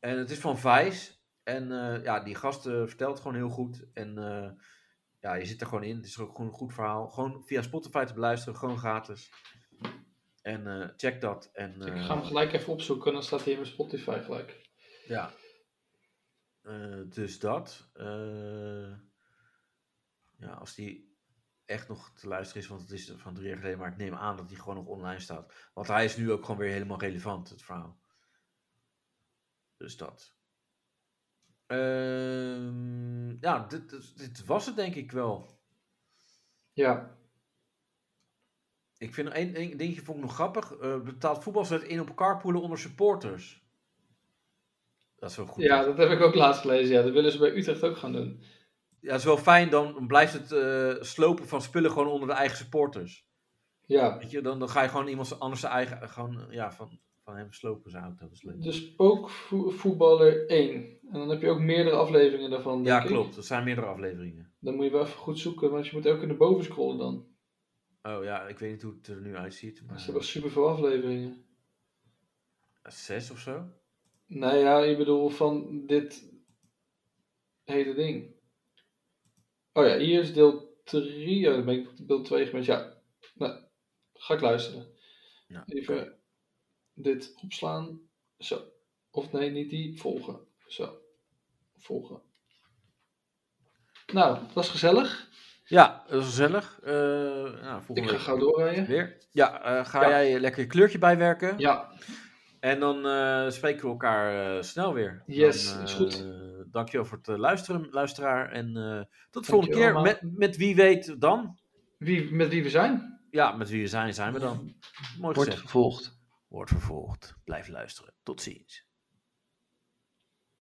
En het is van Vice. En eh, ja, die gast eh, vertelt gewoon heel goed. En eh, ja, je zit er gewoon in. Het is ook gewoon een goed verhaal. Gewoon via Spotify te beluisteren. Gewoon gratis. En eh, check dat. En,
Ik
eh,
ga hem gelijk even opzoeken, dan staat hij in mijn Spotify gelijk.
ja. Eh, dus dat. Eh, ja, als die echt nog te luisteren is, want het is van drie jaar geleden, maar ik neem aan dat die gewoon nog online staat. Want hij is nu ook gewoon weer helemaal relevant, het verhaal. Dus dat. Ehm, ja, dit, dit, dit was het denk ik wel.
Ja,
Ik vind één één dingetje vond ik nog grappig. Eh, betaald voetbal zet in op carpoolen onder supporters. Dat is wel goed.
ja dat heb ik ook laatst gelezen. Ja, dat willen ze bij Utrecht ook gaan doen.
Ja, dat is wel fijn. Dan blijft het eh, slopen van spullen gewoon onder de eigen supporters.
Ja,
Weet je, dan, dan ga je gewoon iemand anders zijn eigen, gewoon, eh, ja, van, van hem slopen zijn auto. Dat is leuk.
de Spookvoetballer 1. En dan heb je ook meerdere afleveringen
Ja,
daarvan. denk ik.
klopt. Dat zijn meerdere afleveringen.
Dan moet je wel even goed zoeken, want je moet ook naar boven scrollen dan.
Oh ja, ik weet niet hoe het er nu uitziet. Maar, eh,
Er zijn wel super veel afleveringen.
zes of zo?
Nou ja, ik bedoel van dit hele ding. Oh ja, hier is deel 3. Oh, dan ben ik op deel 2 geweest. Ja, nou, ga ik luisteren.
Nou, oké.
Even dit opslaan. Zo. Of nee, niet die. Volgen. Zo. Volgen. Nou, dat was gezellig.
Ja, dat is gezellig. Eh, nou,
Ik
volgende
ga
week
gauw doorrijden.
weer. Ja, eh, ga
Ja.
jij lekker je kleurtje bijwerken.
Ja,
En dan eh, spreken we elkaar eh, snel weer.
Yes,
dan,
dat is
eh,
goed.
Dankjewel voor het eh, luisteren, luisteraar. En eh, tot de volgende keer.
allemaal.
Met, met wie weet dan.
wie, met wie we zijn?
Ja, met wie we zijn, zijn we dan. Mooi
Wordt
gezegd.
vervolgd.
Wordt vervolgd. Blijf luisteren. Tot ziens.